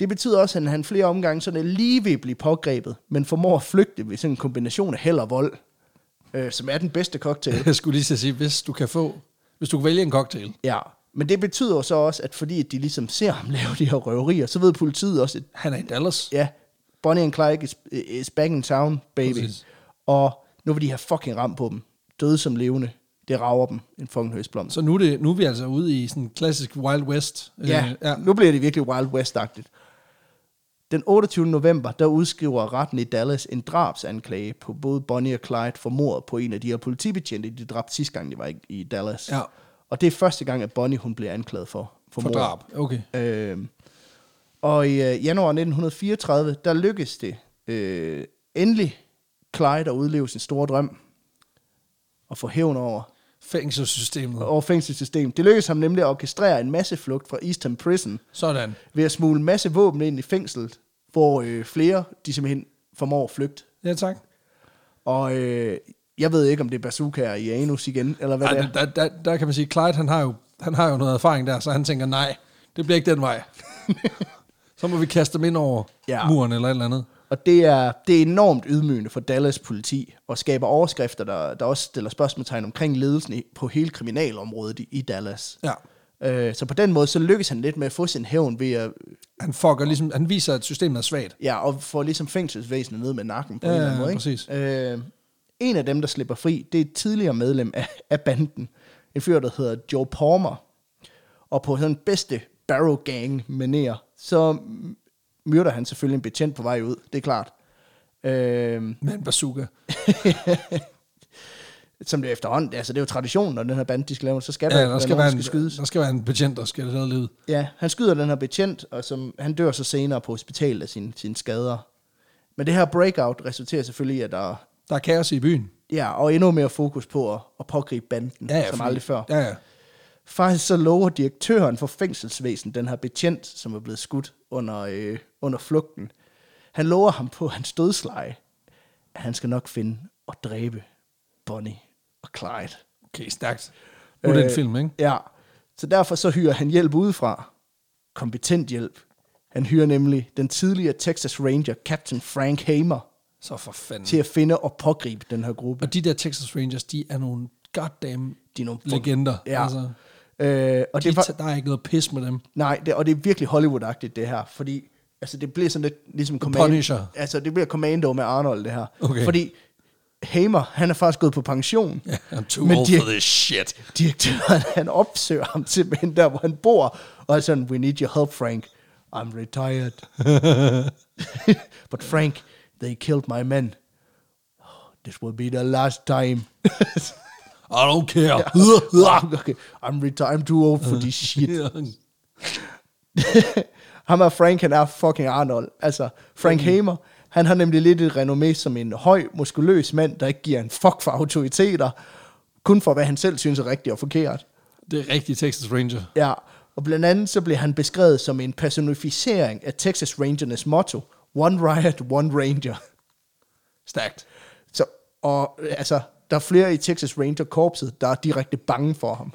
S2: det betyder også, at han flere omgange sådan er lige ved at blive pågrebet, men formår at flygte ved sådan en kombination af held og vold, øh, som er den bedste cocktail.
S1: jeg skulle lige til at sige, hvis du kan få, hvis du kan vælge en cocktail.
S2: ja. Men det betyder jo så også, at fordi at de ligesom ser ham lave de her røverier, så ved politiet også, at
S1: Han er i Dallas.
S2: Ja, Bonnie and Clyde is, is back in town, baby. Præcis.
S1: Præcis.
S2: Og nu vil de have fucking ramt på dem. Døde som levende. Det rager dem, en fucking høstblomst.
S1: Så nu er, det, nu er vi altså ude i sådan en klassisk Wild West. Øh,
S2: Ja,
S1: ja.
S2: ja, nu bliver det virkelig Wild West-agtigt. Den 28. november, der udskriver retten i Dallas en drabsanklage på både Bonnie og Clyde for mordet på en af de her politibetjente, de dræbte sidste gang, de var i- i Dallas.
S1: Ja.
S2: Og det er første gang, at Bonnie hun bliver anklaget for, for,
S1: For
S2: mord.
S1: drab. Okay.
S2: Øh, Og i øh, januar 1934, der lykkedes det øh, endelig Clyde at udleve sin store drøm og få hævn over
S1: Fængselssystemet.
S2: over fængselssystemet. Det lykkedes ham nemlig at orkestrere en masse flugt fra Eastern Prison
S1: Sådan.
S2: ved at smule en masse våben ind i fængslet, hvor øh, flere de simpelthen formår at flygte.
S1: Ja, tak.
S2: Og øh, jeg ved ikke, om det er bazookaer i anus igen, eller hvad
S1: Ej,
S2: det
S1: der,
S2: er.
S1: der, der, der, kan man sige, Clyde, han har, jo, han har jo noget erfaring der, så han tænker, nej, det bliver ikke den vej. så må vi kaste dem ind over
S2: Ja.
S1: ja. muren eller et eller andet.
S2: Og det er, det er enormt ydmygende for Dallas politi, og skaber overskrifter, der, der også stiller spørgsmålstegn omkring ledelsen i, på hele kriminalområdet i, i Dallas.
S1: Ja.
S2: Øh, så på den måde, så lykkes han lidt med at få sin hævn ved at,
S1: Han, fucker, ligesom, han viser, at systemet er svagt.
S2: ja, og få ligesom fængselsvæsenet ned med nakken på
S1: Ja,
S2: en eller anden
S1: ja,
S2: måde.
S1: præcis.
S2: Ikke? Øh, en af dem, der slipper fri, det er et tidligere medlem af, af banden. En fyr, der hedder Joe Palmer. Og på sådan bedste Barrow Gang manér, så myrder han selvfølgelig en betjent på vej ud, det er klart. Øh,
S1: Med en bazooka.
S2: som det er efterhånden, altså det er jo traditionen, når den her bande, de skal lave, så skal
S1: Ja,
S2: der,
S1: der
S2: være
S1: skal,
S2: nogen,
S1: være
S2: der
S1: en, der skal være en betjent, der skal lade livet.
S2: Ja, han skyder den her betjent, og som, han dør så senere på hospitalet af sine, sine skader. Men det her breakout resulterer selvfølgelig i, at der
S1: Der er kaos i byen.
S2: ja, og endnu mere fokus på at, at pågribe banden, ja, ja, som
S1: fordi-
S2: aldrig før. Ja.
S1: Ja, ja.
S2: Faktisk så lover direktøren for fængselsvæsen, den her betjent, som er blevet skudt under, øh, under flugten, han lover ham på hans dødsleje, at han skal nok finde og dræbe Bonnie og Clyde.
S1: Okay, stærkt. Nu er det
S2: Øh,
S1: en film, ikke?
S2: Ja, så derfor så hyrer han hjælp udefra. Kompetent hjælp. Han hyrer nemlig den tidligere Texas Ranger, Captain Frank Hamer,
S1: Så for fanden.
S2: til at finde og pågribe den her gruppe.
S1: Og de der Texas Rangers, de er nogle goddamn
S2: De er nogle
S1: legender.
S2: Ja. Altså,
S1: Altså,
S2: øh, og
S1: de,
S2: det var,
S1: der er ikke noget pis med dem.
S2: nej, det, og det er virkelig Hollywood-agtigt, det her, fordi altså, det bliver sådan lidt ligesom
S1: Punisher.
S2: Altså, det bliver Commando med Arnold, det her.
S1: Okay.
S2: Fordi Hamer, han er faktisk gået på pension.
S1: Ja, I'm too
S2: Men
S1: old
S2: de-
S1: for this shit.
S2: direktøren, han opsøger ham simpelthen der, hvor han bor, og er sådan, we need your help, Frank. I'm retired. But Frank, they killed my men. Oh, This will be the last time.
S1: I don't care.
S2: okay, I'm retired. I'm too old for this shit. ham er Frank, han er fucking Arnold. Altså, Frank Hamer, han har nemlig lidt et renommé som en høj, muskuløs mand, der ikke giver en fuck for autoriteter, kun for hvad han selv synes er rigtigt og forkert.
S1: Det er rigtig Texas Ranger.
S2: Ja, og blandt andet så blev han beskrevet som en personificering af Texas Rangernes motto, One Riot, One Ranger.
S1: Stærkt.
S2: Så, og øh, altså, der er flere i Texas Ranger-korpset, der er direkte bange for ham.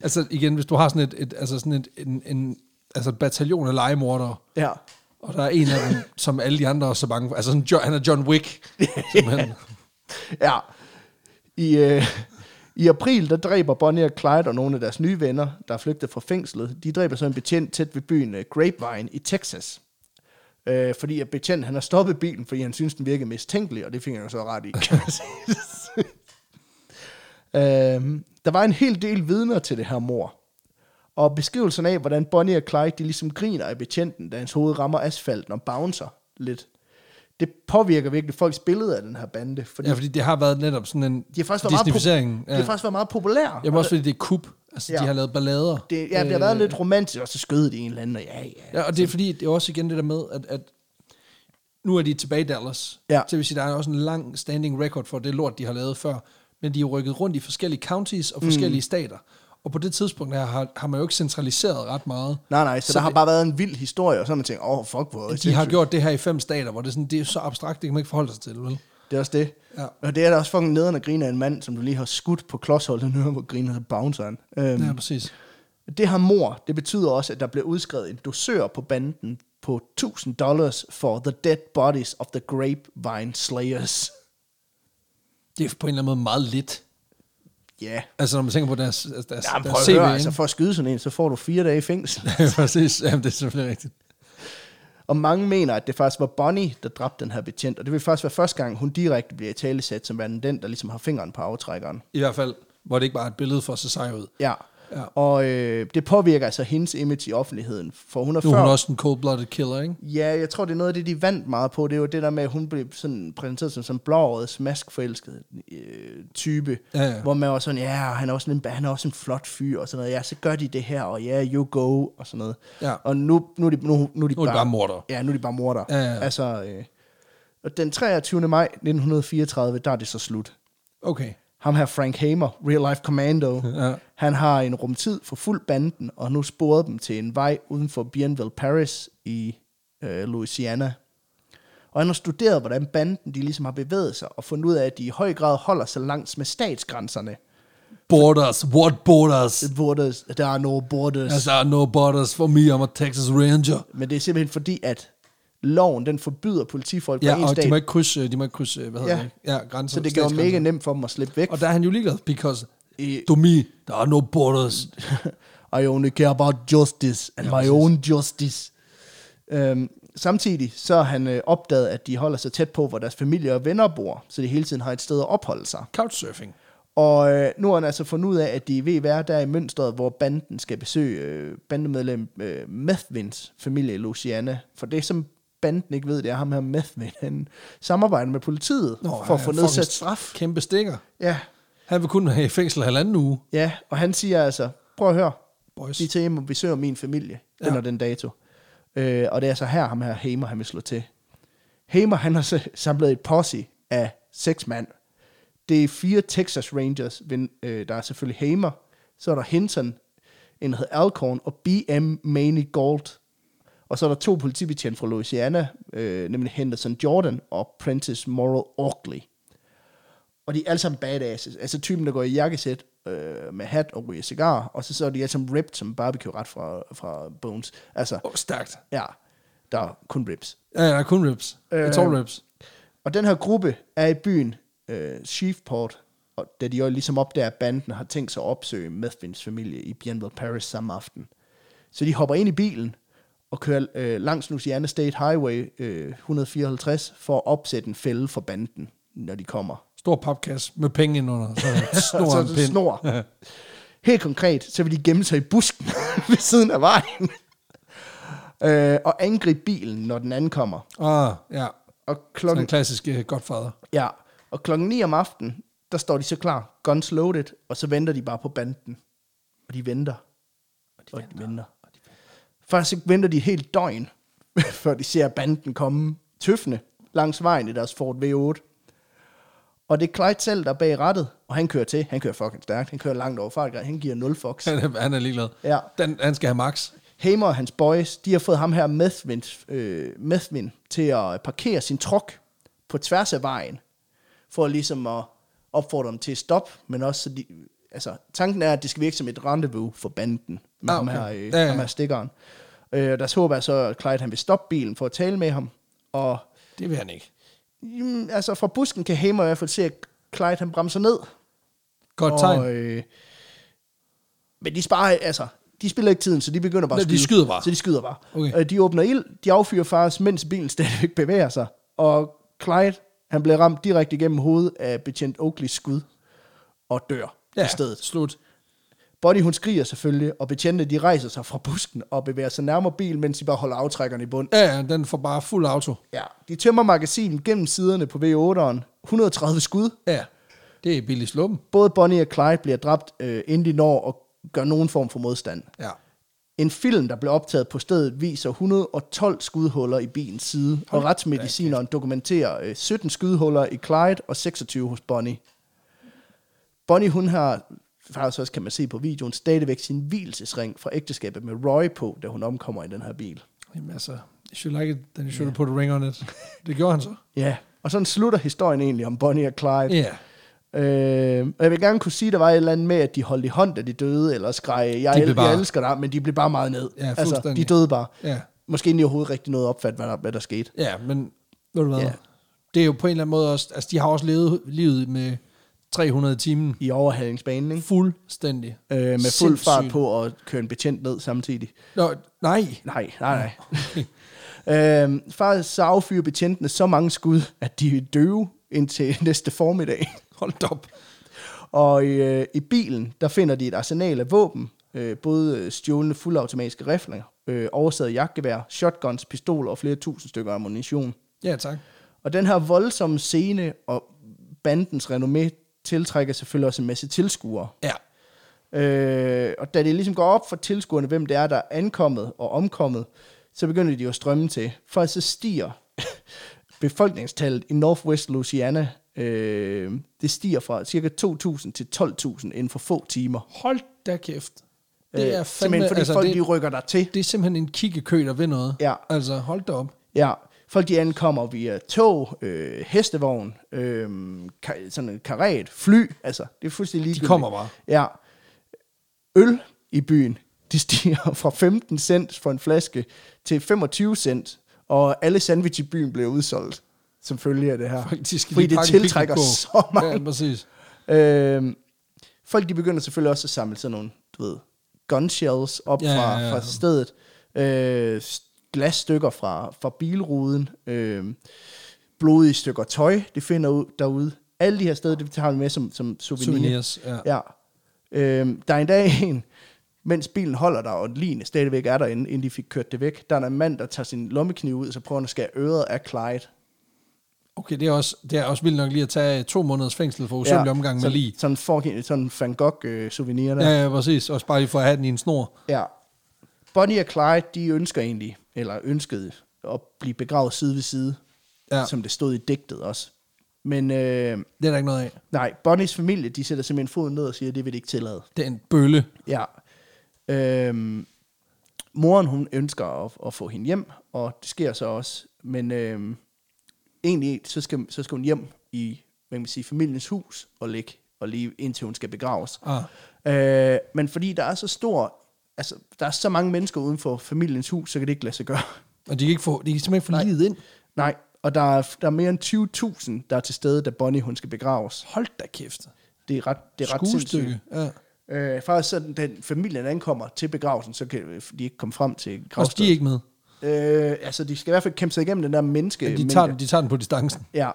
S1: Altså igen, hvis du har sådan et, et altså sådan et, en, en, altså et bataljon af legemordere,
S2: Ja.
S1: og der er en af dem, som alle de andre også er bange for. Altså sådan, Jo- han er John Wick. simpelthen.
S2: Ja. I, øh, I april, der dræber Bonnie og Clyde og nogle af deres nye venner, der er flygtet fra fængslet, de dræber så en betjent tæt ved byen øh, Grapevine i Texas. Øh, fordi at betjent, han har stoppet bilen, fordi han synes, den virkede mistænkelig, og det fik han jo så ret i. kan man sige. Øhm, der var en hel del vidner til det her mor. Og beskrivelserne af, hvordan Bonnie og Clyde de ligesom griner af betjenten, da hans hoved rammer asfalten og bouncer lidt. Det påvirker virkelig folks billede af den her bande. Fordi
S1: Ja, fordi det har været netop sådan en
S2: de har faktisk været, meget,
S1: disneyficering.
S2: po- de har faktisk været meget populære.
S1: Jamen øh, også fordi det er kub. Altså,
S2: Ja.
S1: ja. de har lavet ballader.
S2: det, ja, det har været lidt romantisk, og så skød de en eller anden, og ja, ja.
S1: Ja, og det er fordi, det er også igen det der med, at, at nu er de tilbage i Dallas.
S2: Ja.
S1: Så det vil sige, der er også en lang standing record for det lort, de har lavet før. Men de er jo rykket rundt i forskellige counties og forskellige mm. stater. Og på det tidspunkt her har, har man jo ikke centraliseret ret meget.
S2: Nej, nej, så, så der det, har bare været en vild historie, og så har man tænkt, åh, oh, fuck, hvor er
S1: De har
S2: sindssygt.
S1: gjort det her i fem stater, hvor det er, sådan, det er så abstrakt, det kan man ikke forholde sig til, vel?
S2: Det er også det. Ja.
S1: Ja.
S2: Og det er da også fucking nederen at grine af en mand, som du lige har skudt på klodsholdet nu, hvor griner så bouncer han. Øhm,
S1: Ja, præcis.
S2: Det her mor, det betyder også, at der bliver udskrevet en dosør på banden på 1000 dollars for the dead bodies of the grapevine slayers.
S1: Det er på en eller anden måde meget lidt.
S2: Ja, yeah.
S1: Altså, når man tænker på deres, deres, deres
S2: Jamen, prøv
S1: deres
S2: at høre,
S1: ikke?
S2: altså for at skyde sådan en, så får du fire dage i fængsel.
S1: Ja, præcis. Jamen, det er selvfølgelig rigtigt.
S2: Og mange mener, at det faktisk var Bonnie, der dræbte den her betjent, og det vil faktisk være første gang, hun direkte bliver i talesat som værende den, der ligesom har fingeren på aftrækkeren.
S1: I hvert fald, hvor det ikke bare er et billede for at se sej ud.
S2: Ja,
S1: Ja.
S2: Og øh, det påvirker altså hendes image i offentligheden. For hun er
S1: Nu er
S2: før...
S1: hun også en cold-blooded killer, ikke?
S2: Ja, jeg tror, det er noget af det, de vandt meget på. Det er jo det der med, at hun blev sådan præsenteret som, som blåårets maskforelsket øh, type.
S1: Ja, ja.
S2: Hvor man var sådan, ja, han er, også en, han er også en flot fyr og sådan noget. Ja, så gør de det her, og ja, you go, og sådan noget.
S1: Ja.
S2: Og nu, nu, er de, nu, nu, er de,
S1: Nu er de bare mordere.
S2: Ja, nu er de bare morder.
S1: Ja, ja.
S2: Altså, øh, og den 23. maj 1934, der er det så slut.
S1: Okay.
S2: Ham her, Frank Hamer, Real Life Commando,
S1: Ja.
S2: han har en rumtid for fuld banden, og har nu sporet dem til en vej uden for Bienville Paris i øh, Louisiana. Og han har studeret, hvordan banden de ligesom har bevæget sig, og fundet ud af, at de i høj grad holder sig langs med statsgrænserne.
S1: Borders, what borders?
S2: Borders, der er no borders.
S1: As there are no borders for me, I'm a Texas Ranger.
S2: Men det er simpelthen fordi, at loven den forbyder politifolk
S1: Ja,
S2: fra en
S1: og de
S2: stat,
S1: må ikke krydse, de må ikke krydse hvad hedder
S2: Ja.
S1: det? Ja, grænser.
S2: så det gør
S1: statsgrænser.
S2: mega nemt for dem at slippe væk.
S1: Og der er han jo ligeglad, because
S2: I-
S1: to me, there are no borders.
S2: I only care about justice and my own justice. Øhm, samtidig så har han øh, opdaget, at de holder sig tæt på, hvor deres familie og venner bor, så de hele tiden har et sted at opholde sig.
S1: Couchsurfing.
S2: Og øh, nu har han altså fundet ud af, at de er ved at være der i mønstret, hvor banden skal besøge øh, bandemedlem øh, Methvins familie i Louisiana. For det, som banden ikke ved, det er ham her Methvin. Han samarbejder med politiet Nå, for at
S1: ja,
S2: få
S1: fucking
S2: nedsat straf.
S1: Kæmpe stikker.
S2: Ja,
S1: Han vil kun have i fængsel halvanden uge.
S2: Ja, og han siger altså, prøv at høre,
S1: Boys.
S2: vi tager hjem og besøger min familie
S1: Ja.
S2: ja. under den dato. Øh, og det er altså her, ham her Hamer, han vil slå til. Hamer, han har så samlet et posse af seks mand. Det er fire Texas Rangers, men, øh, der er selvfølgelig Hamer, så er der Hinton, en der hedder Alcorn, og BM Maney Gold. Og så er der to politibetjente fra Louisiana, øh, nemlig Henderson Jordan og Prentice Morrow Oakley. Og de er alle sammen badasses. Altså typen, der går i jakkesæt øh, med hat og ryger cigar, og så, så er de alle sammen ripped som barbecue-ret fra, fra Bones. Altså,
S1: Oh, stærkt.
S2: ja, der er kun ribs.
S1: Ja, der er kun rips. Øh. It's all
S2: Øh.
S1: rips.
S2: Og den her gruppe er i byen øh, Chiefport, og da de jo ligesom opdager, at banden har tænkt sig at opsøge Methvins familie i Bienville Paris samme aften. Så de hopper ind i bilen og kører øh, langs Louisiana State Highway øh, 154 for at opsætte en fælde for banden, når de kommer.
S1: Stor papkasse med penge indenunder. Så snor
S2: så
S1: en
S2: er det
S1: pind.
S2: snor. Helt konkret, så vil de gemme sig i busken ved siden af vejen. øh, og angribe bilen, når den ankommer.
S1: Ah, ja.
S2: Og
S1: Sådan
S2: klokken,
S1: en klassisk uh, godfather.
S2: ja, og klokken 9 om aftenen, der står de så klar, guns loaded, og så venter de bare på banden. Og de venter. Og de venter. Og de venter. Faktisk så venter de et helt døgn, før de ser banden komme tøffende langs vejen i deres Ford V8. Og det er Clyde selv, der er bag rattet, og han kører til. Han kører fucking stærkt. Han kører langt over fartgrænsen. Han giver 0 fox.
S1: Han er, han er ligeglad.
S2: Ja.
S1: Den, han skal have max.
S2: Hamer og hans boys, de har fået ham her Methvin, øh, Methvin til at parkere sin truck på tværs af vejen, for ligesom at opfordre dem til at stoppe, men også så de, altså, tanken er, at det skal virke som et rendezvous for banden med
S1: Ah,
S2: ah, okay.
S1: okay.
S2: ham her, øh,
S1: Ja, ja.
S2: ja, ja. Ham her stikkeren. Øh, deres håb er så, at Clyde han vil stoppe bilen for at tale med ham, og
S1: Det vil han ikke.
S2: jamen, altså, fra busken kan Hamer i hvert fald se, at Clyde han bremser ned,
S1: Godt tegn.
S2: og, øh, men de sparer, altså, de spiller ikke tiden, så de begynder bare
S1: Nej,
S2: at
S1: de
S2: skyde.
S1: skyder bare.
S2: Så de skyder bare.
S1: Okay.
S2: Øh, de åbner ild, de affyrer faktisk, mens bilen stadigvæk bevæger sig. Og Clyde, han bliver ramt direkte igennem hovedet af betjent Oakleys skud og dør ja. i stedet.
S1: slut.
S2: Bonnie, hun skriger selvfølgelig, og betjente, de rejser sig fra busken og bevæger sig nærmere bilen, mens de bare holder aftrækkerne i bund.
S1: Ja, ja, den får bare fuld auto.
S2: Ja. De tømmer magasinen gennem siderne på V8'eren. 130 skud.
S1: Ja, det er billig slummen.
S2: Både Bonnie og Clyde bliver dræbt, øh, inden de når at gøre nogen form for modstand.
S1: Ja.
S2: En film, der blev optaget på stedet, viser 112 skudhuller i bilens side, og retsmedicineren dokumenterer øh, 17 skudhuller i Clyde og 26 hos Bonnie. Bonnie, hun har faktisk også, kan man se på videoen, stadigvæk sin hvilesesring fra ægteskabet med Roy på, da hun omkommer i den her bil.
S1: Jamen altså, if you like it, then you should have put a ring on it. Det gjorde han så.
S2: Ja, og sådan slutter historien egentlig om Bonnie og Clyde.
S1: Ja.
S2: Øh, og jeg vil gerne kunne sige, at der var et eller andet med, at de holdt i hånd, da de døde, eller skreg, jeg,
S1: De
S2: el-
S1: blev bare-
S2: jeg elsker dig, men de blev bare meget ned.
S1: Ja,
S2: altså, de
S1: fuldstændig.
S2: døde bare.
S1: Ja.
S2: Måske inden de overhovedet rigtig noget opfat, hvad der, hvad der skete.
S1: Ja, men ved du hvad?
S2: Ja.
S1: Det er jo på en eller anden måde også, altså de har også levet livet med 300 i timen.
S2: i overhalingsbanen, ikke?
S1: Fuldstændig.
S2: Øh, med fuld
S1: Sindssygt.
S2: fart på at køre en betjent ned samtidig.
S1: Nå, nej.
S2: Nej, nej, nej. øhm, faktisk så affyrer betjentene så mange skud, at de er døve indtil næste formiddag.
S1: Hold da op.
S2: Og i, øh, i bilen, der finder de et arsenal af våben, Øh, både øh, stjålne fuldautomatiske rifler, øh, oversaget jagtgevær, shotguns, pistoler og flere tusind stykker ammunition.
S1: Ja, tak.
S2: Og den her voldsomme scene og bandens renommé tiltrækker selvfølgelig også en masse tilskuere.
S1: Ja.
S2: Øh, og da det ligesom går op for tilskuerne, hvem det er, der er ankommet og omkommet, så begynder de jo at strømme til. For så stiger befolkningstallet i Northwest Louisiana, øh, det stiger fra ca. 2.000 til 12.000 inden for få timer.
S1: Hold da kæft.
S2: Øh,
S1: Det er fandme,
S2: Simpelthen fordi altså, folk det... de rykker der til.
S1: det er simpelthen en kikkekø, der ved noget.
S2: Ja.
S1: Altså, hold da op.
S2: Ja, folk de ankommer via tog, øh, hestevogn, øh, ka- sådan en karet, fly, altså det er fuldstændig ligegyldigt.
S1: kommer bare.
S2: Ja. Øl i byen, de stiger fra 15 cent for en flaske til 25 cent, og alle sandwich i byen bliver udsolgt som følge af det her.
S1: Faktisk,
S2: fordi
S1: lige
S2: det
S1: pakke en
S2: tiltrækker
S1: picnic på.
S2: så mange
S1: Ja, præcis.
S2: Øhm, folk de begynder selvfølgelig også at samle sådan nogle, du ved, gunshells op ja, fra, ja, ja. fra stedet. Øh, s- glasstykker fra, fra bilruden. Øh, blodige stykker tøj, det finder ud derude. Alle de her steder, det tager vi med som, som souvenir.
S1: Souvenirs, ja.
S2: ja. Øhm, der er en dag en, mens bilen holder der, og ligene stadigvæk er derinde, inden de fik kørt det væk, der er der en mand, der tager sin lommekniv ud, så prøver han at skære øret af Clyde.
S1: Okay, det er, også, det er også vildt nok lige at tage to måneders fængsel for usynlig ja, omgang med
S2: sådan,
S1: lige.
S2: Sådan, fucking, sådan en Van Gogh-souvenir der.
S1: Ja, ja, præcis. Også bare lige for at have den i en snor.
S2: Ja. Bonnie og Clyde, de ønsker egentlig, eller ønskede at blive begravet side ved side, ja.
S1: Ja.
S2: som det stod i digtet også. Men øh,
S1: Det er der ikke noget af.
S2: nej, Bonnies familie, de sætter simpelthen foden ned og siger, det vil de ikke tillade.
S1: Det er en bølle.
S2: Ja. Øhm, moren, hun ønsker at, at få hende hjem, og det sker så også. Men øhm, egentlig, så skal, så skal hun hjem i, hvad kan man sige, familiens hus og ligge og lige indtil hun skal begraves.
S1: Ah.
S2: Øh, men fordi der er så stor, altså der er så mange mennesker uden for familiens hus, så kan det ikke lade sig gøre.
S1: Og de kan, ikke få, de kan simpelthen ikke få livet ind.
S2: Nej, og der er, der er mere end 20.000, der er til stede, da Bonnie hun skal begraves.
S1: Hold da kæft.
S2: Det er ret, det er ret sindssygt.
S1: Skuestykke. Ja.
S2: Øh, faktisk sådan, da familien ankommer til begravelsen, så kan øh, de ikke komme frem til
S1: Og de
S2: gravstedet.
S1: er ikke med.
S2: Øh, altså, de skal i hvert fald kæmpe sig igennem den der menneske.
S1: De
S2: mængde.
S1: tager, den, de tager den på distancen.
S2: Ja.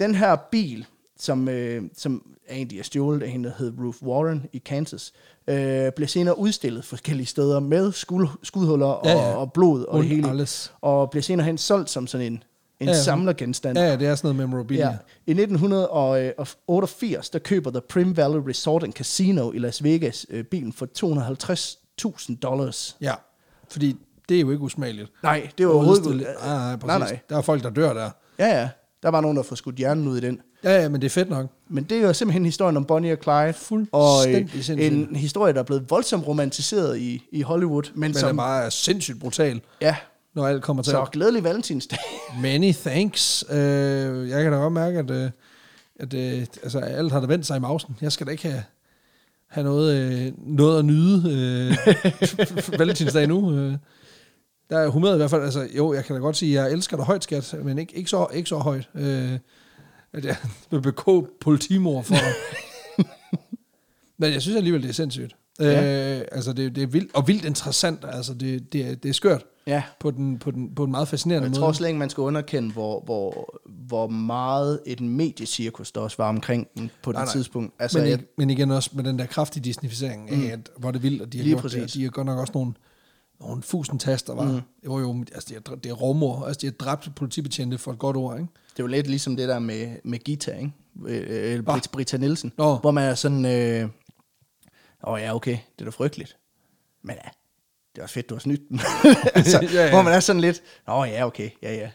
S2: Den her bil, som, øh, som egentlig er stjålet af hende, der hed Ruth Warren i Kansas, øh, blev senere udstillet forskellige steder med skud, skudhuller
S1: Ja,
S2: ja,
S1: ja.
S2: ja. Og, og blod og
S1: Und
S2: det hele.
S1: alles.
S2: Og blev senere hen solgt som sådan en, en
S1: Ja,
S2: ja,
S1: ja.
S2: samlergenstand.
S1: Ja, ja, det er sådan noget memorabilia.
S2: Ja. I 1988, øh, der køber The Prim Valley Resort and Casino i Las Vegas øh, bilen for 250.000 dollars.
S1: ja. Fordi det er jo ikke usmageligt.
S2: Nej, det var overhovedet
S1: Udstillet- Nej, Ah, nej, præcis.
S2: nej, Øh, nej.
S1: Der er folk, der dør der.
S2: Ja, ja. Der var nogen, der får skudt hjernen ud i den.
S1: Ja, ja, men det er fedt nok.
S2: Men det er jo simpelthen historien om Bonnie og Clyde.
S1: Fuldstændig
S2: Og øh,
S1: sindssygt.
S2: en historie, der er blevet voldsomt romantiseret i, i Hollywood. Men, men
S1: Men som...
S2: som,
S1: er bare sindssygt brutal,
S2: ja,
S1: når alt kommer til.
S2: så glædelig valentinsdag.
S1: Many thanks. Øh, jeg kan da godt mærke, at, øh, at øh, altså, alt har da vendt sig i mausen. Jeg skal da ikke have, have noget, øh, noget at nyde øh, valentinsdag nu. Øh. Der er humøret i hvert fald, altså jo, jeg kan da godt sige, at jeg elsker dig højt, skat, men ikke, ikke, så, ikke så højt. Øh, at jeg vil begå politimor for dig. men jeg synes alligevel, det er sindssygt. Ja. Øh, altså det, det er vildt, og vildt interessant, altså det, det, er, det er skørt.
S2: ja.
S1: På, den, på, den, på en meget fascinerende
S2: Jeg
S1: måde.
S2: tror slet ikke, man skal underkende, hvor, hvor, hvor meget et mediecirkus der også var omkring den på det
S1: Nej, nej.
S2: tidspunkt.
S1: Altså,
S2: Altså,
S1: men,
S2: jeg,
S1: jeg... men igen også med den der kraftige disnificering, mm. at, hvor det er vildt, at de har
S2: Lige
S1: gjort det, og
S2: præcis.
S1: de har godt nok også nogle, nogle fusentaster, var. Mm. Det var jo, men altså, det er, det er rovmor, altså, de har dræbt politibetjente for et godt ord, ikke?
S2: det var lidt ligesom det der med, med guitar, ikke? Øh, øh, Brit, Britta Nielsen.
S1: Nå.
S2: Hvor man er sådan, øh, åh ja, okay, det er da frygteligt. Men ja, det var fedt, du har snydt den. altså,
S1: Ja,
S2: ja,
S1: ja.
S2: ja. Hvor man er sådan lidt, åh ja, okay, ja ja.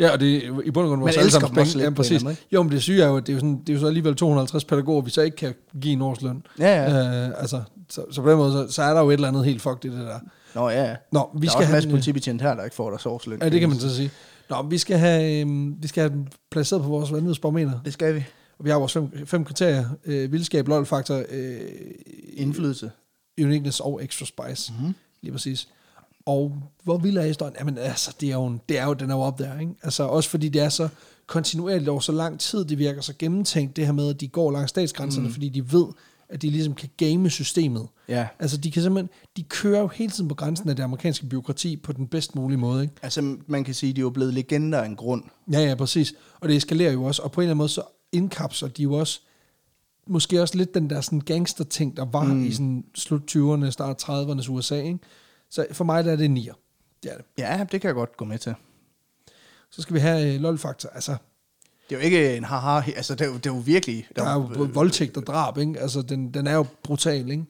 S1: Ja, og det er jo i bund og grund
S2: Man
S1: vores
S2: elsker
S1: alle sammen
S2: dem også
S1: penge. Ja,
S2: lidt på en
S1: præcis.
S2: eller anden
S1: Jo, men det syge er jo, at det er jo, sådan, det er jo så alligevel 250 pædagoger, vi så ikke kan give en årsløn.
S2: Ja, ja.
S1: Øh, altså, så, så på den måde, så, så er der jo et eller andet helt fucked i det der.
S2: Nå ja, ja.
S1: Nå, vi
S2: der
S1: skal
S2: er også en
S1: have
S2: masse
S1: den- øh,
S2: politibetjent her, der ikke får deres årsløn.
S1: Ja, det kan man så sige. Nå, men vi skal have, øhm, vi skal have dem placeret på vores vanvidsbarometer.
S2: Det skal vi.
S1: Og vi har vores fem, fem kriterier. Øh, vildskab, lol-faktor, øh,
S2: Indflydelse.
S1: uniqueness og extra spice. Mm-hmm. Lige præcis. Og hvor vild er historien? Jamen altså, det er jo, en- det er jo den er jo op der, ikke? Altså også fordi det er så kontinuerligt over så lang tid, det virker så gennemtænkt, det her med, at de går langs statsgrænserne, mm. fordi de ved, at de ligesom kan game systemet.
S2: Ja.
S1: Altså de kan simpelthen, de kører jo hele tiden på grænsen af det amerikanske byråkrati på den bedst mulige måde, ikke?
S2: Altså, man kan sige, de er jo blevet legender af en grund.
S1: Ja, ja, præcis. Og det eskalerer jo også, og på en eller anden måde så indkapsler de jo også måske også lidt den der sådan gangster-ting, der var mm. i sådan slut 20'erne, start 30'ernes USA. Ikke? Så for mig der er det nier. Det er det.
S2: Ja, det kan jeg godt gå med til.
S1: Så skal vi have øh, lol-faktor. Altså,
S2: Det er jo ikke en haha, altså det er jo, det er jo virkelig...
S1: der er jo
S2: øh,
S1: både voldtægt og drab, ikke? Altså, den, den er jo brutal, ikke?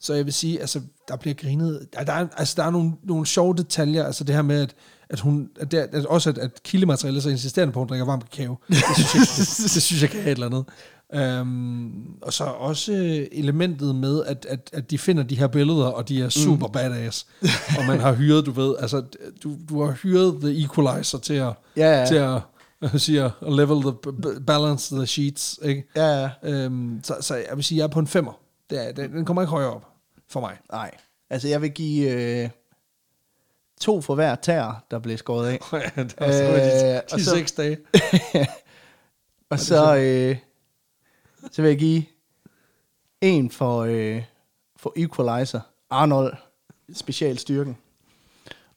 S1: Så jeg vil sige, altså, der bliver grinet. Der, der er, altså, der er nogle, nogle sjove detaljer, altså det her med, at, at hun, at der, at også at, at kildematerialet er så insisterende på, at hun drikker varm kakao. Det synes jeg, det, det synes jeg kan have et eller andet. Øhm, og så også øh, elementet med, at, at, at de finder de her billeder, og de er super mm. badass. Og man har hyret, du ved, altså, du, du har hyret The Equalizer til at,
S2: Ja, ja.
S1: til at hvad siger, at level the, b- b- balance the sheets, ikke?
S2: Ja, ja.
S1: Øhm, så, så jeg vil sige, jeg er på en femmer. Det er, den, den kommer ikke højere op for mig.
S2: Nej, altså jeg vil give øh, to for hver tær, der blev skåret af.
S1: det
S2: var så de- de
S1: de, de
S2: seks
S1: seks dage.
S2: Og så, øh, så vil jeg give en for, øh, for Equalizer, Arnold, specialstyrken.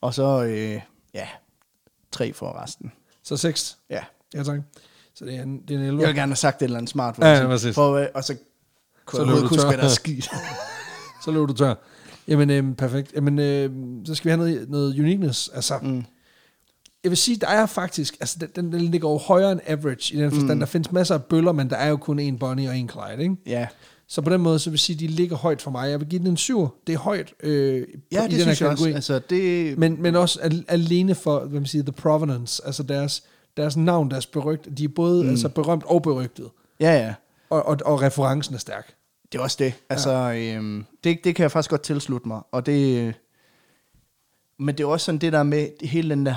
S2: Og så, øh, ja, tre for resten.
S1: Så seks.
S2: Ja.
S1: Ja, tak. Så det er en, det er en 11.
S2: Jeg vil gerne have sagt et eller andet smart.
S1: Ja, ja,
S2: for-
S1: præcis.
S2: for, øh, og så
S1: Så
S2: kunne så jeg
S1: løber
S2: overhovedet
S1: du
S2: huske,
S1: tør.
S2: hvad der er sket.
S1: Så løb du tør. Jamen, øhm, perfekt. Jamen, øhm, så skal vi have noget, noget uniqueness. Altså, mm. Jeg vil sige, der er faktisk, altså den, den, den ligger jo højere end average i den forstand. Mm. Der findes masser af bøller, men der er jo kun en Bonnie og en Clyde, ikke?
S2: ja.
S1: Så på den måde, så vil jeg sige, at de ligger højt for mig. Jeg vil give den en syv. Det er højt øh,
S2: ja,
S1: i
S2: det
S1: den her
S2: synes jeg også.
S1: kategori.
S2: Altså, det,
S1: men, men også al- alene for, hvad man siger, the provenance, altså deres, deres navn, deres berømt, de er både mm. altså berømt og berygtet,
S2: ja, ja.
S1: og, og, og referencen er stærk.
S2: Det er også det. Altså, ja. øhm, det, det kan jeg faktisk godt tilslutte mig. Og det, øh, men det er også sådan det der med det- hele den der...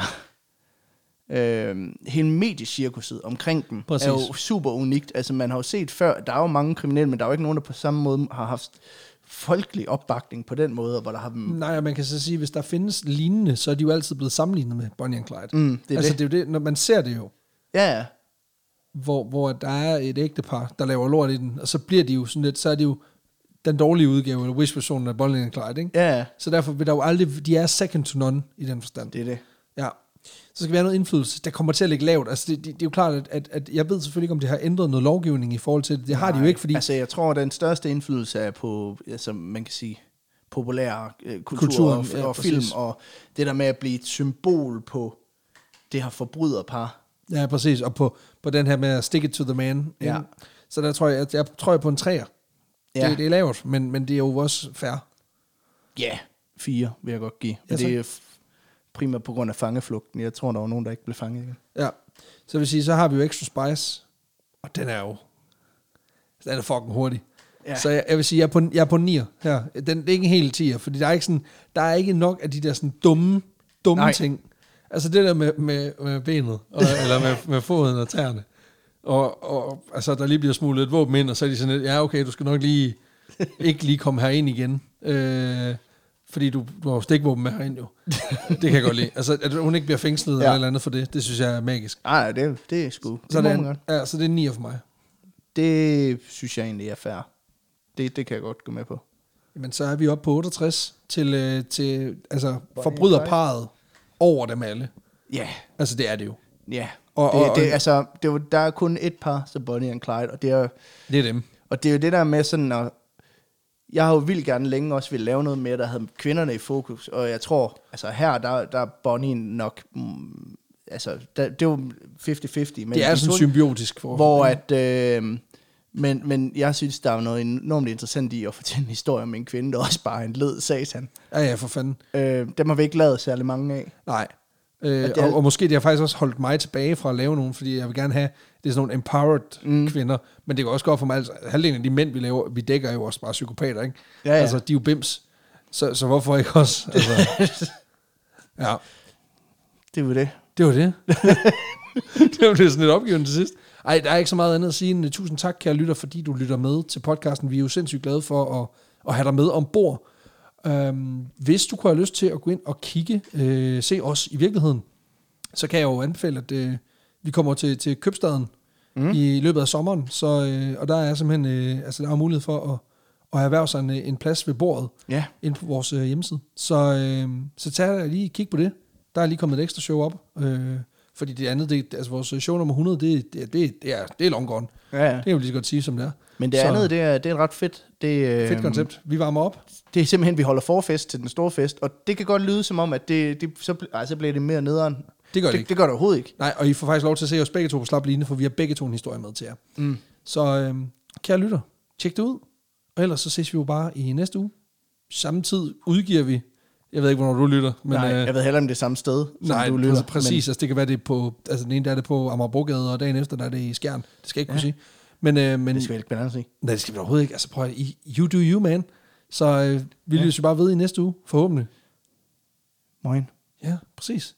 S2: Øh, hele mediecirkuset omkring dem
S1: Præcis.
S2: er jo super unikt. Altså man har jo set før, der er jo mange kriminelle, men der er jo ikke nogen, der på samme måde har haft folkelig opbakning på den måde, og hvor der har dem...
S1: Nej, og man kan så sige, hvis der findes lignende, så er de jo altid blevet sammenlignet med Bonnie and Clyde.
S2: Mm, det er
S1: altså,
S2: det.
S1: det er jo det, når man ser det jo,
S2: Ja, ja.
S1: hvor, hvor der er et ægtepar, der laver lort i den, og så bliver de jo sådan lidt, så er det jo den dårlige udgave, eller wish-versionen af Bonnie and Clyde, ikke?
S2: ja, ja.
S1: Så derfor vil der jo aldrig, de er second to none i den forstand.
S2: det er det.
S1: Ja. Så skal vi have noget indflydelse, der kommer til at ligge lavt. Altså, det, det, det er jo klart, at, at, at jeg ved selvfølgelig ikke, om det har ændret noget lovgivning i forhold til det. Det har Nej, de jo ikke, fordi altså,
S2: Altså jeg tror, den største indflydelse er på, altså man kan sige, populær øh, kultur
S1: Kulturen,
S2: og,
S1: ja,
S2: og
S1: præcis.
S2: film, og det der med at blive et symbol på det her forbryderpar.
S1: ja, præcis, og på, på den her med at stick it to the man. ikke?
S2: Ja.
S1: Så der tror jeg, at jeg tror jeg på en træer. Ja.
S2: Ja.
S1: Det, det er lavt, men, men det er jo også fair.
S2: Ja, fire vil jeg godt give. Men
S1: Ja,
S2: det er f- primært på grund af fangeflugten. Jeg tror, der var nogen, der ikke blev fanget igen.
S1: Ja. Så vil sige, så har vi jo Extra Spice, og den er jo, den er fucking hurtig.
S2: Ja.
S1: Ja. Så jeg, jeg, vil sige, jeg er på, en- jeg er på en nier her. Den, det er ikke en hel tier, fordi der er ikke, sådan, der er ikke nok af de der sådan dumme, dumme
S2: Nej.
S1: Nej. ting. Altså det der med, med, med benet, og, eller med, med foden og tæerne. Og, og altså, der lige bliver smuglet et våben ind, og så er de sådan lidt, ja okay, du skal nok lige, ikke lige komme herind igen. Øh, fordi du, du har jo stikvåben med herind jo. Det kan jeg godt lide. Altså, at hun ikke bliver fængslet ja. eller
S2: Ja.
S1: et eller andet for det, det synes jeg er magisk.
S2: Nej, det, det er sgu. Det,
S1: Så
S2: må
S1: det,
S2: man
S1: er,
S2: godt.
S1: ja, så det er 9 for mig.
S2: det synes jeg egentlig er fair. Det, det kan jeg godt gå med på.
S1: Men så er vi oppe på 68 til, øh, til altså, forbryderparet over dem alle.
S2: Ja,
S1: Altså, det er det jo.
S2: ja.
S1: Og-
S2: Og, det,
S1: og-
S2: det, altså, det, er jo- der er kun et par, så Bonnie og Clyde, og det er
S1: Det er dem.
S2: Og det er jo det der med sådan at... Jeg har jo vildt gerne længe også ville lave noget mere, der havde kvinderne i fokus. Og jeg tror, altså her, der, der er Bonnie nok... Mm, altså, der, det er jo 50-50. Men
S1: Det er sådan symbiotisk for.
S2: Hvor at... Øh, men, men jeg synes, der er noget enormt interessant i at fortælle en historie om en kvinde, der også bare er en led satan.
S1: Ja, ja, for fanden.
S2: Øh, dem har vi ikke lavet særlig mange af.
S1: Nej. Øh,
S2: det er-
S1: og, og måske det har faktisk også holdt mig tilbage fra at lave nogen, fordi jeg vil gerne have, det er sådan nogle empowered mm. kvinder, men det kan også gå op for mig, altså, halvdelen af de mænd, vi laver, vi dækker er jo også bare psykopater, ikke?
S2: Ja, ja.
S1: Altså, de er jo bims, så, så hvorfor ikke også? Altså, ja,
S2: Det er jo det.
S1: det var det. det var det sådan lidt opgivende til sidst. Ej, der er ikke så meget andet at sige end øh, tusind tak, kære lytter, fordi du lytter med til podcasten. Vi er jo sindssygt glade for at, at have dig med ombord. Øhm, hvis du kunne have lyst til at gå ind og kigge, øh, se os i virkeligheden, så kan jeg jo anbefale, at øh, vi kommer til, til købstaden mm. i løbet af sommeren. Så, øh, og der er simpelthen øh, altså, der er mulighed for at, at erhverve sig en, øh, en plads ved bordet
S2: Ja.
S1: inde på vores øh, hjemmeside. Så, øh, så tag dig lige et kig på det. Der er lige kommet et ekstra show op øh, Fordi det andet, det, altså vores show nummer 100, det, det, det, det, er, det er long gone.
S2: Ja, ja.
S1: Det kan vi lige så godt sige, som det er.
S2: Men det
S1: Så,
S2: andet, det er, det er ret fedt. Det, øh,
S1: Fedt koncept. Vi varmer op.
S2: Det er simpelthen, vi holder forfest til den store fest, og det kan godt lyde som om, at det, det så, ej, så bliver det mere nederen.
S1: Det gør det
S2: det
S1: ikke.
S2: Det gør det overhovedet ikke.
S1: Nej, og I får faktisk lov til at se os begge to på slap line, for vi har begge to en historie med til jer. Mm. Så øhm, kære lytter, tjek det ud. Og ellers så ses vi jo bare i næste uge. Samtidig udgiver vi, jeg ved ikke, hvornår du lytter, men...
S2: Men, nej,
S1: øh,
S2: jeg ved heller ikke, om det er samme sted, som
S1: Nej,
S2: du lytter.
S1: præcis. Altså, det kan være, det er på, altså, den ene der er det på Amagerbrogade, og dagen efter der er det i Skjern. Det skal jeg ikke kunne sige. Men, øh, men
S2: Men det skal vi ikke blande os i.
S1: nej, det skal vi overhovedet ikke. Altså prøv at, I- you do you, man. Så øh, vi ja. lytter jo bare ved i næste uge, forhåbentlig.
S2: Moin.
S1: Ja, præcis.